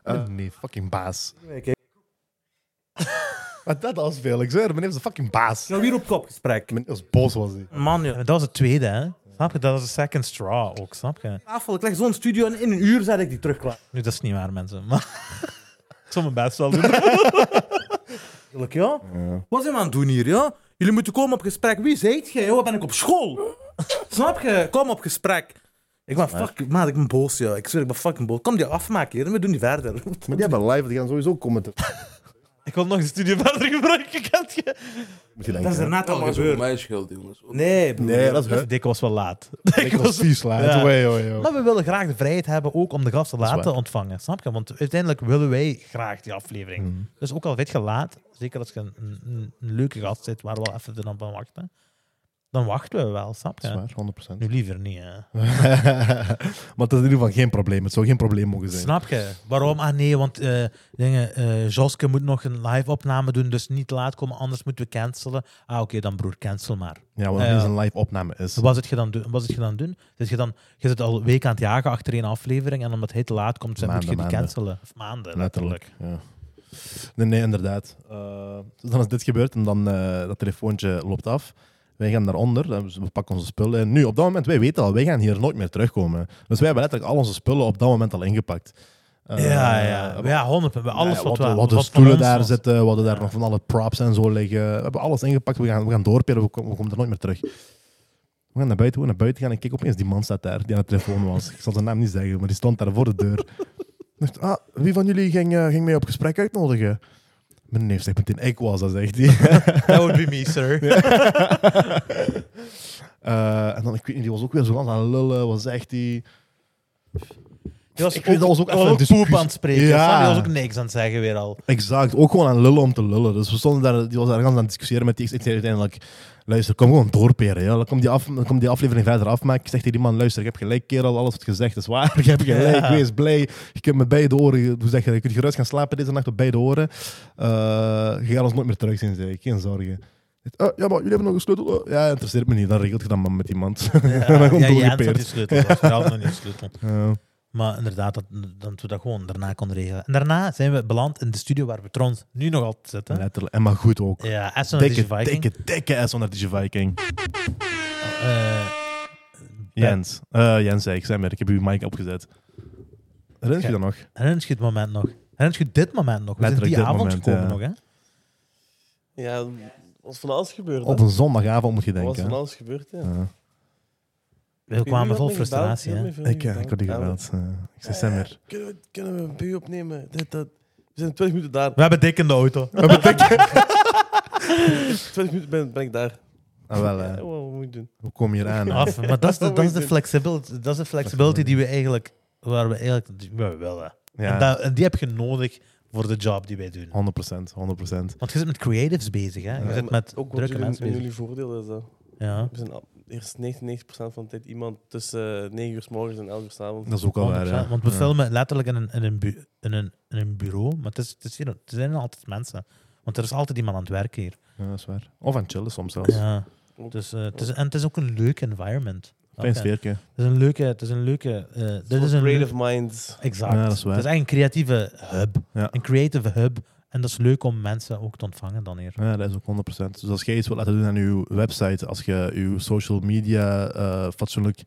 Speaker 1: Eh, nee, fucking baas. Maar dat was veel. Ik zweer, meneer is een fucking baas.
Speaker 4: Nou, wie roept op gesprek?
Speaker 1: Meneer was boos, was hij.
Speaker 4: Man, ja.
Speaker 2: Dat was het tweede, hè? Snap je? Dat was de second straw ook, snap je?
Speaker 4: Tafel, ik leg zo'n studio en in een uur zet ik die terug klaar.
Speaker 2: Nu, dat is niet waar, mensen. Maar ik zal mijn best wel doen.
Speaker 4: Tuurlijk, ja. Wat zijn we aan het doen hier, ja? Jullie moeten komen op gesprek. Wie zijt jij? Wat ben ik op school? Snap je? Kom op gesprek. Ik ben fucking... Maat, ik ben boos, ja. Ik zweer, ik ben fucking boos. Kom die afmaken hier en we doen die verder.
Speaker 6: Maar die hebben live, die gaan sowieso komen. te-
Speaker 2: Ik wil nog een studio verder gebruiken, kent je?
Speaker 6: Moet je denken.
Speaker 4: Dat is
Speaker 6: hè?
Speaker 4: er net al
Speaker 7: Dat is voor
Speaker 4: gebeurd.
Speaker 7: mijn schuld, jongens.
Speaker 4: Nee, broer.
Speaker 6: Nee, dat is hè.
Speaker 2: Dus Dick was wel laat.
Speaker 1: Ik was vies laat.
Speaker 2: Ja.
Speaker 1: Oei, oei, oei.
Speaker 2: Maar we willen graag de vrijheid hebben ook om de gast te
Speaker 1: waar.
Speaker 2: laten ontvangen, snap je? Want uiteindelijk willen wij graag die aflevering.
Speaker 1: Mm.
Speaker 2: Dus ook al weet je laat, zeker als je een, een, een leuke gast zit waar we wel even dan van wachten, dan wachten we wel, snap je?
Speaker 1: Dat is waar, 100%.
Speaker 2: Nu liever niet, hè.
Speaker 1: maar dat is in ieder geval geen probleem. Het zou geen probleem mogen zijn.
Speaker 2: Snap je? Waarom? Ah nee, want eh dingen, eh, Joske moet nog een live-opname doen, dus niet laat komen, anders moeten we cancelen. Ah oké, dan broer, cancel maar.
Speaker 1: Ja, wat nog
Speaker 2: Ja.
Speaker 1: niet eens een live opname is.
Speaker 2: Wat zit je dan doen? Wat zit je dan doen? Zit je, dan, je zit al een week aan het jagen achter één aflevering en omdat hij te laat komt, zijn, moet je
Speaker 1: Maanden,
Speaker 2: die
Speaker 1: maanden.
Speaker 2: cancelen. Of maanden, letterlijk.
Speaker 1: Letterlijk. Ja. Nee, nee, inderdaad. Eh, dus dan is dit gebeurd en dan eh, dat telefoontje loopt af. Wij gaan naar onder, eh, dus we pakken onze spullen. En nu, op dat moment, wij weten al, wij gaan hier nooit meer terugkomen. Dus wij hebben letterlijk al onze spullen op dat moment al ingepakt. Eh,
Speaker 2: Ja, ja.
Speaker 1: eh,
Speaker 2: ja, 100 We Alles
Speaker 1: ja,
Speaker 2: wat,
Speaker 1: we
Speaker 2: we
Speaker 1: hadden
Speaker 2: wat van
Speaker 1: stoelen
Speaker 2: ons
Speaker 1: daar
Speaker 2: was.
Speaker 1: zitten, we hadden daar nog van alle props en zo liggen. We hebben alles ingepakt, we gaan, we gaan doorperen, we komen, we komen er nooit meer terug. We gaan naar buiten, we gaan naar buiten gaan en kijk opeens, die man staat daar, die aan de telefoon was. Ik zal zijn naam niet zeggen, maar die stond daar voor de deur. Ik dacht, ah, wie van jullie ging, eh, ging mij op gesprek uitnodigen? Mijn neef zegt meteen, ik was dat, zegt hij.
Speaker 2: That would be me, sir.
Speaker 1: Eh, en dan, ik weet niet, die was ook weer zo aan het lullen, wat zegt hij?
Speaker 2: Die was
Speaker 1: Ik weet, dat was ook
Speaker 2: die
Speaker 1: even een
Speaker 2: poep
Speaker 1: discussie.
Speaker 2: aan het spreken.
Speaker 1: Ja.
Speaker 2: snap je? Die was ook niks aan het zeggen weer al.
Speaker 1: Exact, ook gewoon aan lullen om te lullen. Dus we stonden daar, die was ergens aan het discussiëren met die. Ik zei uiteindelijk, luister, kom gewoon doorperen. Ja. Dan, komt die af, dan komt die aflevering verder af, maar ik zeg tegen die man, luister, ik heb gelijk, kerel, alles wat gezegd is waar. Ik heb gelijk,
Speaker 2: Ja.
Speaker 1: wees blij. Je kunt met beide oren, hoe zeg je, dat? je kunt gerust gaan slapen deze nacht op beide oren. Eh, je gaat ons nooit meer terugzien, zei ik, geen zorgen. Eh, ja, maar jullie hebben nog een sleutel. Eh, ja, interesseert me niet. Dan regelt je dat maar met iemand.
Speaker 2: Eh, Ja,
Speaker 1: dan gewoon
Speaker 2: ja, Jens had
Speaker 1: doorgepeerd.
Speaker 2: die sleutel. Dat was vooral nog niet de sleutel.
Speaker 1: Ja.
Speaker 2: Maar inderdaad, dat, dan toen dat gewoon daarna kon regelen. En daarna zijn we beland in de studio waar we trouwens nu nog altijd zitten.
Speaker 1: Letterlijk. En maar goed ook.
Speaker 2: Ja, Aston
Speaker 1: Dikke,
Speaker 2: Viking.
Speaker 1: dikke, dikke S onder DJ Viking.
Speaker 2: Eh,
Speaker 1: Jens. Eh, Jens zei ik, zei maar, ik heb uw mic opgezet. Herinner je
Speaker 2: Ja.
Speaker 1: dat nog?
Speaker 2: Herinnert je het moment nog? Herinnert je dit moment nog? We zijn
Speaker 1: Letterlijk
Speaker 2: die
Speaker 1: dit
Speaker 2: avond
Speaker 1: moment,
Speaker 2: gekomen
Speaker 1: ja.
Speaker 2: nog, hè?
Speaker 3: Ja, was van alles gebeurd.
Speaker 1: Op een zondagavond moet je
Speaker 3: Er was
Speaker 1: denken.
Speaker 3: van
Speaker 1: hè.
Speaker 3: alles gebeurd, ja.
Speaker 1: Ja.
Speaker 2: We kwamen vol frustratie, hè?
Speaker 1: Ik, eh, ik had die gebeld. eh. ik zei, Sam weer.
Speaker 3: Kunnen we, kunnen we een bu opnemen? Dit, dat. We zijn 20 minuten daar.
Speaker 2: We hebben dik in de auto.
Speaker 3: 20 minuten ben, ben ik daar.
Speaker 1: Ah, wel,
Speaker 3: Ja,
Speaker 1: eh,
Speaker 3: wat moet ik doen?
Speaker 1: hoe kom je eraan? hè?
Speaker 2: Af. Maar dat is de, dat is de,
Speaker 3: Moeite.
Speaker 2: flexibility, dat is de flexibility die we eigenlijk... Waar we eigenlijk die we willen. En,
Speaker 1: Ja,
Speaker 2: dat- en die heb je nodig voor de job die wij doen.
Speaker 1: 100%. 100%.
Speaker 2: Want je zit met creatives bezig, hè? Je
Speaker 1: Ja,
Speaker 2: zit
Speaker 3: maar
Speaker 2: met
Speaker 3: Ook wat
Speaker 2: drukke
Speaker 3: jullie,
Speaker 2: mensen
Speaker 3: in
Speaker 2: bezig.
Speaker 3: jullie voordeel is dat.
Speaker 2: Ja.
Speaker 3: We zijn al- er is 99% van de tijd iemand tussen eh, 9 uur s morgens en 11 uur s avonds.
Speaker 1: Dat is ook al waar.
Speaker 2: 100%,
Speaker 1: ja.
Speaker 2: Want we
Speaker 1: Ja.
Speaker 2: filmen letterlijk in een, in, een bu- in, een, in een bureau, maar het, is, het, is hier, het zijn altijd mensen. Want er is altijd iemand aan het werk hier.
Speaker 1: Ja, dat is waar. Of aan het chillen soms zelfs.
Speaker 2: Ja. Dus, eh, het is, en het is ook een leuk environment.
Speaker 1: Fijn
Speaker 2: Oké.
Speaker 1: sfeertje.
Speaker 2: Het is een leuke... Het is een leuke eh, dit is een
Speaker 3: Creative minds.
Speaker 2: Exact.
Speaker 1: Ja, dat is waar.
Speaker 2: Het is echt een creatieve hub.
Speaker 1: Ja.
Speaker 2: Een creative hub. En dat is leuk om mensen ook te ontvangen dan hier.
Speaker 1: Ja, dat is ook 100%. Dus als jij iets wilt laten doen aan uw website, als je uw social media eh, fatsoenlijk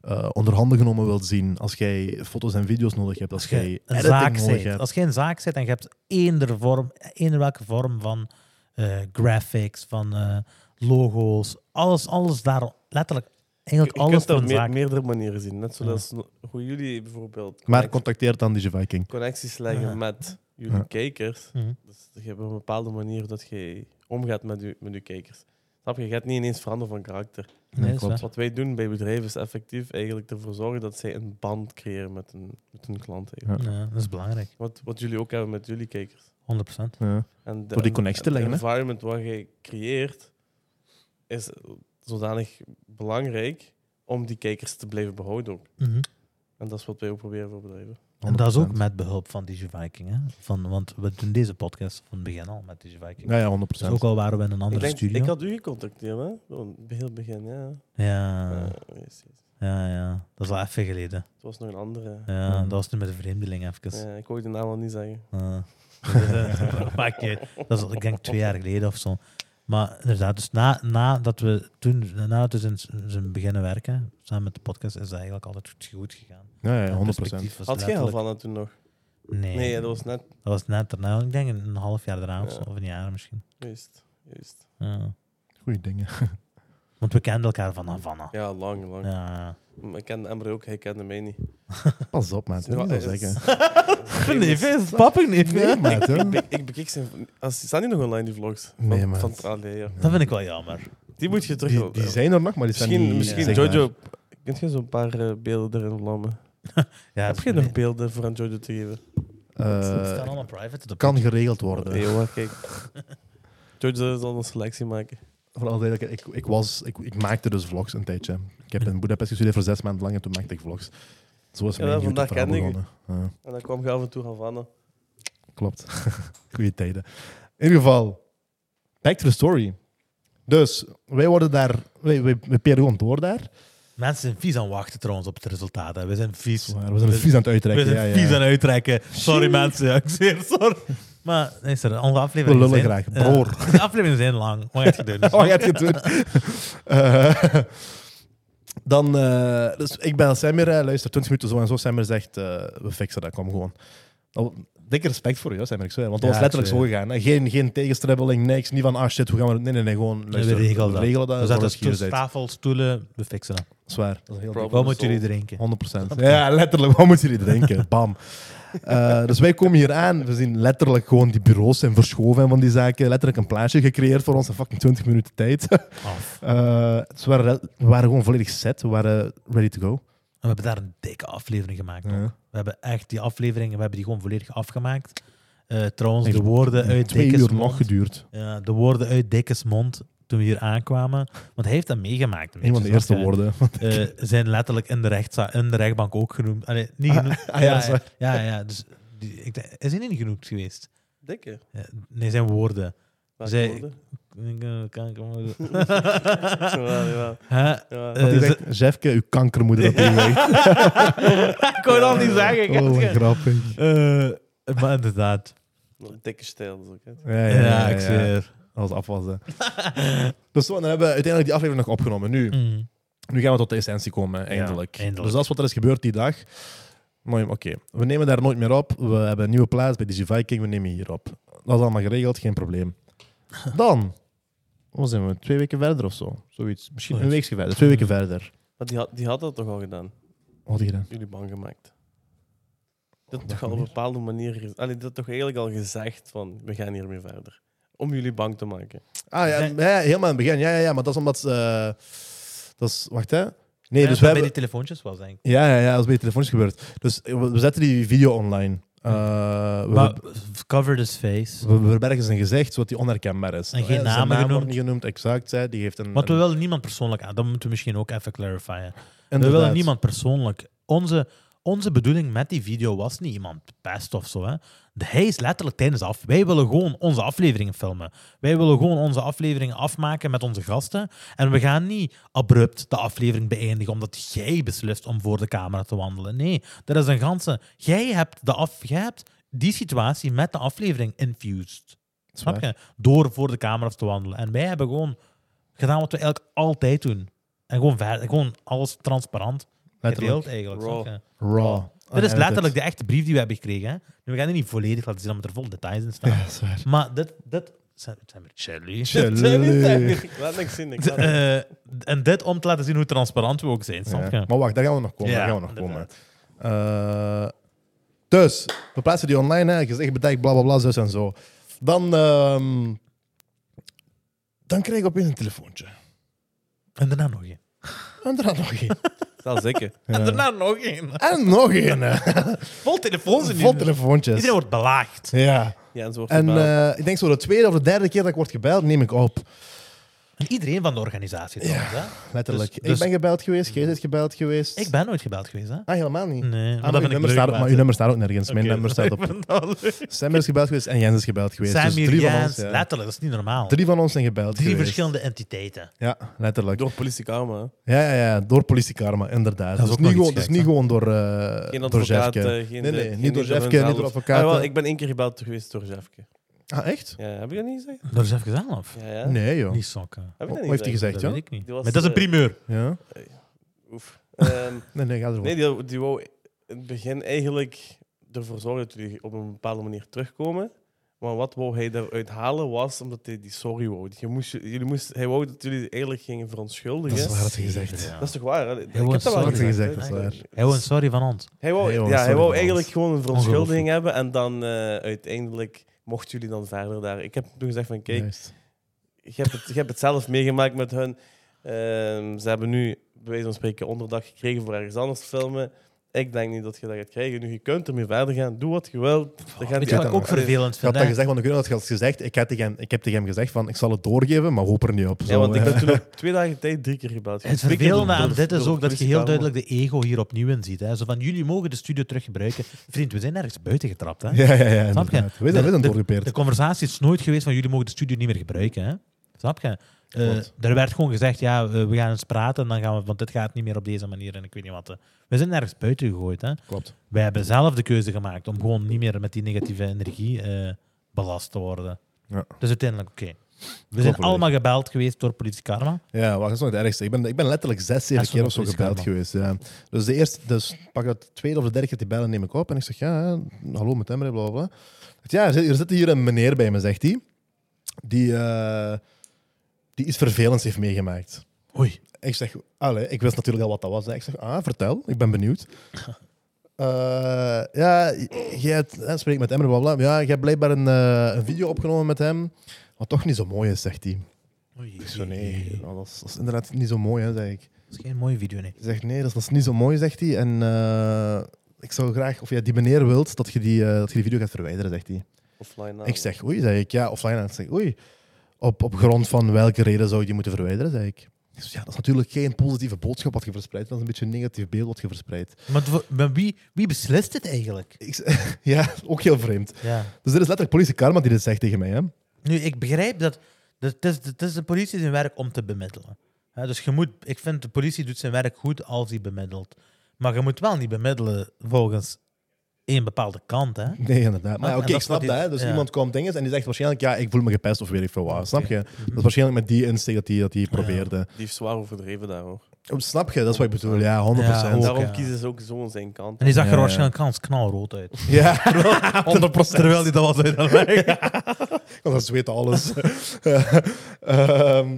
Speaker 1: eh onder handen genomen wilt zien, als jij foto's en video's nodig hebt, als jij
Speaker 2: een
Speaker 1: editing
Speaker 2: zaak
Speaker 1: nodig
Speaker 2: zit.
Speaker 1: hebt.
Speaker 2: Als je een zaak zit en je hebt eender, vorm, eender welke vorm van eh, graphics, van eh, logo's, alles, alles daar, letterlijk, eigenlijk
Speaker 3: Je
Speaker 2: alles
Speaker 3: kunt
Speaker 2: voor
Speaker 3: dat
Speaker 2: een
Speaker 3: meer-
Speaker 2: zaak.
Speaker 3: meerdere manieren zien. Net zoals hoe jullie bijvoorbeeld
Speaker 1: Maar
Speaker 3: connect-
Speaker 1: contacteer dan DJ Viking.
Speaker 3: connecties leggen
Speaker 2: Ja.
Speaker 3: met jullie
Speaker 1: Ja.
Speaker 3: kijkers.
Speaker 2: Mhm.
Speaker 3: Dus je hebt een bepaalde manier dat je omgaat met je, met je kijkers. Snap je? Je gaat niet ineens veranderen van karakter. Dus
Speaker 2: Nee, is
Speaker 1: klopt.
Speaker 2: waar.
Speaker 3: Wat wij doen bij bedrijven is effectief eigenlijk ervoor zorgen dat zij een band creëren met hun, met hun klant. eigenlijk.
Speaker 2: Ja, dat is belangrijk,
Speaker 3: Wat, wat jullie ook hebben met jullie kijkers.
Speaker 2: 100%.
Speaker 1: Ja.
Speaker 3: En de,
Speaker 1: Door die connectie te
Speaker 3: en de
Speaker 1: leggen, hè?
Speaker 3: environment waar jij creëert is zodanig belangrijk om die kijkers te blijven behouden ook.
Speaker 2: Mhm.
Speaker 3: En dat is wat wij ook proberen voor bedrijven.
Speaker 2: En dat is ook
Speaker 1: 100%.
Speaker 2: met behulp van DigiViking. Hè? Van, want we doen deze podcast van het begin al met DigiViking.
Speaker 1: Ja, ja, 100%.
Speaker 2: Dus ook al waren we in een
Speaker 3: Ik,
Speaker 2: andere
Speaker 3: denk,
Speaker 2: studio.
Speaker 3: ik had u gecontacteerd, hè? Van het heel begin, ja.
Speaker 1: Ah.
Speaker 2: ja,
Speaker 3: Eh, yes, yes.
Speaker 2: ja, ja, dat is al even geleden.
Speaker 3: Het was nog een andere.
Speaker 2: Ja,
Speaker 1: Ja.
Speaker 2: Dat was nu met de vreemdeling even.
Speaker 3: Ja, ik wou de naam al niet zeggen.
Speaker 2: Ah. Dat eh, maakt niet uit. Dat is, al, ik denk, twee jaar geleden of zo. Maar inderdaad, dus na, nadat we toen, nadat we zijn, zijn beginnen werken, samen met de podcast, is dat eigenlijk altijd goed, goed gegaan.
Speaker 1: Ja, ja, 100%.
Speaker 2: Perspectief was
Speaker 3: Had jij al
Speaker 2: letterlijk-
Speaker 3: van dat toen nog?
Speaker 2: Nee,
Speaker 3: Nee, dat was net.
Speaker 2: dat was net daarna. Ik denk een, een half jaar daarna of zo,
Speaker 3: Ja.
Speaker 2: of een jaar misschien.
Speaker 3: Juist, juist.
Speaker 2: Ja.
Speaker 1: Goeie dingen.
Speaker 2: Want we kenden elkaar vanaf vanaf.
Speaker 3: Ja, lang, lang.
Speaker 2: ah. Ja.
Speaker 3: Maar Ik kende Emre ook, hij kende mij niet. Dus
Speaker 1: Pas op, maat. Dat moet je
Speaker 3: Ja,
Speaker 1: wel
Speaker 3: is-
Speaker 1: zeggen.
Speaker 2: is pappig niet.
Speaker 1: Nee, maat. hè.
Speaker 3: Ik, ik bekijk zijn. Als, staan die nog online, die vlogs? Van-
Speaker 1: Nee, man.
Speaker 3: Van, ah, nee, ja.
Speaker 2: Dat vind ik wel jammer.
Speaker 3: Die moet je terug. eh,
Speaker 1: Die, die zijn er nog, maar die zijn
Speaker 3: misschien
Speaker 1: niet... eh,
Speaker 3: misschien
Speaker 1: zichtbaar.
Speaker 3: Jojo. Kunt je zo'n paar eh, beelden erin vlammen?
Speaker 2: Ja,
Speaker 3: Heb je
Speaker 2: nee.
Speaker 3: nog beelden voor aan Jojo te geven?
Speaker 2: Het staan
Speaker 1: Eh
Speaker 2: allemaal private. op
Speaker 1: kan
Speaker 2: YouTube.
Speaker 1: geregeld
Speaker 2: Oh.
Speaker 1: worden.
Speaker 3: Nee hoor, kijk. Jojo zal een selectie maken.
Speaker 1: Voor alle duidelijkheid, ik, ik, was, ik, ik maakte dus vlogs een tijdje. Ik heb in Budapest gestudeerd voor zes maanden lang en toen maakte ik vlogs. Zo is
Speaker 3: Ja,
Speaker 1: mijn
Speaker 3: vandaag
Speaker 1: YouTube-verhaal
Speaker 3: kende ik
Speaker 1: begonnen. Ja,
Speaker 3: En dan kwam je af en toe Havana.
Speaker 1: klopt. Goeie tijden. In ieder geval, back to the story. Dus, wij worden daar... Wij, wij, wij peren gewoon door daar.
Speaker 2: Mensen zijn vies aan het wachten trouwens op het resultaat. hè. We zijn vies.
Speaker 1: Maar we zijn het vies aan het
Speaker 2: We
Speaker 1: uittrekken.
Speaker 2: zijn
Speaker 1: ja, ja.
Speaker 2: vies aan uittrekken. Sorry mensen, ja, ik zweer, sorry. Maar nee, sorry, onze
Speaker 1: We
Speaker 2: afleveringen
Speaker 1: lullen
Speaker 2: zijn...
Speaker 1: graag, broer.
Speaker 2: eh, de afleveringen zijn lang. Wat heb je doen?
Speaker 1: Oh, je hebt het doen. Eh, dan, eh, dus ik bel Samir, eh, luister, 20 minuten zo en zo. Samir zegt, eh, we fixen dat, kom gewoon. Nou, dikke respect voor jou, Samir, ik zweer. Want dat
Speaker 2: Ja,
Speaker 1: was letterlijk
Speaker 2: ik
Speaker 1: zo gegaan. hè. Geen, geen tegenstribbeling, niks. Niet van, ah shit, hoe gaan we... het- Nee, nee, nee, gewoon, luister,
Speaker 2: regelen dat.
Speaker 1: dat.
Speaker 2: We
Speaker 1: zoals
Speaker 2: zaten
Speaker 1: je hier
Speaker 2: stoel,
Speaker 1: zei.
Speaker 2: tafel, stoelen, we fixen dat.
Speaker 1: Zwaar. Dat is heel
Speaker 3: Problem
Speaker 2: Wat moeten
Speaker 3: solved.
Speaker 2: jullie drinken?
Speaker 1: Oh. 100%. Ja, letterlijk. Wat moeten jullie denken? Bam. Eh, dus wij komen hier aan. We zien letterlijk gewoon die bureaus zijn verschoven en van die zaken. Letterlijk een plaatsje gecreëerd voor ons in fucking 20 minuten tijd.
Speaker 2: Af.
Speaker 1: Eh, dus we, waren, we waren gewoon volledig set. We waren ready to go.
Speaker 2: we hebben daar een dikke aflevering gemaakt. ook.
Speaker 1: Ja.
Speaker 2: We hebben echt die aflevering, we hebben die gewoon volledig afgemaakt. Eh, trouwens, de
Speaker 1: Heeft
Speaker 2: woorden uit
Speaker 1: Twee
Speaker 2: Dikkes
Speaker 1: uur nog
Speaker 2: mond,
Speaker 1: geduurd.
Speaker 2: ja, de woorden uit Dikkes mond toen we hier aankwamen, want hij heeft dat meegemaakt. een
Speaker 1: Een van de
Speaker 2: beetje,
Speaker 1: eerste
Speaker 2: snap je?
Speaker 1: woorden.
Speaker 2: eh, zijn letterlijk in de, rechtsza- in de rechtbank ook genoemd. Allee, niet genoemd.
Speaker 1: ah, ja, dat is
Speaker 2: ja,
Speaker 1: waar.
Speaker 2: ja, ja, dus die, ik, denk- is hij niet genoemd geweest?
Speaker 3: Dikke.
Speaker 2: Ja, nee, zijn woorden.
Speaker 3: Welke
Speaker 2: Zij-
Speaker 3: woorden?
Speaker 2: Ik eh, Kan ik allemaal-
Speaker 3: Jawel, jawel,
Speaker 2: Hè?
Speaker 3: jawel.
Speaker 2: Eh,
Speaker 1: Want die
Speaker 2: ze-
Speaker 1: zegt, Jeffke, uw kankermoeder dat die weg.
Speaker 2: ik kon het al niet zeggen.
Speaker 1: Oh, wat
Speaker 2: gast.
Speaker 1: grappig.
Speaker 2: Eh, maar inderdaad.
Speaker 3: Een Dikke stijl. Dus ook, hè.
Speaker 1: Ja,
Speaker 2: Ja, ik
Speaker 1: ja.
Speaker 2: zie het.
Speaker 1: Dat was afwas, hè. dus zo, dan hebben we uiteindelijk die aflevering nog opgenomen. Nu,
Speaker 2: Mm.
Speaker 1: nu gaan we tot de essentie komen, eindelijk.
Speaker 2: eindelijk.
Speaker 1: Dus dat is wat er is gebeurd die dag. Maar oké, we nemen daar nooit meer op. We hebben een nieuwe plaats bij Digi Viking, we nemen hier op. Dat is allemaal geregeld, geen probleem. Dan, wat zijn we, twee weken verder of zo? Zoiets. Misschien een weekje verder, twee weken verder.
Speaker 3: Maar die, had, die had dat toch al gedaan?
Speaker 1: Wat had je gedaan?
Speaker 3: Jullie bang gemaakt. Dat
Speaker 1: Op
Speaker 3: toch
Speaker 1: welke
Speaker 3: al op een
Speaker 1: manier?
Speaker 3: bepaalde manier... ge- Allee, dat toch eigenlijk al gezegd van, we gaan hiermee verder. Om jullie bang te maken.
Speaker 1: Ah ja,
Speaker 2: Nee.
Speaker 1: ja, helemaal in het begin. Ja, ja, ja, maar dat is omdat... eh, dat is, wacht hè. Nee,
Speaker 2: Ja,
Speaker 1: dus we
Speaker 2: bij
Speaker 1: hebben...
Speaker 2: die telefoontjes was, denk ik.
Speaker 1: Ja, ja, ja, dat is bij de telefoontjes gebeurd. Dus we we zetten die video online. Eh, we, Mm.
Speaker 2: Maar, covered his face.
Speaker 1: we verbergen zijn gezicht, zodat die onherkenbaar is.
Speaker 2: En geen
Speaker 1: Eh, zijn naam
Speaker 2: namen
Speaker 1: wordt
Speaker 2: genoemd.
Speaker 1: niet genoemd, exact. Hè. Die heeft een...
Speaker 2: Want we
Speaker 1: een-
Speaker 2: willen niemand persoonlijk aan. Dat moeten we misschien ook even clarifieren. We
Speaker 1: inderdaad.
Speaker 2: willen niemand persoonlijk. Onze, onze bedoeling met die video was niet iemand pest of zo. Hè. De- Hij is letterlijk tijdens af. Wij willen gewoon onze afleveringen filmen. Wij willen gewoon onze afleveringen afmaken met onze gasten. En we gaan niet abrupt de aflevering beëindigen omdat jij beslist om voor de camera te wandelen. Nee, dat is een ganse. Jij hebt, de af, jij hebt die situatie met de aflevering infused. Snap je? Door voor de camera's te wandelen. En wij hebben gewoon gedaan wat we eigenlijk altijd doen. En gewoon, verder, gewoon alles transparant
Speaker 1: Letterlijk. Ah,
Speaker 2: gedeeld eigenlijk.
Speaker 3: Raw.
Speaker 2: snap je?
Speaker 1: Raw.
Speaker 2: Dit is
Speaker 1: Unedited.
Speaker 2: letterlijk de echte brief die we hebben gekregen. Hè? Nu, we gaan die niet volledig laten zien, omdat er vol details in staan.
Speaker 1: Ja, dat is waar.
Speaker 2: Maar dit... dit zijn, zijn we chilly.
Speaker 1: Tjalele.
Speaker 3: Laat niks zien. Ik
Speaker 2: D-
Speaker 3: laat niks-
Speaker 2: eh, en dit om te laten zien hoe transparant we ook zijn, snap je?
Speaker 1: Ja. Maar wacht, daar gaan we nog komen.
Speaker 2: Ja,
Speaker 1: daar gaan we nog komen.
Speaker 2: inderdaad.
Speaker 1: Eh, dus, we plaatsen die online, hè. gezicht bedekt, bla bla bla, zus en zo. Dan, ehm, dan krijg ik opeens een telefoontje.
Speaker 2: En daarna nog één.
Speaker 1: En daarna nog één.
Speaker 3: Dat is ik.
Speaker 2: En daarna nog één.
Speaker 1: En nog één. hè.
Speaker 2: Vol telefoons in
Speaker 1: Vol
Speaker 2: die-
Speaker 1: telefoontjes.
Speaker 2: Iedereen wordt belaagd.
Speaker 1: Ja.
Speaker 3: Ja, en zo wordt
Speaker 1: En
Speaker 3: gebeld.
Speaker 1: eh, ik denk zo de tweede of de derde keer dat ik word gebeld, neem ik op.
Speaker 2: En iedereen van de organisatie trouwens, hè?
Speaker 1: Letterlijk.
Speaker 2: Dus- dus-
Speaker 1: ik ben gebeld geweest, jij bent gebeld geweest.
Speaker 2: Ik ben nooit gebeld geweest, hè?
Speaker 1: Ah, helemaal niet.
Speaker 2: Nee, maar
Speaker 1: Ah, maar,
Speaker 2: dat vind
Speaker 1: uw
Speaker 2: ik
Speaker 1: nummer
Speaker 2: leuk.
Speaker 1: staat,
Speaker 2: om
Speaker 1: maar
Speaker 2: aan
Speaker 1: uw
Speaker 2: te-
Speaker 1: nummer staat ook nergens. Mijn
Speaker 2: Oké,
Speaker 1: nummer staat
Speaker 2: ik
Speaker 1: op.
Speaker 2: vind dat leuk.
Speaker 1: Samir is gebeld geweest en Jens is gebeld geweest. dus
Speaker 2: Samir,
Speaker 1: drie van
Speaker 2: Jens,
Speaker 1: ons. ja.
Speaker 2: letterlijk, dat is niet normaal. Drie,
Speaker 1: Drie van ons zijn gebeld geweest.
Speaker 2: verschillende entiteiten.
Speaker 1: Ja,
Speaker 2: eh,
Speaker 1: letterlijk.
Speaker 3: Door politie karma. hè.
Speaker 1: Ja, ja, ja, door politiekarma, inderdaad.
Speaker 2: Dat is
Speaker 1: dus
Speaker 2: ook
Speaker 1: niet
Speaker 2: nog iets
Speaker 1: gewoon, dus
Speaker 2: geks,
Speaker 1: niet
Speaker 2: hè?
Speaker 1: gewoon door, eh
Speaker 3: Geen
Speaker 1: door
Speaker 3: advocaat.
Speaker 1: Jeffke.
Speaker 3: eh, geen,
Speaker 1: nee, nee,
Speaker 3: eh, geen
Speaker 1: niet door
Speaker 3: Jeffke
Speaker 1: Jeffke, niet
Speaker 3: zelf.
Speaker 1: door advocaat.
Speaker 3: Ah, wel, ik ben één keer gebeld geweest door Jeffke.
Speaker 1: Ah, echt?
Speaker 3: Ja, heb je dat niet gezegd?
Speaker 2: Door Jeff zelf?
Speaker 3: eh, Ja, ja.
Speaker 1: Nee, joh.
Speaker 2: Niet sokken.
Speaker 3: Heb ik dat
Speaker 1: Wat
Speaker 3: niet
Speaker 1: heeft hij gezegd,
Speaker 2: Dat
Speaker 1: ja?
Speaker 2: weet ik niet.
Speaker 3: Die was,
Speaker 2: Maar dat is een
Speaker 3: eh,
Speaker 2: primeur.
Speaker 1: Ja?
Speaker 3: Oef. Ehm,
Speaker 1: Nee, nee, ga ervoor.
Speaker 3: nee, die, die wou in het begin eigenlijk ervoor zorgen dat jullie op een bepaalde manier terugkomen. Maar wat wou hij daaruit halen was omdat hij die sorry wou. Je moest, je- jullie moest, hij wou dat jullie eigenlijk gingen verontschuldigen.
Speaker 1: Dat is waar, had hij gezegd.
Speaker 2: Zeker, ja.
Speaker 3: Dat is toch waar? Hè? Ik
Speaker 2: wou
Speaker 3: heb dat wel
Speaker 2: sorry.
Speaker 1: Dat had hij
Speaker 3: gezegd.
Speaker 1: gezegd,
Speaker 3: hè?
Speaker 1: dat is waar.
Speaker 2: Hij wil een sorry van ons.
Speaker 3: Hij wou,
Speaker 1: Hey, jongens,
Speaker 3: ja, hij
Speaker 1: sorry,
Speaker 3: wou
Speaker 1: jongens.
Speaker 3: eigenlijk gewoon een verontschuldiging
Speaker 2: Ongelooflijk.
Speaker 3: hebben. En dan eh, uiteindelijk mochten jullie dan verder daar. Ik heb toen gezegd van kijk,
Speaker 1: Juist.
Speaker 3: je, hebt het, je hebt het zelf meegemaakt met hun. Ehm, ze hebben nu bij wijze van spreken onderdak gekregen voor ergens anders te filmen. Ik denk niet dat je dat gaat krijgen. Nu, je kunt ermee verder gaan. Doe wat je wilt. Dan gaan
Speaker 2: Weet je
Speaker 3: die
Speaker 2: wat ik ook
Speaker 3: anderen-
Speaker 2: vervelend
Speaker 1: Ik had
Speaker 2: vind?
Speaker 1: dat
Speaker 2: hè?
Speaker 1: gezegd, want ik weet dat je had gezegd. Ik, had tegen hem, ik heb tegen hem gezegd van, ik zal het doorgeven, maar hoop er niet op.
Speaker 3: Ja,
Speaker 1: Zo,
Speaker 3: want ik
Speaker 1: hè.
Speaker 3: ben toen op twee dagen tijd drie keer gebeld.
Speaker 2: Het
Speaker 3: Twee keer
Speaker 2: vervelende
Speaker 3: door-
Speaker 2: aan
Speaker 3: door-
Speaker 2: dit is
Speaker 3: door
Speaker 2: ook dat je
Speaker 3: politie
Speaker 2: heel
Speaker 3: kwamen.
Speaker 2: duidelijk de ego hier opnieuw in ziet. Hè? Zo van, jullie mogen de studio terug gebruiken. Vriend, we zijn ergens buiten getrapt. Hè?
Speaker 1: Ja, ja, ja.
Speaker 2: Snap je?
Speaker 1: inderdaad. We zijn, we zijn
Speaker 2: De-
Speaker 1: doorgepeerd.
Speaker 2: De conversatie is nooit geweest van jullie mogen de studio niet meer gebruiken. Hè? Snap je? Eh,
Speaker 1: Klopt.
Speaker 2: er werd gewoon gezegd, ja, eh, we gaan eens praten, en dan gaan we, want dit gaat niet meer op deze manier en ik weet niet wat. eh. We zijn ergens buiten gegooid. Hè?
Speaker 1: Klopt.
Speaker 2: Wij hebben zelf de keuze gemaakt om gewoon niet meer met die negatieve energie eh, belast te worden.
Speaker 1: Ja.
Speaker 2: Dus uiteindelijk, oké. We zijn
Speaker 1: volledig.
Speaker 2: allemaal gebeld geweest door politie karma.
Speaker 1: Ja, wat is nog het ergste? Ik ben, ik ben letterlijk zes, zeven
Speaker 2: Dat is
Speaker 1: keer
Speaker 2: wel
Speaker 1: of zo
Speaker 2: een
Speaker 1: gebeld geweest. Ja. Dus de eerste, dus pak dat tweede of de derde keer die bellen neem ik op. En ik zeg, ja, hè, hallo met Emre, bla bla. bla. Zegt, Ja, er zit, er zit hier een meneer bij me, zegt hij. Die, eh, die iets vervelends heeft meegemaakt.
Speaker 2: Oei.
Speaker 1: Ik zeg, allee, ik wist natuurlijk al wat dat was. hè. Ik zeg, ah, vertel, ik ben benieuwd. Eh, ja, jij hebt- hè, spreekt met hem, bla bla. Ja, jij hebt blijkbaar een, eh, een video opgenomen met hem, wat toch niet zo mooi is, zegt hij.
Speaker 2: Oei.
Speaker 1: Ik zo, nee, dat is, dat is inderdaad niet zo mooi, hè, zeg ik.
Speaker 2: is geen mooie video, nee.
Speaker 1: Hij zegt nee, dat is, dat is niet zo mooi, zegt hij. En eh, ik zou graag, of jij die meneer wilt, dat je die, eh, dat je die video gaat verwijderen, zegt hij.
Speaker 3: Offline
Speaker 2: Oh.
Speaker 1: Ik zeg oei, zeg ik. Ja, offline. Ik zeg oei. Op, op grond van welke reden zou je die moeten verwijderen, zeg ik. Ik zeg, Ja, dat is natuurlijk geen positieve boodschap wat je verspreidt. Dat is een beetje een negatief beeld wat je verspreidt.
Speaker 2: Maar, het- maar wie, wie beslist dit eigenlijk?
Speaker 1: Ik zeg- ja, ook heel vreemd.
Speaker 2: Ja.
Speaker 1: Dus dit is letterlijk politie karma die dit zegt tegen mij. Hè?
Speaker 2: Nu, ik begrijp dat. dat Het is, het is de politie zijn werk om te bemiddelen. Hè, dus je moet, ik vind de politie doet zijn werk goed als hij bemiddelt. Maar je moet wel niet bemiddelen volgens één bepaalde kant. Hè?
Speaker 1: Nee, inderdaad. Maar ja,
Speaker 2: Ah,
Speaker 1: oké,
Speaker 2: en dat
Speaker 1: ik snap
Speaker 2: is
Speaker 1: dat.
Speaker 2: wat
Speaker 1: hè.
Speaker 2: die-
Speaker 1: Dus
Speaker 2: ja.
Speaker 1: iemand komt dingen en die zegt waarschijnlijk, ja, ik voel me gepest of weet ik veel wat. Snap je? Dat
Speaker 2: Mhm.
Speaker 1: is waarschijnlijk met die insteek dat hij dat die probeerde.
Speaker 3: Die heeft zwaar overdreven daar hoor.
Speaker 1: Oh, Snap je? Dat is wat ik bedoel. Ja, 100%.
Speaker 2: Ja,
Speaker 3: En
Speaker 2: Ook,
Speaker 1: Ja,
Speaker 3: daarom
Speaker 2: ja.
Speaker 3: kiezen ze ook zo aan zijn kant.
Speaker 2: En die zag er
Speaker 1: Ja,
Speaker 2: waarschijnlijk kans knalrood uit.
Speaker 1: 100%.
Speaker 2: Terwijl die dat was uit de weg.
Speaker 1: Want dat zweet alles. Ehm,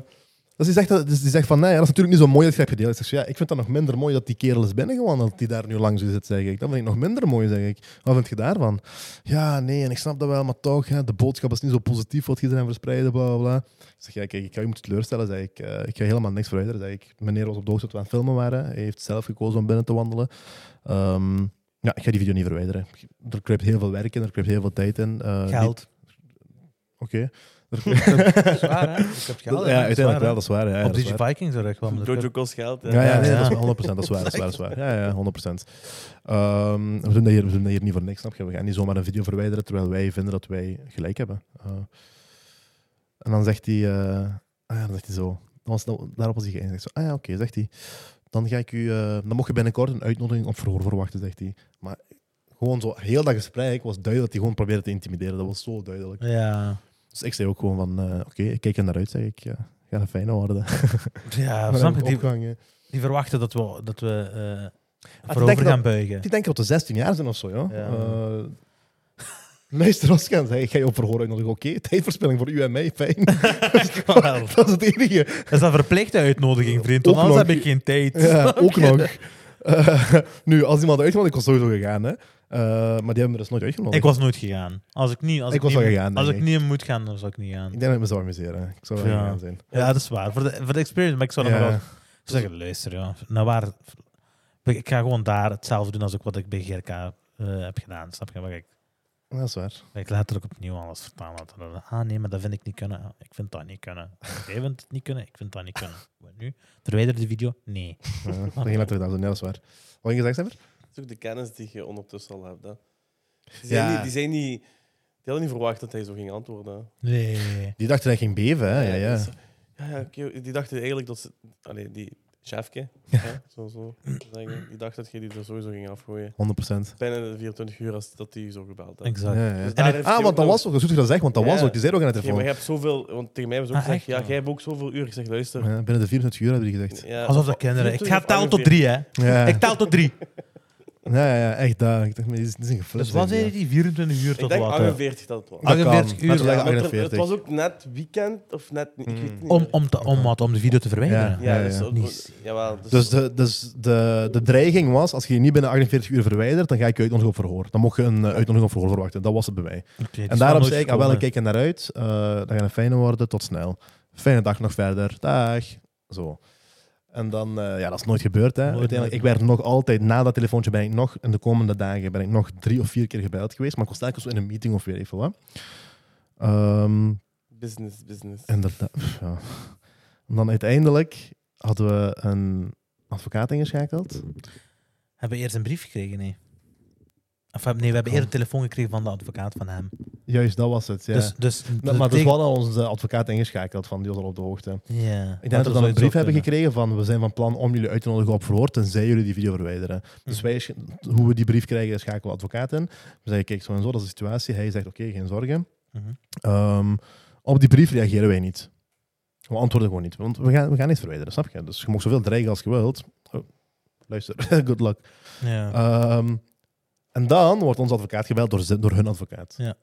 Speaker 1: dus, die zegt, dat- dus die zegt van, nee, dat is natuurlijk niet zo mooi dat je hebt gedeeld. Ik zeg, zo, ja, ik vind dat nog minder mooi dat die kerel is binnengewandeld, dat die daar nu langs zit, zeg ik. Dat vind ik nog minder mooi, zeg ik. Wat vind je daarvan? Ja, nee, en ik snap dat wel, maar toch, hè, de boodschap is niet zo positief wat iedereen verspreiden, bla, bla, bla. Ik zeg, ja, kijk, ik ga je moeten teleurstellen, zeg ik. Eh, ik ga helemaal niks verwijderen, zeg ik. Meneer was op de hoogte dat we aan het filmen waren. Hij heeft zelf gekozen om binnen te wandelen. Ehm, ja, ik ga die video niet verwijderen. Er kruipt heel veel werk in, er kruipt heel veel tijd in. Eh, niet-
Speaker 2: Geld.
Speaker 1: Oké.
Speaker 2: Zwaar, hè? Ik heb geld.
Speaker 1: Ja, uiteindelijk wel, dat is waar. Ja, ja,
Speaker 2: Op
Speaker 1: dat is
Speaker 2: Digi
Speaker 1: waar.
Speaker 2: Vikings terecht kwam. dat
Speaker 3: Jojo
Speaker 2: ook.
Speaker 3: kost geld. hè.
Speaker 1: Ja, ja, nee,
Speaker 2: Ja.
Speaker 1: dat is wel 100%. Dat is waar, dat is waar. Dat is waar. Ja, ja, 100%. Ehm, we, doen dat hier, we doen dat hier niet voor niks, snap je? We gaan niet zomaar een video verwijderen terwijl wij vinden dat wij gelijk hebben. Eh, en dan zegt hij... eh, ah ja, dan zegt hij zo. Dan was, dan- daarop was hij geëindigd. Zo, ah ja, oké, zegt hij. Dan ga ik u... eh, dan mocht je binnenkort een uitnodiging op verhoor verwachten, zegt hij. Maar gewoon zo, heel dat gesprek was duidelijk dat hij gewoon probeerde te intimideren. Dat was zo duidelijk.
Speaker 2: Ja,
Speaker 1: Dus ik zei ook gewoon van, eh, oké, ik kijk er naar uit, zeg ik. Ja, ga een fijne worden.
Speaker 2: ja
Speaker 1: Maar dan heb
Speaker 2: snap je?
Speaker 1: ik
Speaker 2: Die,
Speaker 1: opgehangen.
Speaker 2: die verwachten dat we, dat we eh,
Speaker 1: denken
Speaker 2: voorover gaan
Speaker 1: dat-
Speaker 2: buigen.
Speaker 1: Die denken dat de 16 jaar zijn of zo, ja.
Speaker 2: Ja.
Speaker 1: Eh, luister, Oscar, zei, ik ga je op verhoor uitnodigen. Oké, tijdverspilling voor u en mij, fijn. dat is het enige.
Speaker 2: Dat is dat verplichte uitnodiging, vriend. Want
Speaker 1: Ook
Speaker 2: anders
Speaker 1: nog-
Speaker 2: heb ik geen tijd.
Speaker 1: Ja, ook nog. Eh, nu, als iemand uitgenodigd, ik was sowieso gegaan, hè. Eh, maar die hebben me dus nooit uitgenodigd.
Speaker 2: Ik was nooit gegaan. Als ik niet, als
Speaker 1: Ik
Speaker 2: ik
Speaker 1: was
Speaker 2: niet,
Speaker 1: wel gegaan,
Speaker 2: Als ik
Speaker 1: denk
Speaker 2: niet moet gaan, dan zou ik niet gaan.
Speaker 1: Ik denk dat ik me zou amuseren. Ik zou wel
Speaker 2: Ja.
Speaker 1: gegaan zijn.
Speaker 2: Ja, dat is waar. Voor de, voor de experience, maar ik zou dan
Speaker 1: Ja.
Speaker 2: wel zeggen, luister, ja, naar waar... Ik ga gewoon daar hetzelfde doen als ik wat ik bij GRK eh, heb gedaan. Snap je? Maar ik,
Speaker 1: Ja, Dat is waar.
Speaker 2: ik later ook opnieuw alles vertalen. Dat- dat- dat- Ah nee, maar dat vind ik niet kunnen. Ah, Ik vind dat niet kunnen. Jij vindt het niet kunnen, ik vind dat niet kunnen. Wat nu? Verwijder de video? Nee.
Speaker 1: Ja, dat ging letterlijk daar zo. Ja, dat is waar. Wat ging je zeggen, Sever?
Speaker 3: Dat is ook de kennis die je ondertussen al hebt. Hè. Die,
Speaker 1: Ja.
Speaker 3: zijn niet, die, zijn niet, die hadden niet verwacht dat hij zo ging antwoorden. hè.
Speaker 2: Nee.
Speaker 1: Die dacht dat hij ging beven, hè. Ah, Ja, ja.
Speaker 3: dus- ja, ja, oké, die dachten eigenlijk dat ze... Allee, die chefke, hè, zo, zo zeggen, die dacht dat je die er sowieso ging afgooien.
Speaker 1: 100%.
Speaker 3: Binnen de 24 uur als dat die zo gebeld had.
Speaker 1: Ja,
Speaker 2: Exact.
Speaker 1: ja.
Speaker 3: Dus daar
Speaker 1: En-
Speaker 3: heeft hij
Speaker 1: ah,
Speaker 3: ook
Speaker 1: want dat
Speaker 3: nog-
Speaker 1: was ook, dat is goed dat zegt, want dat
Speaker 3: Ja.
Speaker 1: was ook. Die zei ook aan de
Speaker 3: Ja, maar je
Speaker 1: telefoon.
Speaker 3: hebt zoveel... Want tegen mij hebben ze ook
Speaker 2: Ah,
Speaker 3: gezegd,
Speaker 2: echt?
Speaker 3: ja, jij hebt ook zoveel uur. Ik zeg, luister...
Speaker 1: Ja, binnen de 24 uur hebben die gezegd.
Speaker 3: ja,
Speaker 2: Alsof dat kinderen... Ik ga tellen tot drie, hè.
Speaker 1: Ja.
Speaker 2: Ik tel tot drie.
Speaker 1: Ja, ja, ja, echt daar. Ik dacht, maar dit is, dit is een geflip.
Speaker 2: Dus wat
Speaker 1: denk
Speaker 2: zei
Speaker 1: ik,
Speaker 2: die? 24 uur
Speaker 3: Ik
Speaker 2: tot
Speaker 3: denk
Speaker 2: wat? hè?
Speaker 3: 48 dat het was.
Speaker 1: ja. Dat kan.
Speaker 2: 48 uur,
Speaker 1: Laten we
Speaker 2: ja.
Speaker 1: zeggen
Speaker 3: Maar het- Het
Speaker 1: 48.
Speaker 3: was ook net weekend of net... Ik weet het niet
Speaker 2: Om,
Speaker 3: meer.
Speaker 2: om, te, om wat? Om de video te verwijderen?
Speaker 1: Ja.
Speaker 3: Ja, dus...
Speaker 2: Niet.
Speaker 3: Jawel, dus...
Speaker 1: Dus, de, dus de, de dreiging was, als je je niet binnen 48 uur verwijdert, dan ga ik je uitnodigen op verhoor. Dan mocht je een eh, uitnodiging op verhoor verwachten. Dat was het bij mij.
Speaker 2: Oké, het
Speaker 1: en
Speaker 2: is
Speaker 1: daarom
Speaker 2: nooit
Speaker 1: zei ik, ah, wel, ik
Speaker 2: gekomen.
Speaker 1: kijk er naar uit. Eh dat gaat een fijne worden. Tot snel. Fijne dag nog verder. Dag. Zo. En dan, eh, ja, dat is nooit gebeurd. Hè.
Speaker 2: Nooit,
Speaker 1: Uiteindelijk, ik
Speaker 2: nooit.
Speaker 1: werd nog altijd, na dat telefoontje ben ik nog, in de komende dagen ben ik nog drie of vier keer gebeld geweest. Maar ik was telkens zo in een meeting of weer even wat. Ehm,
Speaker 3: Business, business.
Speaker 1: Inderdaad. pff, Ja. En dan uiteindelijk hadden we een advocaat ingeschakeld.
Speaker 2: Hebben we eerst een brief gekregen? Nee. Of heb- nee, we hebben eerst een telefoon gekregen van de advocaat van hem.
Speaker 1: Juist, dat was het. Ja.
Speaker 2: Dus, dus
Speaker 1: Nou, maar dus we hadden onze advocaat ingeschakeld, van die was al op de hoogte.
Speaker 2: Ja.
Speaker 1: Ik denk dat we dan een brief hebben gekregen van we zijn van plan om jullie uit te nodigen op verhoor, tenzij jullie die video verwijderen.
Speaker 2: Mhm.
Speaker 1: Dus wij, sch- hoe we die brief krijgen, schakelen we advocaat in. We zeggen, kijk, zo en zo, dat is de situatie. Hij zegt, oké, geen zorgen.
Speaker 2: Mhm.
Speaker 1: Ehm, op die brief reageren wij niet. We antwoorden gewoon niet, want we gaan, we gaan niet verwijderen, snap je? Dus je mag zoveel dreigen als je wilt. Oh, luister, good luck.
Speaker 2: Ja.
Speaker 1: Ehm, en dan wordt onze advocaat gebeld door, ze- door hun advocaat.
Speaker 2: Ja.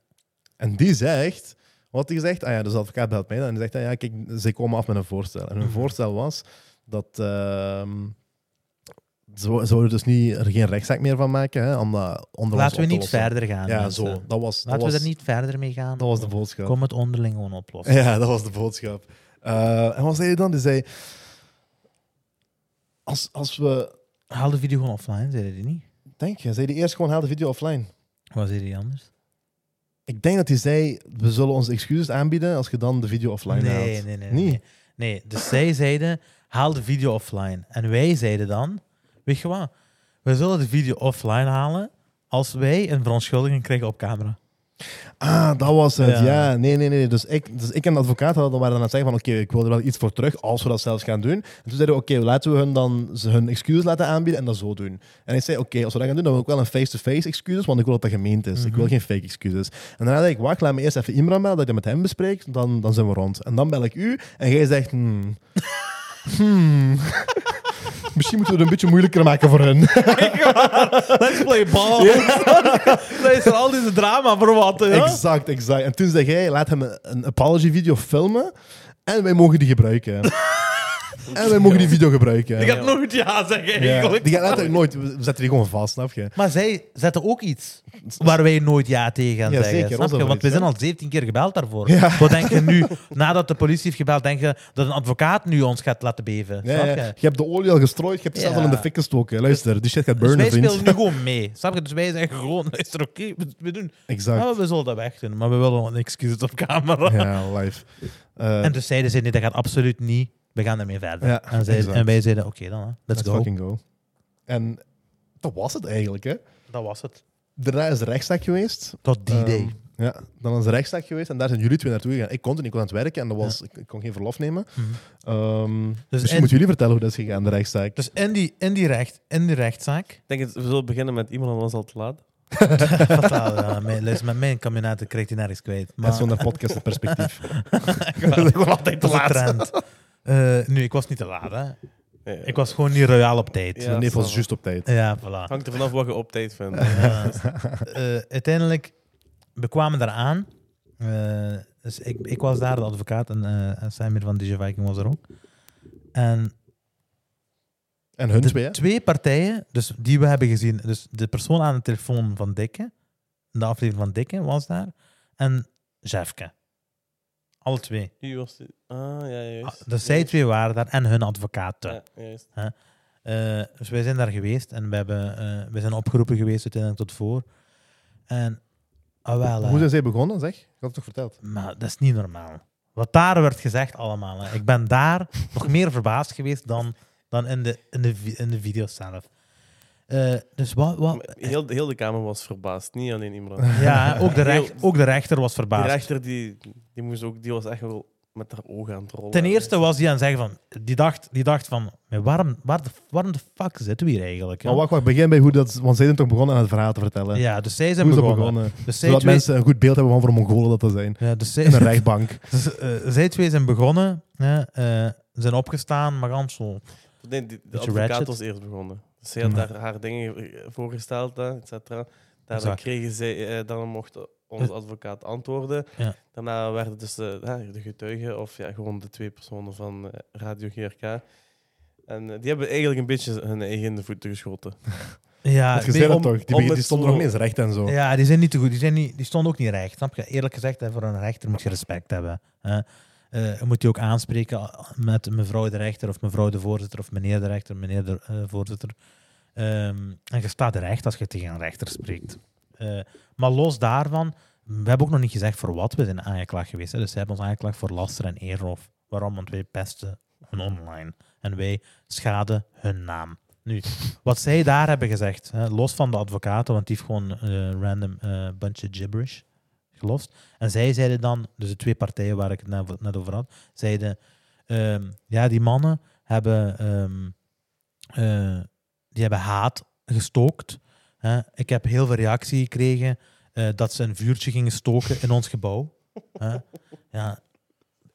Speaker 1: En die zegt, wat hij zegt, ah ja, dus de advocaat belt mij dan en die zegt, ah ja, kijk, ze komen af met een voorstel. En hun
Speaker 2: Mhm.
Speaker 1: voorstel was dat ehm, ze, wo- ze wilden dus niet, er geen rechtszaak meer van maken, hè, om dat onder ons
Speaker 2: Laten we
Speaker 1: op te
Speaker 2: niet
Speaker 1: lossen.
Speaker 2: verder gaan.
Speaker 1: Ja,
Speaker 2: mensen.
Speaker 1: zo. Dat was, dat
Speaker 2: Laten
Speaker 1: was,
Speaker 2: we er niet verder mee gaan.
Speaker 1: dat was de boodschap.
Speaker 2: Kom het onderling gewoon oplossen.
Speaker 1: Ja, dat was de boodschap. Eh, en wat zei hij dan? Die zei... Als, als we...
Speaker 2: Haal de video gewoon offline, zei hij niet?
Speaker 1: Denk je, zei die eerst gewoon haal de video offline.
Speaker 2: Wat zei hij anders?
Speaker 1: Ik denk dat hij zei, we zullen onze excuses aanbieden als je dan de video offline haalt.
Speaker 2: Nee, nee, nee,
Speaker 1: Niet?
Speaker 2: nee. Nee, dus zij zeiden, haal de video offline. En wij zeiden dan, weet je wat, we zullen de video offline halen als wij een verontschuldiging krijgen op camera.
Speaker 1: Ah, dat was het.
Speaker 2: Ja.
Speaker 1: Ja, nee, nee, nee. Dus ik, dus ik en de advocaat hadden, waren dan aan het zeggen van oké, ik wil er wel iets voor terug als we dat zelfs gaan doen. En toen zeiden we oké, laten we hun dan ze hun excuses laten aanbieden en dat zo doen. En ik zei oké, als we dat gaan doen, dan wil ik wel een face-to-face excuses, want ik wil dat dat gemeend is.
Speaker 2: Mhm.
Speaker 1: Ik wil geen fake excuses. En daarna dacht ik, wacht, laat me eerst even Imran bellen, dat ik dat met hem bespreek, dan, dan zijn we rond. En dan bel ik u en jij zegt hmm, hmm. Misschien moeten we het een beetje moeilijker maken voor hun.
Speaker 2: Let's play ball. Dat is er al deze drama voor wat. hè?
Speaker 1: Exact, exact. En toen zei jij, laat hem een- een apology video filmen en wij mogen die gebruiken. en wij mogen die video gebruiken.
Speaker 2: Ik had nooit ja zeggen
Speaker 1: Ja.
Speaker 2: eigenlijk.
Speaker 1: Die gaat letterlijk nooit, we zetten die gewoon vast, snap je?
Speaker 2: Maar zij zetten ook iets waar wij nooit ja tegen gaan
Speaker 1: Ja,
Speaker 2: zeggen.
Speaker 1: zeker,
Speaker 2: snap
Speaker 1: was dat
Speaker 2: je?
Speaker 1: wel
Speaker 2: Want we
Speaker 1: iets,
Speaker 2: zijn
Speaker 1: hè?
Speaker 2: al 17 keer gebeld daarvoor. Wat denk je nu, nadat de politie heeft gebeld, denk je dat een advocaat nu ons gaat laten beven?
Speaker 1: Ja,
Speaker 2: snap
Speaker 1: ja.
Speaker 2: je?
Speaker 1: Je hebt de olie al gestrooid, je hebt het zelf al in de
Speaker 2: Ja.
Speaker 1: fik gestoken. Luister, die shit gaat
Speaker 2: Dus
Speaker 1: burnen,
Speaker 2: wij
Speaker 1: vriend.
Speaker 2: spelen nu gewoon mee. Snap je? Dus wij zeggen gewoon, luister, oké, we, we doen.
Speaker 1: Exact.
Speaker 2: Ah, we zullen dat weg doen, maar we willen een excuses op camera.
Speaker 1: Ja, live. Eh,
Speaker 2: Oh. En dus zeiden ze, nee, dat gaat absoluut niet. We gaan ermee verder.
Speaker 1: Ja,
Speaker 2: en, zij-
Speaker 1: exact.
Speaker 2: en wij zeiden, oké dan, hè. let's
Speaker 1: let's
Speaker 2: go.
Speaker 1: fucking go. En dat was het eigenlijk, hè.
Speaker 2: Dat was het.
Speaker 1: Daarna is de rechtszaak geweest.
Speaker 2: Tot die
Speaker 1: Ehm,
Speaker 2: day.
Speaker 1: ja, dan is de rechtszaak geweest en daar zijn jullie twee naartoe gegaan. Ik kon er niet, ik was aan het werken en dat was, ik, ik kon geen verlof nemen.
Speaker 2: Mhm.
Speaker 1: Ehm, misschien
Speaker 2: dus en-
Speaker 1: moeten jullie vertellen hoe dat is gegaan, de rechtszaak.
Speaker 2: Dus in die, in die, recht, in die rechtszaak
Speaker 3: Ik denk, het, we zullen beginnen met iemand anders al te laat.
Speaker 2: Fataal, nou, ja. Mijn, luister, met mijn combinaten kreeg hij nergens kwijt. Maar
Speaker 1: Dat is zo'n podcastperspectief.
Speaker 2: ik was altijd te laat. Eh, nu, ik was niet te laat, hè.
Speaker 3: Nee,
Speaker 2: Ik was gewoon niet royaal op tijd.
Speaker 3: Ja,
Speaker 1: De neef
Speaker 3: snap
Speaker 1: was
Speaker 3: ik.
Speaker 1: juist op tijd.
Speaker 2: Ja, voilà.
Speaker 3: Hangt er vanaf wat je op tijd vindt.
Speaker 2: Eh, eh, uiteindelijk, we kwamen daar aan. Eh, dus ik, ik was daar, de advocaat, en eh Samir van DJ Viking was er ook. En
Speaker 1: En hun
Speaker 2: de
Speaker 1: twee, hè?
Speaker 2: twee partijen, dus die we hebben gezien, dus de persoon aan de telefoon van Dikke, de aflevering van Dikke was daar, en Jefke. Alle twee.
Speaker 3: Wie was die? Ah, ja,
Speaker 2: Ah,
Speaker 3: juist.
Speaker 2: Dus zij twee waren daar en hun advocaten.
Speaker 3: Ja, juist.
Speaker 2: Eh, dus wij zijn daar geweest en we, hebben, eh, we zijn opgeroepen geweest uiteindelijk tot voor. En, ah wel, eh,
Speaker 1: Hoe zijn zij begonnen, zeg? Ik had het toch verteld?
Speaker 2: maar dat is niet normaal. Wat daar werd gezegd allemaal. Hè. Ik ben daar nog meer verbaasd geweest dan, dan in, de, in, de, vi- in de video zelf. Eh, dus wat...
Speaker 3: Maar
Speaker 2: wat
Speaker 3: Heel, heel de kamer was verbaasd, niet alleen Imran.
Speaker 2: ja, hè, ook de, recht, ook de rechter was
Speaker 3: Die
Speaker 2: verbaasd.
Speaker 3: rechter die, die, moest ook, die was echt wel met haar ogen aan het rollen.
Speaker 2: Ten eerste was hij aan het zeggen van... Die dacht, die dacht van... "Maar Waarom, waar de, waarom de fuck zitten we hier eigenlijk? hè?"
Speaker 1: Maar wacht, wacht, begin bij hoe dat... Want zij zijn toch begonnen aan het verhaal te vertellen?
Speaker 2: Ja, dus zij
Speaker 1: Hoe
Speaker 2: zijn
Speaker 1: is dat
Speaker 2: begonnen.
Speaker 1: begonnen?
Speaker 2: Dus zij
Speaker 1: Zodat
Speaker 2: twee-
Speaker 1: mensen een goed beeld hebben van voor Mongolen dat dat zijn.
Speaker 2: Ja, dus zij,
Speaker 1: In een rechtbank.
Speaker 2: Dus, eh, zij twee zijn begonnen, hè, eh, zijn opgestaan, maar gans zo.
Speaker 3: Nee, die, de
Speaker 2: Beetje
Speaker 3: advocaat
Speaker 2: ratchet.
Speaker 3: was eerst begonnen. Dus zij had
Speaker 2: Ja.
Speaker 3: daar haar dingen eh, voorgesteld, hè, et cetera. Daarna
Speaker 2: Exact.
Speaker 3: kregen zij, eh dan mocht onze advocaat antwoorden.
Speaker 2: Ja.
Speaker 3: Daarna werden dus de, hè, de getuigen, of ja, gewoon de twee personen van eh, Radio GRK. En eh, die hebben eigenlijk een beetje hun eigen in de voeten geschoten.
Speaker 2: Ja,
Speaker 1: Want je
Speaker 2: weet-
Speaker 1: zei dat
Speaker 3: om-
Speaker 1: toch? Die,
Speaker 3: om
Speaker 1: be- die
Speaker 3: het
Speaker 1: stonden
Speaker 3: zo-
Speaker 1: nog niet eens recht en zo.
Speaker 2: ja, die zijn niet te goed. Die, zijn niet, die stonden ook niet recht. Snap je? Eerlijk gezegd, hè, voor een rechter moet je respect hebben. Hè. Eh, je moet je ook aanspreken met mevrouw de rechter of mevrouw de voorzitter of meneer de rechter, meneer de eh, voorzitter. Ehm, en je staat recht als je tegen een rechter spreekt. Eh, maar los daarvan, we hebben ook nog niet gezegd voor wat we zijn aangeklaagd geweest. Hè. Dus ze hebben ons aangeklaagd voor laster en eerroof. Waarom? Want wij pesten hun online. En wij schaden hun naam. Nu, wat zij daar hebben gezegd, hè, los van de advocaten, want die heeft gewoon eh, random eh bunch gibberish gelost. En zij zeiden dan, dus de twee partijen waar ik het net- net over had, zeiden, ehm, ja, die mannen hebben, ehm, eh, die hebben haat gestookt. Hè. Ik heb heel veel reactie gekregen eh, dat ze een vuurtje gingen stoken in ons gebouw. Hè. Ja.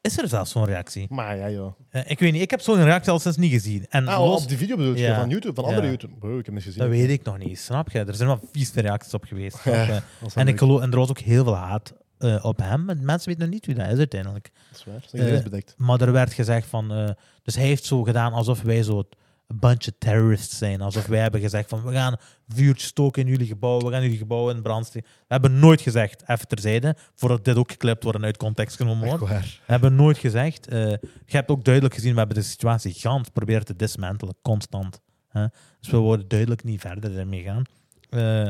Speaker 2: Is er zelfs zo'n reactie?
Speaker 1: Maar ja, joh.
Speaker 2: Eh, ik weet niet, ik heb zo'n reactie al sinds niet gezien. En
Speaker 1: Ah,
Speaker 2: los-
Speaker 1: op die video bedoel je?
Speaker 2: Ja.
Speaker 1: Van YouTube, van andere
Speaker 2: Ja.
Speaker 1: YouTube? Bro, ik heb niet gezien.
Speaker 2: dat weet ik nog niet, snap je? Er zijn wel vieze reacties op geweest. snap je?
Speaker 1: Dat is
Speaker 2: en, ik
Speaker 1: leuk.
Speaker 2: geloof, en er was ook heel veel haat eh, op hem. maar Mensen weten nog niet wie dat is uiteindelijk.
Speaker 1: Dat is waar. Zijn is
Speaker 2: Eh,
Speaker 1: bedekt.
Speaker 2: Maar er werd gezegd van... eh, dus hij heeft zo gedaan alsof wij zo het, een bunch of terrorists zijn. Alsof wij hebben gezegd van we gaan vuurtje stoken in jullie gebouw, we gaan jullie gebouwen in brand steken. We hebben nooit gezegd, even terzijde, voordat dit ook geklipt wordt en uit context genomen wordt.
Speaker 1: waar.
Speaker 2: We hebben nooit gezegd. eh, je hebt ook duidelijk gezien, we hebben de situatie gans proberen te dismantelen, constant. Hè? Dus we worden duidelijk niet verder ermee gaan. Eh,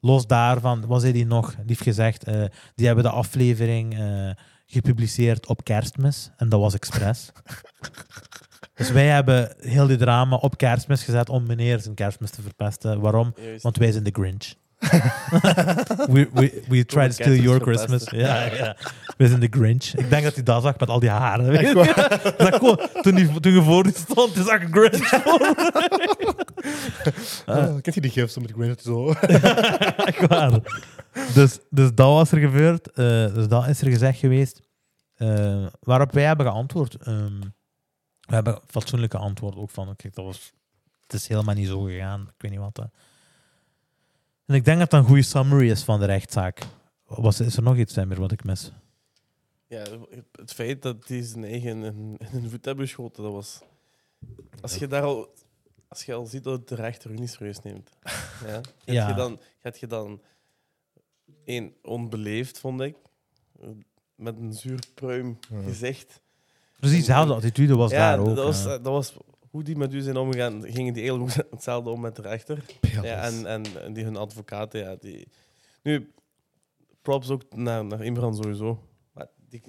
Speaker 2: los daarvan, wat zei die nog? Die heeft gezegd, eh, die hebben de aflevering eh, gepubliceerd op kerstmis. En dat was expres. dus wij hebben heel die drama op kerstmis gezet om meneer zijn kerstmis te verpesten. Waarom?
Speaker 3: Juist.
Speaker 2: Want wij zijn de Grinch. we, we, we try to steal your
Speaker 3: kerstmis
Speaker 2: Christmas. Ja, ja. We zijn de Grinch. Ik denk dat hij dat zag met al die haren. dat kon, toen, die, toen je voor die stond, die zag een Grinch. Ah.
Speaker 1: kent je die gif zo met Grinch zo?
Speaker 2: Echt waar. Dus, dus dat was er gebeurd. Eh, dus dat is er gezegd geweest. Eh, waarop wij hebben geantwoord. Ehm, we hebben fatsoenlijke antwoord ook van. Kijk, dat was, het is helemaal niet zo gegaan. Ik weet niet wat. hè. En ik denk dat dat een goede summary is van de rechtszaak. Was, is er nog iets, Samir, wat ik mis?
Speaker 3: Ja, het feit dat die zijn eigen in, in hun voet hebben geschoten, dat was... Als je daar al... Als je al ziet dat de rechter u niet serieus neemt. Ja.
Speaker 2: Ja.
Speaker 3: Gaat je dan... Gaat je dan... één, onbeleefd, vond ik. Met een zuur pruim gezicht.
Speaker 2: Precies dezelfde attitude was
Speaker 3: ja,
Speaker 2: daar ook.
Speaker 3: dat, was, eh,
Speaker 2: hè.
Speaker 3: dat was... Hoe die met u zijn omgegaan, gingen die heel goed hetzelfde om met de rechter. Ja, en, en, en die hun advocaten, ja, die... Nu, props ook naar, naar Imran sowieso. Maar die,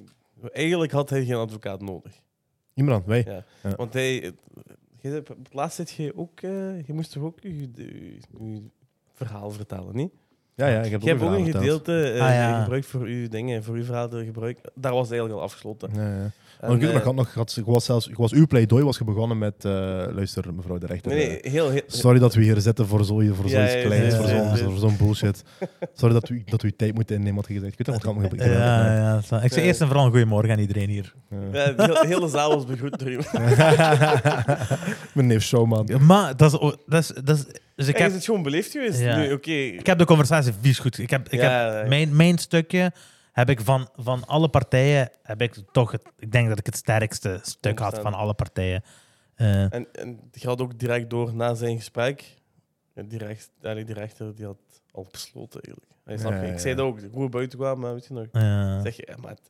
Speaker 3: eigenlijk had hij geen advocaat nodig.
Speaker 1: Imran, wij.
Speaker 3: Ja.
Speaker 1: Ja.
Speaker 3: Want hij... je hebt- op het laatst zit je ook... eh, je moest toch ook je, je, je verhaal vertellen, niet?
Speaker 1: Ja, ja, ik heb
Speaker 3: Je hebt ook
Speaker 1: verhaal
Speaker 3: een
Speaker 1: verteld.
Speaker 3: gedeelte eh,
Speaker 2: Ah, ja.
Speaker 3: gebruikt voor uw dingen, voor uw verhaal te gebruiken. Daar was het eigenlijk al afgesloten.
Speaker 1: Ja, ja.
Speaker 3: En,
Speaker 1: Maar ik, weet nog,
Speaker 3: eh,
Speaker 1: ik had nog, ik had- ik was zelfs, ik was, uw pleidooi was begonnen met, eh, luister mevrouw de rechter,
Speaker 3: nee, nee, heel... heel
Speaker 1: eh, sorry dat we hier zitten voor, zo, voor
Speaker 3: Ja,
Speaker 1: zoiets
Speaker 3: ja, ja,
Speaker 1: kleins,
Speaker 2: ja,
Speaker 1: voor,
Speaker 2: ja,
Speaker 1: zo'n,
Speaker 3: ja.
Speaker 1: voor zo'n bullshit. sorry dat u, dat u tijd moet innemen, had je gezegd. Ik weet nog, ik had nog ik-
Speaker 2: Ja, ja, dat is waar. ik zei
Speaker 3: Ja.
Speaker 2: eerst en vooral een goeiemorgen aan iedereen hier.
Speaker 3: ja, eh, de hele- hele zaal was begroet door iemand.
Speaker 1: Mijn neef Showman.
Speaker 2: Maar dat is... o- Dat is, dat is dus ik
Speaker 3: Hij
Speaker 2: heb,
Speaker 3: is het gewoon beleefd geweest.
Speaker 2: Ja.
Speaker 3: Nu, oké.
Speaker 2: ik heb de conversatie vies goed... Ik heb, ik heb
Speaker 3: Ja, ja.
Speaker 2: Mijn, mijn stukje heb ik van, van alle partijen, heb ik toch het, ik denk dat ik het sterkste stuk had van alle partijen. Eh,
Speaker 3: En, en die gaat ook direct door na zijn gesprek. En die, recht, allee, die rechter die had al besloten eigenlijk. Hij snap
Speaker 1: Ja,
Speaker 3: je? Ik
Speaker 1: ja,
Speaker 3: zei
Speaker 1: ja.
Speaker 3: dat ook. Hoe we buiten kwamen, maar weet je nog.
Speaker 2: eh,
Speaker 3: Zeg je, eh, maat,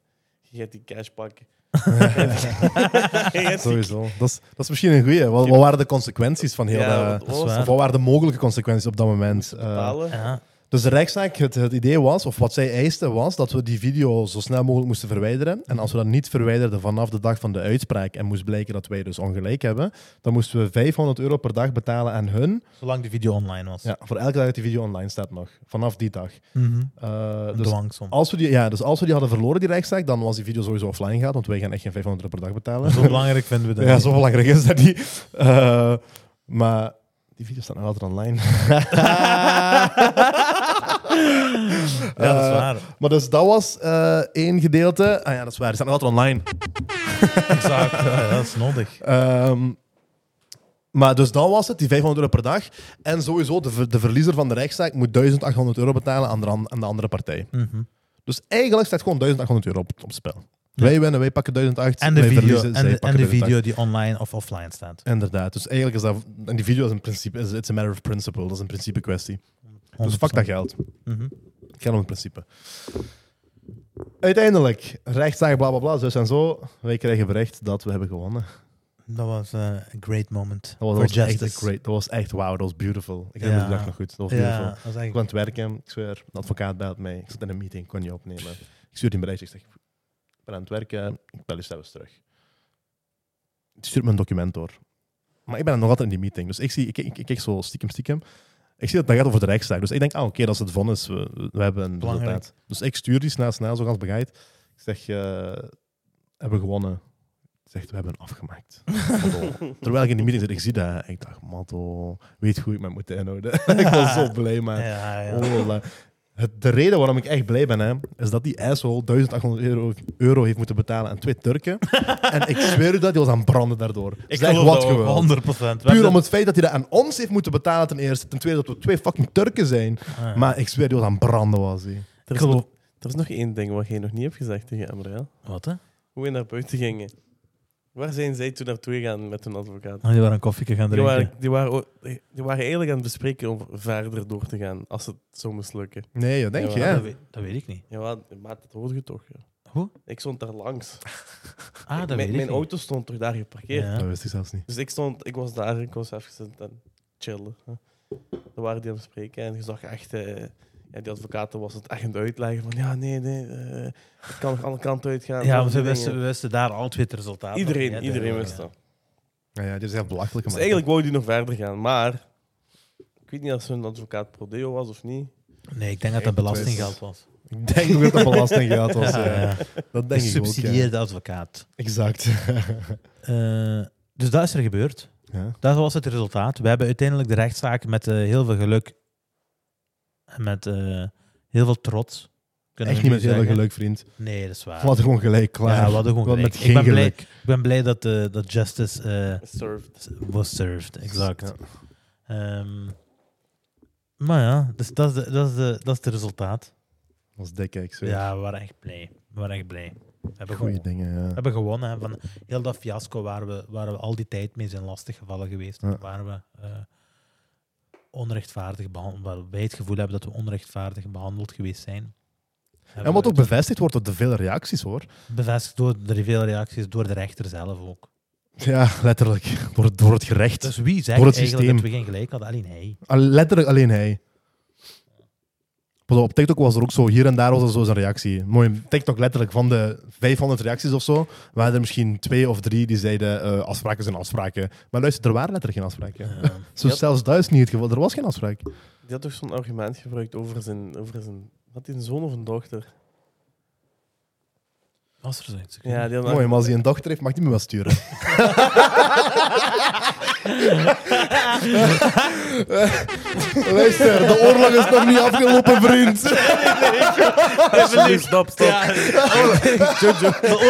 Speaker 3: je gaat die cash pakken. Je gaat die-
Speaker 1: Sowieso. Dat is, dat is misschien een goeie. Wat, wat waren de consequenties van heel
Speaker 3: Ja,
Speaker 1: dat-
Speaker 3: wat- wat
Speaker 2: is
Speaker 3: was
Speaker 2: waar.
Speaker 1: Of wat waren de mogelijke consequenties op dat moment?
Speaker 3: het
Speaker 1: Eh,
Speaker 3: bepalen?
Speaker 2: ja.
Speaker 1: dus de rechtszaak, het, het idee was, of wat zij eisten, was dat we die video zo snel mogelijk moesten verwijderen. En als we dat niet verwijderden vanaf de dag van de uitspraak en moest blijken dat wij dus ongelijk hebben, dan moesten we 500 euro per dag betalen aan hun.
Speaker 2: Zolang de video online was.
Speaker 1: Ja, voor elke dag dat die video online staat nog. Vanaf die dag.
Speaker 2: Mhm.
Speaker 1: Eh,
Speaker 2: Een
Speaker 1: dus
Speaker 2: dwangsom.
Speaker 1: als, we die, ja, dus als we die hadden verloren, die rechtszaak, dan was die video sowieso offline gegaan, want wij gaan echt geen 500 euro per dag betalen.
Speaker 2: Zo belangrijk vinden we dat.
Speaker 1: Ja,
Speaker 2: niet.
Speaker 1: zo belangrijk is dat niet. Eh, maar die video staat nog altijd online.
Speaker 2: Ja, dat is waar.
Speaker 1: Maar dus dat was eh, één gedeelte. Ah ja, dat is waar. Die staat nog altijd online.
Speaker 2: Exact. Ja, eh, dat is nodig.
Speaker 1: Ehm, maar dus dat was het, die 500 euro per dag. En sowieso, de, ver- de verliezer van de rechtszaak moet 1800 euro betalen aan de, an- aan de andere partij.
Speaker 2: Mhm.
Speaker 1: Dus eigenlijk staat gewoon 1800 euro op, op het spel. Wij winnen, wij pakken 1800.
Speaker 2: En de
Speaker 1: wij
Speaker 2: video,
Speaker 1: verliezen,
Speaker 2: en
Speaker 1: zij
Speaker 2: de, en
Speaker 1: pakken
Speaker 2: de
Speaker 1: 1800.
Speaker 2: video die online of offline staat.
Speaker 1: Inderdaad. Dus eigenlijk is dat... En die video is in principe... Is, it's a matter of principle. Dat is een principe kwestie. Dus fuck dat
Speaker 2: 100%.
Speaker 1: geld.
Speaker 2: Mhm.
Speaker 1: Het gaat om het principe. Uiteindelijk, rechtszaak, bla bla bla, zus en zo. Wij krijgen bericht dat we hebben gewonnen.
Speaker 2: Dat was eh, een great moment.
Speaker 1: Dat was,
Speaker 2: For
Speaker 1: dat was echt
Speaker 2: justice.
Speaker 1: een great. Dat was echt wauw, dat was beautiful. Ik
Speaker 2: Ja.
Speaker 1: herinner die dag nog goed. Dat was
Speaker 2: Ja,
Speaker 1: beautiful.
Speaker 2: dat was
Speaker 1: Ik
Speaker 2: eigenlijk...
Speaker 1: was aan het werken, ik zweer. De advocaat belt mij. Ik zat in een meeting, ik kon niet opnemen. Ik stuur die een berichtje. Ik zeg: Ik ben aan het werken, ik bel je zelfs terug. Die stuurt me een document door. Maar ik ben nog altijd in die meeting. Dus ik, zie, ik, ik, ik kijk zo stiekem, stiekem. Ik zie dat dat gaat over de rechtszaak. Dus ik denk, ah, oké, dat is het vonnis. We, we hebben een
Speaker 2: Belangrijk.
Speaker 1: resultaat. Dus ik stuur die snel, snel, zo als begeleid. Ik zeg, eh, hebben we gewonnen. Hij zegt, we hebben afgemaakt. Matto. Terwijl ik in die meeting zit, ik zie dat. Ik dacht, matto, weet goed, ik me moet inhouden. ik was zo blij, man.
Speaker 2: Ja, ja.
Speaker 1: Oh, la. Het, de reden waarom ik echt blij ben, hè, is dat die asshole 1800 euro, euro heeft moeten betalen aan twee Turken. en ik zweer u dat, die was aan het branden daardoor.
Speaker 2: Ik
Speaker 1: zeg
Speaker 2: geloof
Speaker 1: wat
Speaker 2: dat ook,
Speaker 1: gewoon.
Speaker 2: 100%. We hebben-
Speaker 1: Puur om het feit dat hij dat aan ons heeft moeten betalen ten eerste. Ten tweede dat we twee fucking Turken zijn.
Speaker 2: Ah.
Speaker 1: Maar ik zweer die was aan het branden was. Hij.
Speaker 3: Er,
Speaker 2: Ik
Speaker 3: is nog,
Speaker 2: geloof...
Speaker 3: er is nog één ding wat jij nog niet hebt gezegd tegen Emre. hè?
Speaker 2: Wat, hè?
Speaker 3: Hoe je naar buiten ging. Waar zijn zij toen naartoe gegaan met hun advocaat?
Speaker 2: Ah, die waren een koffie gaan
Speaker 3: Die
Speaker 2: drinken.
Speaker 3: waren, die, waren, ook- die waren eigenlijk aan het bespreken om verder door te gaan als het zo moest lukken.
Speaker 1: Nee, dat denk
Speaker 3: Ja,
Speaker 1: je,
Speaker 3: maar
Speaker 1: hè?
Speaker 2: Dat, weet, dat weet ik niet.
Speaker 3: Ja, wat- maar dat hoorde je toch? Ja.
Speaker 2: Hoe?
Speaker 3: Ik stond daar langs.
Speaker 2: Ah, dat
Speaker 3: mijn
Speaker 2: weet ik
Speaker 3: mijn
Speaker 2: niet.
Speaker 3: auto stond toch daar geparkeerd?
Speaker 2: Ja.
Speaker 1: Dat wist ik zelfs niet.
Speaker 3: Dus ik, stond, ik was daar, ik was even aan het chillen. hè. Daar waren die aan het spreken en je zag echt, eh, ja, die advocaten was het echt aan het uitleggen van ja, nee, nee, eh, het kan nog alle kanten
Speaker 2: Ja,
Speaker 3: uitgaan. Zulke
Speaker 2: want we
Speaker 3: dingen.
Speaker 2: wisten, we wisten daar al twee resultaten.
Speaker 3: Iedereen,
Speaker 2: Ja, de-
Speaker 3: iedereen wist dat.
Speaker 1: Ja, ja, dit is echt belachelijk.
Speaker 3: Dus
Speaker 1: maar-
Speaker 3: eigenlijk wou die nog verder gaan, maar ik weet niet of hun advocaat Prodeo was of niet.
Speaker 2: Nee, ik denk dat dat belastinggeld was.
Speaker 1: Ik denk nog dat dat belastinggeld was.
Speaker 2: Ja,
Speaker 1: eh.
Speaker 2: ja.
Speaker 1: Dat denk ik ook, ja.
Speaker 2: Gesubsidieerde advocaat.
Speaker 1: Exact.
Speaker 2: Eh, dus dat is er gebeurd.
Speaker 1: ja.
Speaker 2: Dat was het resultaat. We hebben uiteindelijk de rechtszaak met eh, heel veel geluk en met eh, heel veel trots. kunnen
Speaker 1: Echt
Speaker 2: we
Speaker 1: niet met
Speaker 2: nu
Speaker 1: heel veel
Speaker 2: zeggen.
Speaker 1: geluk, vriend.
Speaker 2: Nee, dat is
Speaker 1: We
Speaker 2: waar.
Speaker 1: hadden gewoon gelijk, klaar.
Speaker 2: Ja, we hadden gewoon
Speaker 1: We hadden
Speaker 2: gelijk.
Speaker 1: Met geen
Speaker 2: ik, ben blij,
Speaker 1: geluk.
Speaker 2: ik ben blij dat, eh, dat justice eh,
Speaker 3: Served.
Speaker 2: was served. Exact.
Speaker 1: Ja.
Speaker 2: Ehm, maar ja, dus dat, is de, dat, is de, dat is het resultaat.
Speaker 1: Dat was dik, hè, ik zweer.
Speaker 2: Ja, we waren echt blij. We waren echt blij. We hebben,
Speaker 1: Goeie
Speaker 2: gewoon,
Speaker 1: dingen,
Speaker 2: we
Speaker 1: ja.
Speaker 2: hebben gewonnen. hè, Van heel dat fiasco waar we, waar we al die tijd mee zijn lastiggevallen geweest.
Speaker 1: Ja.
Speaker 2: Waar we eh, onrechtvaardig behandeld Waar wij het gevoel hebben dat we onrechtvaardig behandeld geweest zijn.
Speaker 1: En wat ook bevestigd wordt door de vele reacties, hoor.
Speaker 2: bevestigd door de vele reacties, door de rechter zelf ook.
Speaker 1: Ja, letterlijk. Door, door het gerecht.
Speaker 2: Dus wie zegt
Speaker 1: Door het
Speaker 2: eigenlijk
Speaker 1: systeem.
Speaker 2: dat we geen gelijk hadden? Alleen hij.
Speaker 1: Al- Letterlijk alleen hij. Pas op, op TikTok was er ook zo, hier en daar was er zo zijn reactie. Mooi, TikTok letterlijk, van de 500 reacties of zo, waren er misschien twee of drie die zeiden eh, afspraken zijn afspraken. Maar luister, er waren letterlijk geen afspraken.
Speaker 2: Ja.
Speaker 1: Zo
Speaker 3: Yep.
Speaker 1: zelfs dat is niet het geval, er was geen afspraak.
Speaker 3: Die had toch zo'n argument gebruikt over zijn, over zijn, had hij een zoon of een dochter?
Speaker 2: Was er zoiets? Ik weet
Speaker 3: Ja, die had een
Speaker 1: Mooi, maar als hij een dochter heeft, mag hij me wel sturen. luister, de oorlog is nog niet afgelopen, vriend.
Speaker 4: Stop, stop.
Speaker 2: De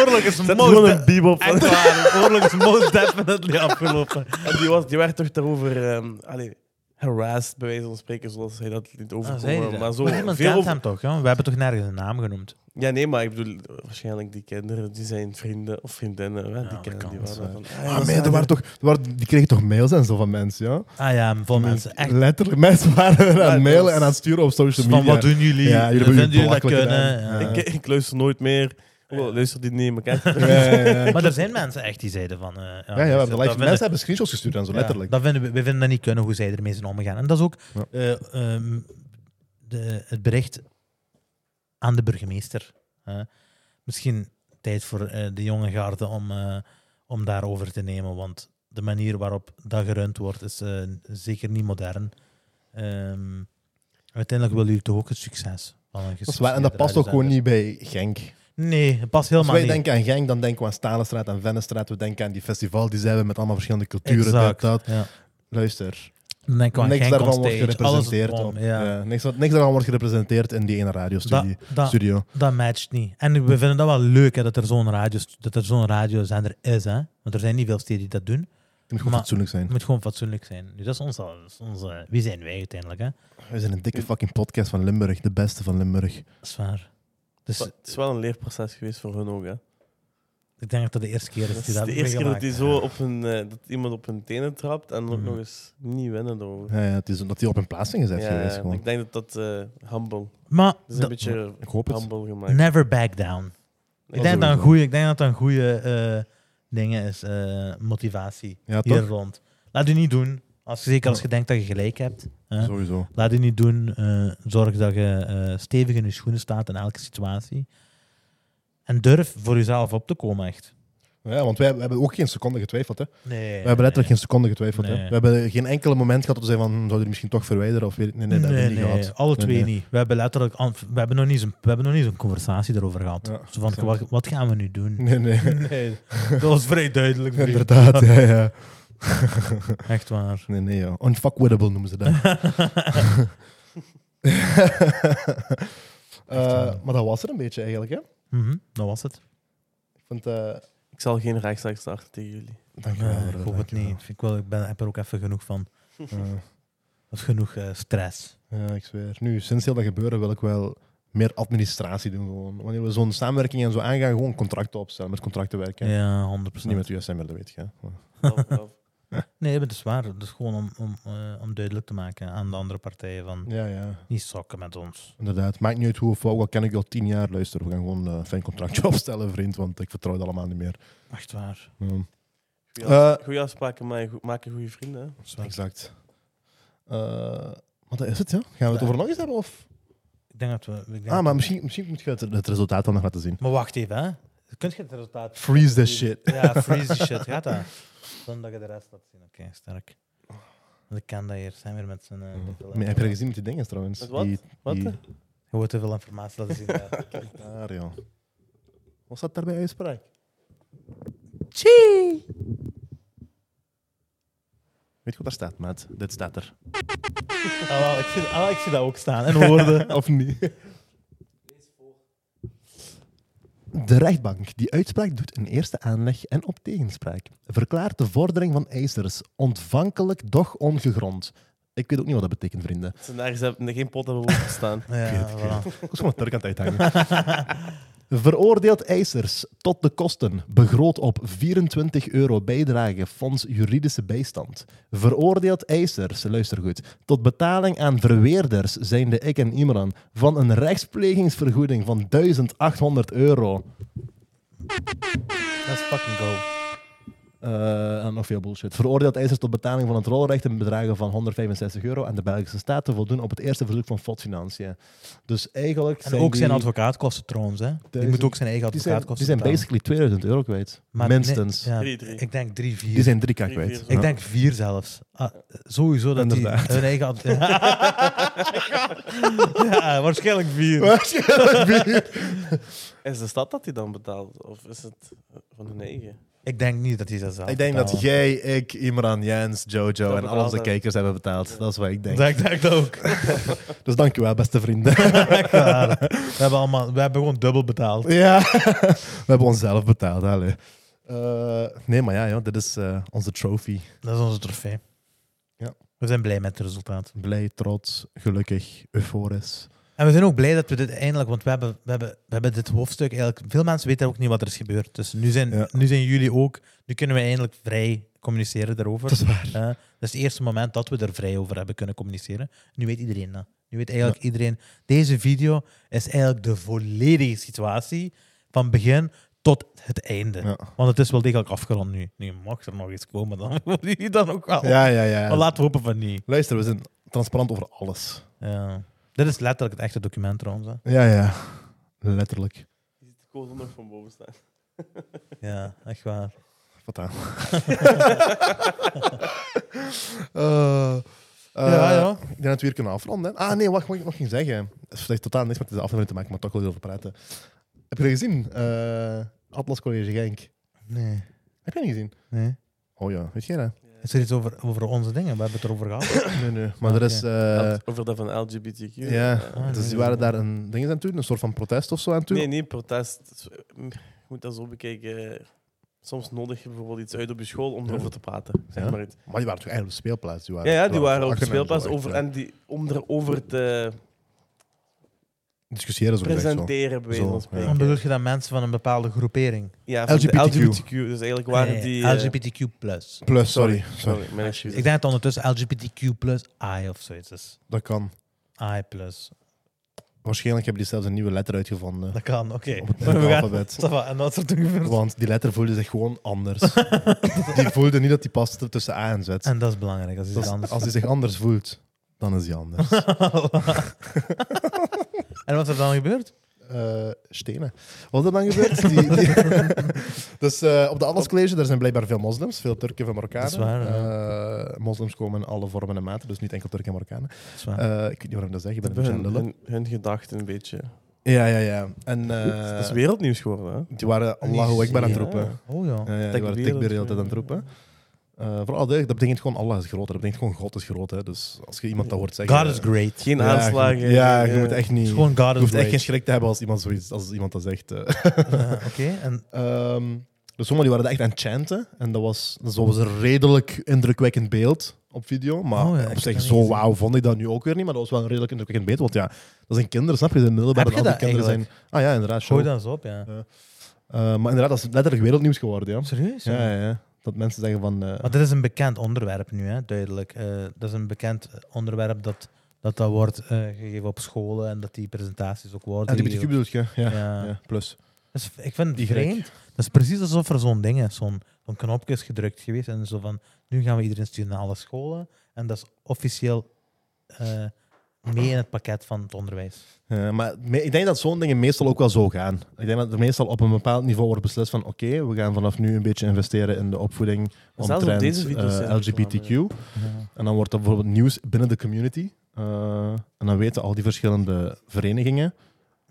Speaker 2: oorlog is most...
Speaker 3: gewoon een bebop van.
Speaker 2: Echt waar, de oorlog is most definitely afgelopen.
Speaker 3: En die, was, die werd toch daarover ehm allee, harassed, bij wijze van spreken, zoals hij dat
Speaker 2: Ah,
Speaker 3: liet overkomen. eh, maar zo
Speaker 2: niemand
Speaker 3: veel
Speaker 2: kent
Speaker 3: over-
Speaker 2: hem toch? Ja? We hebben toch nergens een naam genoemd?
Speaker 3: Ja, nee, maar ik bedoel, waarschijnlijk die kinderen, die zijn vrienden of vriendinnen. hè, die
Speaker 2: dat
Speaker 3: kennen
Speaker 2: kan,
Speaker 3: die
Speaker 2: dat is
Speaker 3: waren
Speaker 2: waar.
Speaker 3: van, ah,
Speaker 1: Ah,
Speaker 3: dat
Speaker 1: man,
Speaker 3: zijn
Speaker 1: er waren toch, er waren, die kregen toch mails en zo van mensen, ja?
Speaker 2: Ah ja, vol mensen. Echt.
Speaker 1: Letterlijk, mensen waren aan
Speaker 3: dat
Speaker 1: het mailen
Speaker 3: was-
Speaker 1: en aan het sturen op social media.
Speaker 2: Van wat doen jullie?
Speaker 1: Ja, jullie hebben
Speaker 2: Vinden
Speaker 1: jullie
Speaker 2: jullie dat
Speaker 1: belachelijk
Speaker 2: kunnen?
Speaker 1: gedaan.
Speaker 2: Ja.
Speaker 3: de- Ik, ik luister nooit meer. Oh, luister die niet, maar kijk.
Speaker 1: Ja, ja, ja.
Speaker 2: Maar er zijn mensen echt die zeiden van... eh, ja,
Speaker 1: Ja, ja, we hebben
Speaker 2: dat
Speaker 1: live-
Speaker 2: vinden-
Speaker 1: mensen hebben screenshots gestuurd en zo,
Speaker 2: ja,
Speaker 1: letterlijk.
Speaker 2: Dat vinden we, we vinden dat niet kunnen, hoe zij ermee zijn omgegaan. En dat is ook
Speaker 1: Ja.
Speaker 2: eh, ehm, de, het bericht aan de burgemeester. hè. misschien tijd voor eh, de jonge garde om, eh, om daarover te nemen, want de manier waarop dat gerund wordt is eh, zeker niet modern. Ehm, uiteindelijk willen jullie toch ook het succes van een
Speaker 1: Dat is waar, en dat past ook gewoon niet bij Genk.
Speaker 2: Nee, het past
Speaker 1: Als
Speaker 2: helemaal
Speaker 1: wij
Speaker 2: niet.
Speaker 1: denken aan Genk, dan denken we aan Stalenstraat en Vennenstraat. We denken aan die festival die zijn we met allemaal verschillende culturen.
Speaker 2: Exact,
Speaker 1: dit, dat.
Speaker 2: ja.
Speaker 1: Luister,
Speaker 2: Dan denken we aan
Speaker 1: niks
Speaker 2: Genk
Speaker 1: daarvan
Speaker 2: on
Speaker 1: wordt
Speaker 2: stage, alles
Speaker 1: gerepresenteerd.
Speaker 2: om,
Speaker 1: op- eh,
Speaker 2: ja.
Speaker 1: ja, niks, wat- niks daarvan wordt gerepresenteerd in die ene radiostudio.
Speaker 2: Dat- dat-
Speaker 1: studio.
Speaker 2: Dat matcht niet. En we vinden dat wel leuk hè, dat er zo'n radio, dat er zo'n radiozender is. Hè? Want er zijn niet veel steden die dat doen.
Speaker 1: Het moet gewoon
Speaker 2: Maar-
Speaker 1: fatsoenlijk zijn.
Speaker 2: Het moet gewoon fatsoenlijk zijn. Nu, dat is ons al, dat is onze, wie zijn wij uiteindelijk? Hè?
Speaker 1: We zijn een dikke fucking podcast van Limburg. De beste van Limburg.
Speaker 2: Dat is waar. Dus
Speaker 3: Het is wel een leerproces geweest voor hun ook. Hè.
Speaker 2: ik denk dat dat de eerste keer is
Speaker 3: Dat is
Speaker 2: die
Speaker 3: de
Speaker 2: dat
Speaker 3: eerste keer dat,
Speaker 2: meegemaakt
Speaker 3: die
Speaker 2: hebben.
Speaker 3: zo op hun, eh, dat iemand op hun tenen trapt en ook
Speaker 2: Mhm.
Speaker 3: nog eens niet winnen daarover.
Speaker 1: Ja, ja, het is omdat die op hun plaatsing is echt geweest.
Speaker 3: Ja,
Speaker 1: Gewoon.
Speaker 3: ik denk dat dat eh, humble.
Speaker 2: Maar
Speaker 3: Dat is een
Speaker 2: dat-
Speaker 3: beetje
Speaker 1: Ik hoop het.
Speaker 3: humble gemaakt.
Speaker 2: never back down. Ik denk, dat een goeie, ik denk dat dat een goede dingen is, eh, motivatie
Speaker 1: Ja,
Speaker 2: hier
Speaker 1: toch?
Speaker 2: rond. Laat u niet doen, als, zeker als je denkt dat je gelijk hebt. hè.
Speaker 1: Sowieso.
Speaker 2: Laat je niet doen. eh, zorg dat je eh, stevig in je schoenen staat in elke situatie. En durf voor jezelf op te komen, echt.
Speaker 1: Ja, want wij, we hebben ook geen seconde getwijfeld. Hè.
Speaker 2: Nee.
Speaker 1: We hebben letterlijk geen seconde getwijfeld. Hè.
Speaker 2: Nee.
Speaker 1: We hebben geen enkele moment gehad dat we zeiden van, hm, zou je die misschien toch verwijderen? Of weet ik- nee, nee, dat
Speaker 2: nee,
Speaker 1: hebben we niet
Speaker 2: nee,
Speaker 1: gehad.
Speaker 2: alle
Speaker 1: Nee,
Speaker 2: twee
Speaker 1: nee.
Speaker 2: niet. We hebben letterlijk... an- We hebben nog niet eens een, we hebben nog niet eens een conversatie erover gehad.
Speaker 1: Ja,
Speaker 2: Zo van, wat, wat gaan we nu doen?
Speaker 1: Nee, nee.
Speaker 2: Nee, dat was vrij duidelijk. vriend.
Speaker 1: Inderdaad, ja, ja.
Speaker 2: Echt waar.
Speaker 1: Nee, nee, ja. Unfuckwittable noemen ze dat. Eh, maar dat was het een beetje eigenlijk, hè?
Speaker 2: Mhm, dat was het.
Speaker 1: Ik vond... eh
Speaker 3: Ik zal geen rechtszaak starten tegen jullie.
Speaker 1: dankjewel.
Speaker 2: Ja,
Speaker 1: Roder,
Speaker 2: ik hoop Eh, het
Speaker 1: dankjewel.
Speaker 2: niet. Vind Ik, wel, ik ben, heb er ook even genoeg van.
Speaker 1: Eh,
Speaker 2: Dat is genoeg eh, stress.
Speaker 1: ja, ik zweer. Nu, sinds heel dat gebeuren wil ik wel meer administratie doen. Gewoon. Wanneer we zo'n samenwerking en zo aangaan, gewoon contracten opstellen, met contracten werken.
Speaker 2: Ja, 100%.
Speaker 1: Dat is niet met USML, dat weet je. hè. Maar-
Speaker 3: Wel, wel.
Speaker 2: Nee, maar dat is waar. Dat is gewoon om, om, eh, om duidelijk te maken aan de andere partijen van
Speaker 1: Ja, ja.
Speaker 2: niet sokken met ons.
Speaker 1: Inderdaad, maakt niet uit hoe of wat, wat ken ik al tien jaar. Luister, we gaan gewoon eh, een fijn contractje opstellen, vriend, want ik vertrouw het allemaal niet meer.
Speaker 2: Echt waar.
Speaker 1: Ja,
Speaker 3: Goeie
Speaker 1: Eh.
Speaker 3: afs- Goeie afspraken maar goed- maken goede vrienden. hè.
Speaker 1: exact. Eh, maar dat is het, ja. Gaan we het over nog eens hebben? Of?
Speaker 2: Ik denk dat we... Ik denk
Speaker 1: Ah, maar misschien, misschien moet je het, het resultaat dan nog laten zien.
Speaker 2: maar wacht even, hè. Kun je het resultaat...
Speaker 1: Freeze this shit.
Speaker 2: Ja, freeze die shit. Gaat dat? Zonder dat je de rest laat zien. Oké, sterk. Want ik kan dat hier. Zijn weer met zijn... eh, te veel-
Speaker 1: Maar heb je dat gezien met die dingen trouwens?
Speaker 3: Met wat?
Speaker 1: Die,
Speaker 3: Wat?
Speaker 1: die-
Speaker 3: hè?
Speaker 2: Je wordt te veel informatie laten zien. ja.
Speaker 1: Daar, ja. Wat staat daar bij uitspraak? Weet je wat daar staat, maat? Dit staat er.
Speaker 2: Ah, wel, ik, zie, ah, wel, ik zie dat ook staan. En woorden.
Speaker 1: of niet? De rechtbank die uitspraak doet in eerste aanleg en op tegenspraak verklaart de vordering van eisers ontvankelijk, doch ongegrond. Ik weet ook niet wat dat betekent, vrienden.
Speaker 3: Ze nergens hebben geen pot hebben over staan.
Speaker 2: Ja, voilà.
Speaker 1: Ik was gewoon een Turk aan het uithangen. Veroordeeld eisers tot de kosten begroot op 24 euro bijdrage Fonds Juridische Bijstand. Veroordeeld eisers, luister goed, tot betaling aan verweerders, zijnde ik en Imran, van een rechtsplegingsvergoeding van 1800 euro.
Speaker 2: Dat is fucking go.
Speaker 1: Eh, en nog veel bullshit. Veroordeeld eisers tot betaling van het rolrecht in bedragen van 165 euro aan de Belgische staat te voldoen op het eerste verzoek van FOD Financiën. Dus eigenlijk
Speaker 2: En ook zijn
Speaker 1: die-
Speaker 2: advocaatkosten trouwens, hè. Die
Speaker 1: Duizend-
Speaker 2: moet ook zijn eigen
Speaker 1: Die zijn,
Speaker 2: advocaatkosten
Speaker 1: die zijn basically
Speaker 2: betalen.
Speaker 1: 2000 euro kwijt.
Speaker 2: Maar nee,
Speaker 1: Minstens.
Speaker 2: ja,
Speaker 3: Drie, drie.
Speaker 2: ik denk drie, vier.
Speaker 1: Die zijn 3k
Speaker 3: Drie,
Speaker 1: kwijt.
Speaker 3: vier,
Speaker 1: Ja.
Speaker 2: Ik denk vier zelfs. Ah, sowieso dat die
Speaker 1: Inderdaad.
Speaker 2: hun eigen... ad- ja, eh, waarschijnlijk vier.
Speaker 3: Is de stad dat die dan betaalt? Of is het eh, van hun eigen?
Speaker 2: Ik denk niet dat hij dat zelf
Speaker 1: Ik denk dat
Speaker 2: betalen.
Speaker 1: jij, ik, Imran, Jens, Jojo en al onze
Speaker 3: betaalde-
Speaker 1: kijkers hebben betaald. Dat is wat ik denk.
Speaker 2: Dat ik denk dat ook.
Speaker 1: Dus dankjewel, beste vrienden.
Speaker 2: Echt waar. we, hebben allemaal, we hebben gewoon dubbel betaald.
Speaker 1: ja, we hebben onszelf betaald. Allee. Eh, nee, maar ja, joh, dit is eh, onze trophy.
Speaker 2: Dat is onze trofee.
Speaker 1: Ja.
Speaker 2: We zijn blij met het resultaat.
Speaker 1: Blij, trots, gelukkig, euforisch.
Speaker 2: En we zijn ook blij dat we dit eindelijk... Want we hebben, we hebben, we hebben dit hoofdstuk eigenlijk... Veel mensen weten ook niet wat er is gebeurd. Dus nu zijn,
Speaker 1: Ja.
Speaker 2: nu zijn jullie ook... Nu kunnen we eindelijk vrij communiceren daarover.
Speaker 1: Dat is waar.
Speaker 2: Eh, dat is het eerste moment dat we er vrij over hebben kunnen communiceren. Nu weet iedereen dat. Nu weet eigenlijk iedereen. Deze video is eigenlijk de volledige situatie van begin tot het einde.
Speaker 1: Ja.
Speaker 2: Want het is wel degelijk afgerond nu. Nu mag er nog iets komen, dan wil je dan ook wel.
Speaker 1: Ja, ja, ja.
Speaker 2: Maar laten we hopen van niet.
Speaker 1: Luister, we zijn transparant over alles.
Speaker 2: Ja. Dit is letterlijk het echte document trouwens. hè.
Speaker 1: Ja, ja. Letterlijk.
Speaker 3: Die ziet de kool nog van boven staan.
Speaker 2: Ja, echt waar.
Speaker 1: Wat aan.
Speaker 2: Ja, ja.
Speaker 1: Eh, Ik denk dat we hier kunnen afronden. hè. Ah nee, wacht, wat ik nog ging zeggen. Het heeft totaal niks met deze aflevering te maken, maar toch wil ik over praten. Heb je dat gezien? Eh, Atlas College Genk.
Speaker 2: Nee.
Speaker 1: Heb je dat niet gezien?
Speaker 2: nee.
Speaker 1: Oh ja, weet je dat?
Speaker 2: Is er iets over, over onze dingen? We hebben het erover gehad.
Speaker 1: Nee, nee. Maar er is... eh,
Speaker 3: Over dat van LGBTQ.
Speaker 1: ja,
Speaker 3: Eh,
Speaker 1: dus die waren daar een ding aan het doen, een soort van protest of zo aan het doen.
Speaker 3: Nee, niet protest. Het is, eh, mm, Je moet dat zo bekijken. Soms nodig je bijvoorbeeld iets uit op je school om erover te praten. Zeg
Speaker 1: Ja.
Speaker 3: maar iets.
Speaker 1: Maar die waren toch eigenlijk op de speelplaats? Die
Speaker 3: Ja,
Speaker 1: waren,
Speaker 3: ja, die waren op de
Speaker 1: vlakken en
Speaker 3: speelplaats
Speaker 1: zo, echt,
Speaker 3: over,
Speaker 1: eh,
Speaker 3: en die, om erover te
Speaker 1: Discussiëren zo gezegd, zo.
Speaker 3: presenteren, bij wijze
Speaker 1: Zo,
Speaker 3: van
Speaker 1: ja.
Speaker 2: Dan
Speaker 3: spreken.
Speaker 2: bedoel je dat mensen van een bepaalde groepering.
Speaker 3: Ja, van de
Speaker 1: LGBTQ.
Speaker 3: LGBTQ. Dus eigenlijk waren
Speaker 2: Nee,
Speaker 3: die... eh,
Speaker 2: LGBTQ+.
Speaker 1: Plus, sorry. sorry.
Speaker 3: sorry, mijn
Speaker 1: eh,
Speaker 3: excuses.
Speaker 2: Ik denk dat ondertussen LGBTQ plus I of zoiets is.
Speaker 1: Dat kan.
Speaker 2: I plus.
Speaker 1: Waarschijnlijk hebben die zelfs een nieuwe letter uitgevonden.
Speaker 2: Dat kan, oké.
Speaker 1: Op het
Speaker 2: Maar we gaan-
Speaker 1: alfabet.
Speaker 2: Ça va, En dat soort dingen gebeurt.
Speaker 1: Want die letter voelde zich gewoon anders. die voelde niet dat die paste tussen A en Z.
Speaker 2: En dat is belangrijk, als is
Speaker 1: Dus
Speaker 2: iets anders.
Speaker 1: als hij zich anders voelt, dan is hij anders.
Speaker 2: en wat is er dan gebeurd?
Speaker 1: Eh, stenen. Wat is er dan gebeurd? Die, die- dus eh, op de Atlas College daar zijn blijkbaar veel moslims, veel Turken en Marokkanen.
Speaker 2: Dat is waar,
Speaker 1: Eh, moslims komen in alle vormen en maten, dus niet enkel Turken en Marokkanen.
Speaker 2: Zwaar.
Speaker 1: Eh, ik weet niet waarom ik dat zeg, ik ben een
Speaker 3: Hebben
Speaker 1: beetje aan
Speaker 3: hun,
Speaker 1: het lullen.
Speaker 3: hun, hun gedachten een beetje.
Speaker 1: Ja, ja, ja. En
Speaker 3: Het is
Speaker 1: eh
Speaker 3: wereldnieuws geworden, hè?
Speaker 1: die waren Allahu Akbar aan het
Speaker 3: Ja.
Speaker 1: roepen.
Speaker 2: oh ja.
Speaker 1: Ja, ja, die waren
Speaker 3: Takbir,
Speaker 1: tikbir de hele
Speaker 3: dat-
Speaker 1: tijd aan het roepen. Eh, vooral duidelijk, dat betekent gewoon Allah is groot. Dat betekent gewoon God is groot. Hè. Dus als je iemand dat hoort zeggen...
Speaker 2: God is great. Het
Speaker 3: Geen
Speaker 1: Ja, je moet-
Speaker 3: aanslagen.
Speaker 1: Ja, je
Speaker 3: geen,
Speaker 1: moet
Speaker 3: eh,
Speaker 1: echt niet...
Speaker 2: is gewoon God
Speaker 1: Je
Speaker 2: is
Speaker 1: hoeft echt
Speaker 2: great.
Speaker 1: geen schrik te hebben als iemand, zoiets, als iemand dat zegt. eh.
Speaker 2: Eh, Oké, en
Speaker 1: Ehm, Dus sommigen die waren dat echt aan het chanten. En dat was, dat was een redelijk indrukwekkend beeld op video. Maar
Speaker 2: Oh ja, ik
Speaker 1: op
Speaker 2: heb
Speaker 1: zich,
Speaker 2: dat
Speaker 1: zo
Speaker 2: niet gezien.
Speaker 1: wauw vond ik dat nu ook weer niet. Maar dat was wel een redelijk indrukwekkend beeld. Want ja, dat zijn kinderen, snap je? De middelbare
Speaker 2: Heb je
Speaker 1: en al die
Speaker 2: dat
Speaker 1: kinderen zijn... Ah ja, inderdaad. show.
Speaker 2: Gooi dat eens op, ja.
Speaker 1: Eh, maar inderdaad, dat is letterlijk wereldnieuws geworden, ja.
Speaker 2: Serieus?
Speaker 1: Ja, ja, ja. Dat mensen zeggen van... eh,
Speaker 2: Maar dit is een bekend onderwerp nu, hè, duidelijk. Eh, dat is een bekend onderwerp dat dat, dat wordt eh, gegeven op scholen en dat die presentaties ook worden.
Speaker 1: LGBTQ
Speaker 2: gegeven.
Speaker 1: bedoel je? Ja, ja.
Speaker 2: Ja.
Speaker 1: plus.
Speaker 2: Dus ik vind
Speaker 1: Die
Speaker 2: het
Speaker 1: gek.
Speaker 2: vreemd. Dat is precies alsof er zo'n ding is, zo'n zo'n knopje is gedrukt geweest en zo van, nu gaan we iedereen sturen naar alle scholen en dat is officieel eh, mee in het pakket van het onderwijs.
Speaker 1: Ja, Eh, maar me- ik denk dat zo'n dingen meestal ook wel zo gaan. Ik denk dat er meestal op een bepaald niveau wordt beslist van oké, we gaan vanaf nu een beetje investeren in de opvoeding
Speaker 3: Zelfs op
Speaker 1: omtrent
Speaker 3: deze video's
Speaker 1: eh,
Speaker 3: zijn er
Speaker 1: LGBTQ.
Speaker 3: reclame,
Speaker 1: En dan wordt dat bijvoorbeeld nieuws binnen de community. eh, en dan weten al die verschillende verenigingen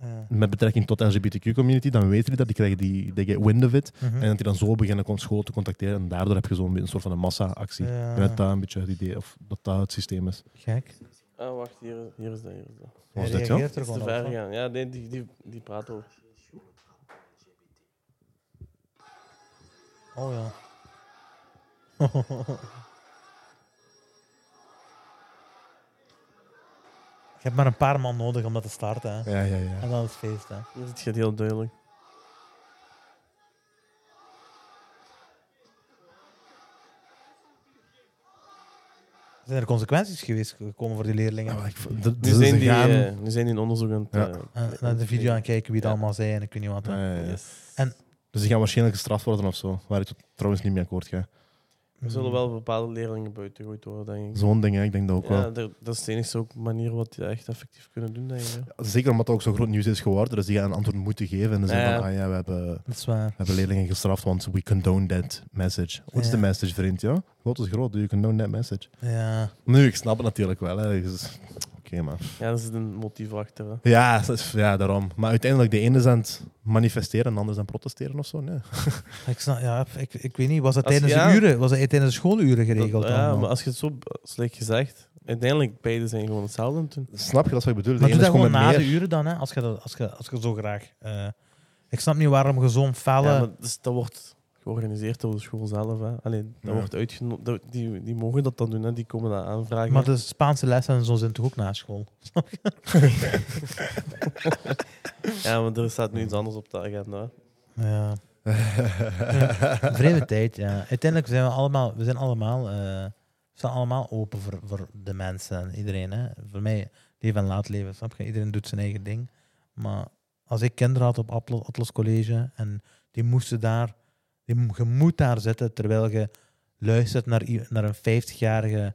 Speaker 2: Ja.
Speaker 1: met betrekking tot LGBTQ-community, dan weten die dat, die krijgen die, die get wind of it.
Speaker 2: Mhm.
Speaker 1: En dat die dan zo beginnen om scholen te contacteren. En daardoor heb je zo'n beetje een soort van een massa-actie.
Speaker 2: Ja.
Speaker 1: Ik denk dat dat een beetje het idee, of dat dat het systeem is.
Speaker 2: Gek.
Speaker 3: Ah, wacht, hier, hier is dat. Hier is dat.
Speaker 1: Was
Speaker 2: Hij
Speaker 1: dit, ja?
Speaker 2: reageert er
Speaker 3: Het is te
Speaker 2: gewoon
Speaker 3: ver
Speaker 2: op, hè.
Speaker 3: gegaan. Ja, nee, die, die, die praat over.
Speaker 2: Oh ja. Je hebt maar een paar man nodig om dat te starten. Hè.
Speaker 1: Ja, ja, ja.
Speaker 2: En dan is het feest. Hè.
Speaker 3: Hier zit je het heel duidelijk.
Speaker 2: Zijn er consequenties geweest gekomen voor die leerlingen?
Speaker 1: Ja, Oh, ik vond- dat-
Speaker 3: Nu
Speaker 1: dat is
Speaker 3: zijn, die,
Speaker 1: gaan-
Speaker 3: eh, nu zijn die in onderzoek aan het...
Speaker 1: Ja.
Speaker 3: eh,
Speaker 2: Eh, naar de video aan kijken wie het allemaal zei en ik weet niet wat. hè.
Speaker 1: Ah, Ja, ja, ja.
Speaker 3: Yes.
Speaker 1: Dus die gaan waarschijnlijk gestraft worden of zo. Waar ik tot- trouwens niet mee akkoord ga.
Speaker 3: Er zullen wel bepaalde leerlingen buiten gegooid worden, denk ik.
Speaker 1: Zo'n ding, hè, ik denk dat ook
Speaker 3: Ja,
Speaker 1: wel.
Speaker 3: daar- dat is de enige ook manier wat die echt effectief kunnen doen, denk ik. hè.
Speaker 1: Zeker omdat het ook zo groot nieuws is geworden. Dus die gaan een antwoord moeten geven. En dan zeggen
Speaker 3: Ja.
Speaker 1: van, ah ja, we hebben, we
Speaker 2: Dat is waar.
Speaker 1: hebben leerlingen gestraft, want we condone that message. Wat is
Speaker 2: Ja.
Speaker 1: de message, vriend? Ja? Groot is groot, you condone that message.
Speaker 2: Ja.
Speaker 1: Nu, ik snap het natuurlijk wel. hè. Dus- Oké, maar...
Speaker 3: Ja, daar zit een motief achter. Hè.
Speaker 1: Ja, dat is- ja, daarom. Maar uiteindelijk, de ene is aan het manifesteren en de ander is aan het protesteren of zo. Nee.
Speaker 2: Ik, snap, ja, ik, ik weet niet, was dat
Speaker 3: Als-
Speaker 2: tijdens
Speaker 3: ja.
Speaker 2: de uren? Was dat tijdens de schooluren geregeld?
Speaker 3: Dat- ja,
Speaker 2: allemaal?
Speaker 3: maar als je het zo b- slecht gezegd... Uiteindelijk, beide zijn gewoon hetzelfde aan het doen.
Speaker 1: Snap je dat is wat ik bedoel? De
Speaker 2: Maar
Speaker 1: ene
Speaker 2: doe
Speaker 1: is
Speaker 2: dat gewoon
Speaker 1: met
Speaker 2: na
Speaker 1: meer.
Speaker 2: de uren dan, hè, als je, dat, als je, als je zo graag... eh, ik snap niet waarom je zo'n felle...
Speaker 3: Ja, maar dus dat wordt georganiseerd door de school zelf. Hè. Allee, dat
Speaker 1: Ja.
Speaker 3: wordt uitgenodigd. Die, die mogen dat dan doen, hè. die komen dat aanvragen.
Speaker 2: Maar de Spaanse lessen en zo zijn toch ook na school?
Speaker 3: Ja, want er staat nu iets anders op de agenda. hè.
Speaker 2: Ja. Vreemde tijd, ja. Uiteindelijk zijn we allemaal, we zijn allemaal, eh, we staan allemaal open voor, voor de mensen en iedereen. Hè. Voor mij, leven en laat leven, snap je? Iedereen doet zijn eigen ding. Maar als ik kinderen had op Atlas, Atlas College en die moesten daar, die, mo- je moet daar zitten terwijl je luistert naar, i- naar een 50-jarige,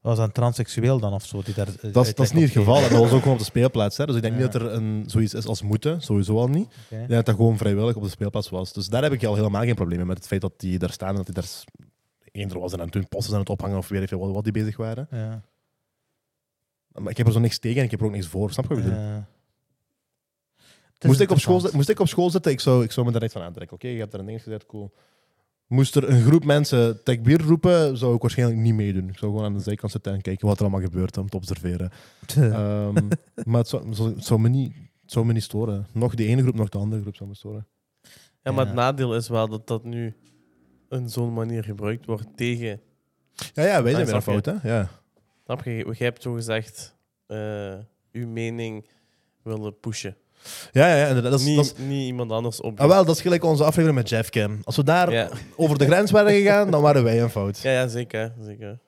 Speaker 2: was dat een transseksueel dan of zo? Die daar, eh,
Speaker 1: Dat, is- dat
Speaker 2: uitleg
Speaker 1: is niet het
Speaker 2: op
Speaker 1: geval.
Speaker 2: geeft?
Speaker 1: hè. Dat was ook gewoon op de speelplaats. Hè. Dus ik denk
Speaker 2: Ja.
Speaker 1: niet dat er een, zoiets is als moeten, sowieso al niet.
Speaker 2: Oké.
Speaker 1: Ik denk dat dat gewoon vrijwillig op de speelplaats was. Dus daar heb ik al helemaal geen probleem mee. Met het feit dat die daar staan en dat die daar s- eender was en aan toen posters aan het ophangen of weet ik veel wat, wat die bezig waren.
Speaker 2: Ja.
Speaker 1: Maar ik heb er zo niks tegen en ik heb er ook niks voor. Snap je wat ik bedoel?
Speaker 2: Eh, het is
Speaker 1: Moest ik, op school,
Speaker 2: interessant.
Speaker 1: zi- moest ik op school zitten, ik zou, ik zou me daar echt van aantrekken. Oké, je hebt daar een ding gezegd, cool. Moest er een groep mensen tekbier roepen, zou ik waarschijnlijk niet meedoen. Ik zou gewoon aan de zijkant zitten en kijken wat er allemaal gebeurt om te observeren. Ehm, maar het zou, het zou- het zou me niet, het zou me niet storen. Nog de ene groep, nog de andere groep zou me storen.
Speaker 3: Ja, maar
Speaker 2: Ja.
Speaker 3: het nadeel is wel dat dat nu in zo'n manier gebruikt wordt tegen.
Speaker 1: Ja, ja wij
Speaker 3: Ja,
Speaker 2: Ah,
Speaker 1: zijn
Speaker 3: snap
Speaker 1: weer aan fout, hè? Ja.
Speaker 3: Snap je? Je hebt zo gezegd eh, uw mening willen pushen.
Speaker 1: Ja, ja, ja, inderdaad. Dat is,
Speaker 3: niet,
Speaker 1: dat is-
Speaker 3: niet iemand anders op.
Speaker 1: ah, wel, dat is gelijk onze aflevering met Jeff Cam. Als we daar
Speaker 3: ja.
Speaker 1: over de grens waren gegaan, dan waren wij aan fout.
Speaker 3: Ja, ja, zeker. zeker.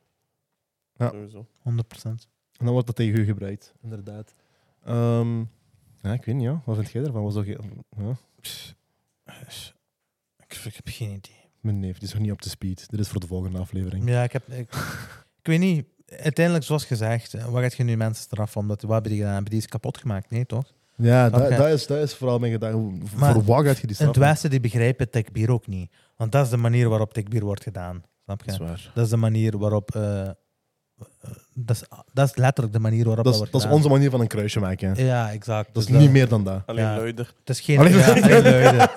Speaker 1: Ja.
Speaker 3: Sowieso.
Speaker 2: 100%.
Speaker 1: En dan wordt dat tegen u gebruikt, inderdaad. Ehm, ja, ik weet niet, ja. wat vind jij ervan? Was dat ge- ja.
Speaker 2: Ik, ik heb geen idee.
Speaker 1: Mijn neef, die is nog niet op de speed. Dit is voor de volgende aflevering.
Speaker 2: Ja, ik, heb, ik, ik weet niet. Uiteindelijk, zoals gezegd, eh, wat gaat je nu mensen straffen? Omdat, wat hebben die gedaan? Hebben die iets kapot gemaakt? Nee, toch?
Speaker 1: Ja, dat,
Speaker 2: Oké.
Speaker 1: dat, is, dat is vooral mijn gedachte. Hoe-
Speaker 2: Maar-
Speaker 1: voor wat gaat je die
Speaker 2: In het
Speaker 1: straffen?
Speaker 2: Westen die begrijpen tekbier ook niet. Want dat is de manier waarop tekbier wordt gedaan. Snap
Speaker 1: Dat is
Speaker 2: je?
Speaker 1: waar.
Speaker 2: Dat is de manier waarop... eh, eh, dat, is, dat is letterlijk de manier waarop
Speaker 1: Dat
Speaker 2: dat,
Speaker 1: is,
Speaker 2: wordt
Speaker 1: dat is
Speaker 2: gedaan.
Speaker 1: onze manier van een kruisje maken. hè.
Speaker 2: Ja, exact.
Speaker 1: Dat is
Speaker 2: Dus
Speaker 1: niet meer dan dat.
Speaker 3: Alleen
Speaker 2: Ja.
Speaker 3: luider.
Speaker 2: Het is geen...
Speaker 1: Alleen-
Speaker 2: ja, alleen luiden.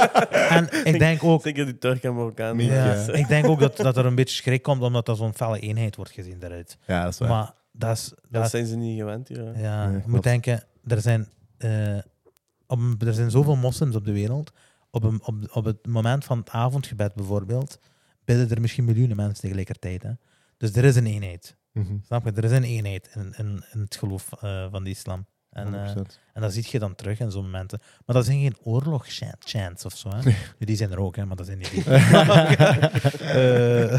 Speaker 2: En ik denk ook...
Speaker 3: Zeker die Turk en Marokkaan.
Speaker 1: Nee.
Speaker 2: Ja,
Speaker 1: Ja.
Speaker 2: Ik denk ook dat, dat er een beetje schrik komt, omdat dat zo'n felle eenheid wordt gezien daaruit.
Speaker 1: Ja, dat is waar.
Speaker 2: Maar dat is...
Speaker 3: Dat
Speaker 2: dat-
Speaker 3: zijn ze niet gewend hier. hè.
Speaker 2: Ja,
Speaker 1: Nee,
Speaker 2: je
Speaker 1: klopt.
Speaker 2: moet denken, er zijn, eh, om, er zijn zoveel moslims op de wereld. op, een, op, op het moment van het avondgebed bijvoorbeeld, bidden er misschien miljoenen mensen tegelijkertijd. Hè? Dus er is een eenheid.
Speaker 1: Mhm.
Speaker 2: Snap je? Er is een eenheid in, in, in het geloof eh, van de islam. En, eh,
Speaker 1: 100%.
Speaker 2: en dat zie je dan terug in zo'n momenten. Maar dat zijn geen oorlogschants of zo. Hè? Nu, die zijn er ook, hè, maar dat zijn niet die. Eh,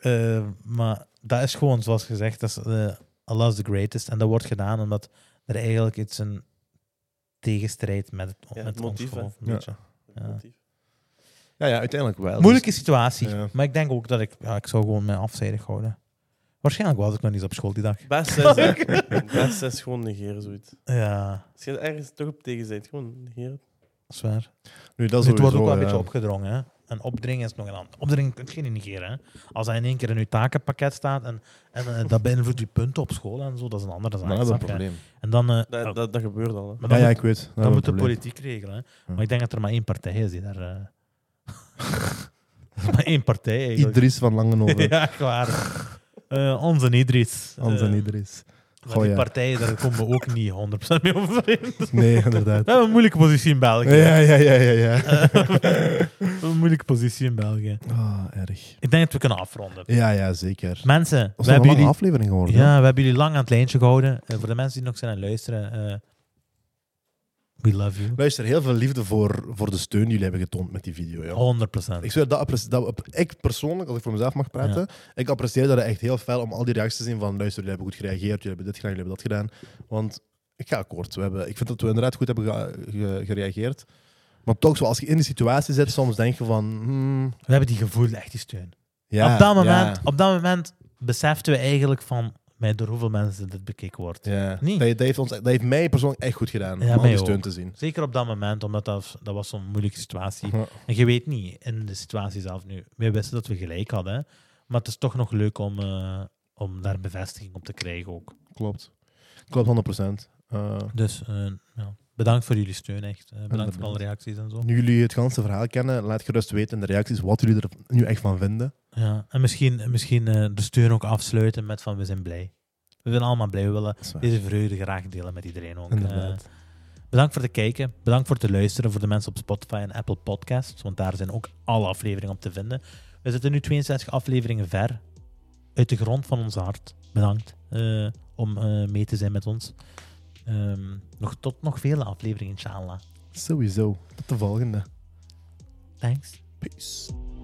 Speaker 2: eh, maar dat is gewoon, zoals gezegd, dat is, eh, Allah is the greatest. En dat wordt gedaan omdat er eigenlijk iets een tegenstrijd met, het,
Speaker 3: het
Speaker 2: met ons
Speaker 3: motief, hè.
Speaker 2: geloof. een
Speaker 1: Ja.
Speaker 2: beetje. Ja.
Speaker 3: Motief.
Speaker 1: Ja, ja, uiteindelijk wel.
Speaker 2: Moeilijke situatie.
Speaker 1: Ja.
Speaker 2: Maar ik denk ook dat ik, ja, ik zou gewoon mij afzijdig houden. Waarschijnlijk was ik nog niet op school die dag.
Speaker 3: Best is, hè. Best is gewoon negeren, zoiets.
Speaker 2: Ja,
Speaker 3: Als je ergens toch op tegen bent, gewoon negeren.
Speaker 2: dat is waar.
Speaker 1: Dus, nu, dat
Speaker 2: Het wordt ook wel
Speaker 1: sowieso,
Speaker 2: een beetje
Speaker 1: ja.
Speaker 2: opgedrongen. Hè? En opdringen is nog een ander. Opdringen kun je niet negeren. Hè? Als hij in één keer in uw takenpakket staat en, en eh, dat beïnvloedt je punten op school en zo, dat is een andere zaak.
Speaker 1: Maar Nou, dat is een
Speaker 2: snap je?
Speaker 1: probleem.
Speaker 2: En dan, eh,
Speaker 3: Dat,
Speaker 2: oh,
Speaker 3: dat, dat gebeurt al. Hè.
Speaker 2: maar
Speaker 1: Ja,
Speaker 2: dan
Speaker 1: ja,
Speaker 2: moet,
Speaker 1: ik weet. Dat is
Speaker 2: dan
Speaker 1: een
Speaker 2: moet de
Speaker 1: probleem.
Speaker 2: politiek regelen. Hè? Maar ik denk dat er maar één partij is die daar. eh, maar één partij eigenlijk.
Speaker 1: Idris van Langenhoven.
Speaker 2: ja, echt waar. Eh, onze Idris.
Speaker 1: Anders dan
Speaker 2: Eh,
Speaker 1: Idris.
Speaker 2: maar
Speaker 1: Goh,
Speaker 2: die
Speaker 1: ja.
Speaker 2: partijen, daar komen we ook niet 100% mee overeen. We
Speaker 1: Nee, inderdaad.
Speaker 2: hebben een moeilijke positie in België.
Speaker 1: Ja, ja, ja, ja. ja.
Speaker 2: Eh. Een moeilijke positie in België.
Speaker 1: Ah, erg.
Speaker 2: Ik denk dat we kunnen afronden.
Speaker 1: Ja, ja, zeker.
Speaker 2: Mensen,
Speaker 1: Was
Speaker 2: we
Speaker 1: dat een
Speaker 2: hebben,
Speaker 1: lange
Speaker 2: jullie,
Speaker 1: aflevering geworden? hè?
Speaker 2: ja, we hebben jullie lang aan het lijntje gehouden. Eh, voor de mensen die nog zijn aan het luisteren, eh, we love you.
Speaker 1: Luister, heel veel liefde voor, voor de steun die jullie hebben getoond met die video. Ja.
Speaker 2: 100%.
Speaker 1: Ik zweer, dat apprecie- dat, ik persoonlijk, als ik voor mezelf mag praten, ik apprecieer dat echt heel fel om al die reacties te zien van luister, jullie hebben goed gereageerd, jullie hebben dit gedaan, jullie hebben dat gedaan. Want ik ga akkoord. We hebben, ik vind dat we inderdaad goed hebben ge- ge- gereageerd. Maar toch, zo, als je in die situatie zit, soms denk je van... hmm,
Speaker 2: We hebben die gevoel, echt die steun.
Speaker 1: ja,
Speaker 2: op, dat moment,
Speaker 1: ja,
Speaker 2: op dat moment beseften we eigenlijk van mij door hoeveel mensen dit bekeken wordt.
Speaker 1: ja.
Speaker 2: Niet.
Speaker 1: Dat, dat heeft ons, dat heeft mij persoonlijk echt goed gedaan,
Speaker 2: Ja,
Speaker 1: om al
Speaker 2: mij
Speaker 1: die steun
Speaker 2: ook.
Speaker 1: te zien.
Speaker 2: Zeker op dat moment, omdat dat, dat was zo'n moeilijke situatie.
Speaker 1: Ja.
Speaker 2: En je weet niet in de situatie zelf nu. We wisten dat we gelijk hadden, hè. maar het is toch nog leuk om, eh, om daar bevestiging op te krijgen ook.
Speaker 1: Klopt. Klopt, 100%. Eh
Speaker 2: Dus eh, ja. bedankt voor jullie steun, echt. Eh, bedankt voor
Speaker 1: Inderdaad.
Speaker 2: alle reacties en zo.
Speaker 1: nu jullie het ganse verhaal kennen, laat gerust weten in de reacties wat jullie er nu echt van vinden.
Speaker 2: Ja. En misschien, misschien eh, de steun ook afsluiten met van we zijn blij. We zijn allemaal blij. We willen
Speaker 1: Dat is waar.
Speaker 2: deze vreugde graag delen met iedereen ook.
Speaker 1: Inderdaad.
Speaker 2: Eh, bedankt voor het kijken. Bedankt voor het luisteren. Voor de mensen op Spotify en Apple Podcasts. Want daar zijn ook alle afleveringen op te vinden. We zitten nu 62 afleveringen ver. Uit de grond van ons hart. Bedankt eh, om eh, mee te zijn met ons. Ehm, nog, tot nog vele afleveringen, inshallah.
Speaker 1: Sowieso. Tot de volgende.
Speaker 2: Thanks.
Speaker 1: Peace.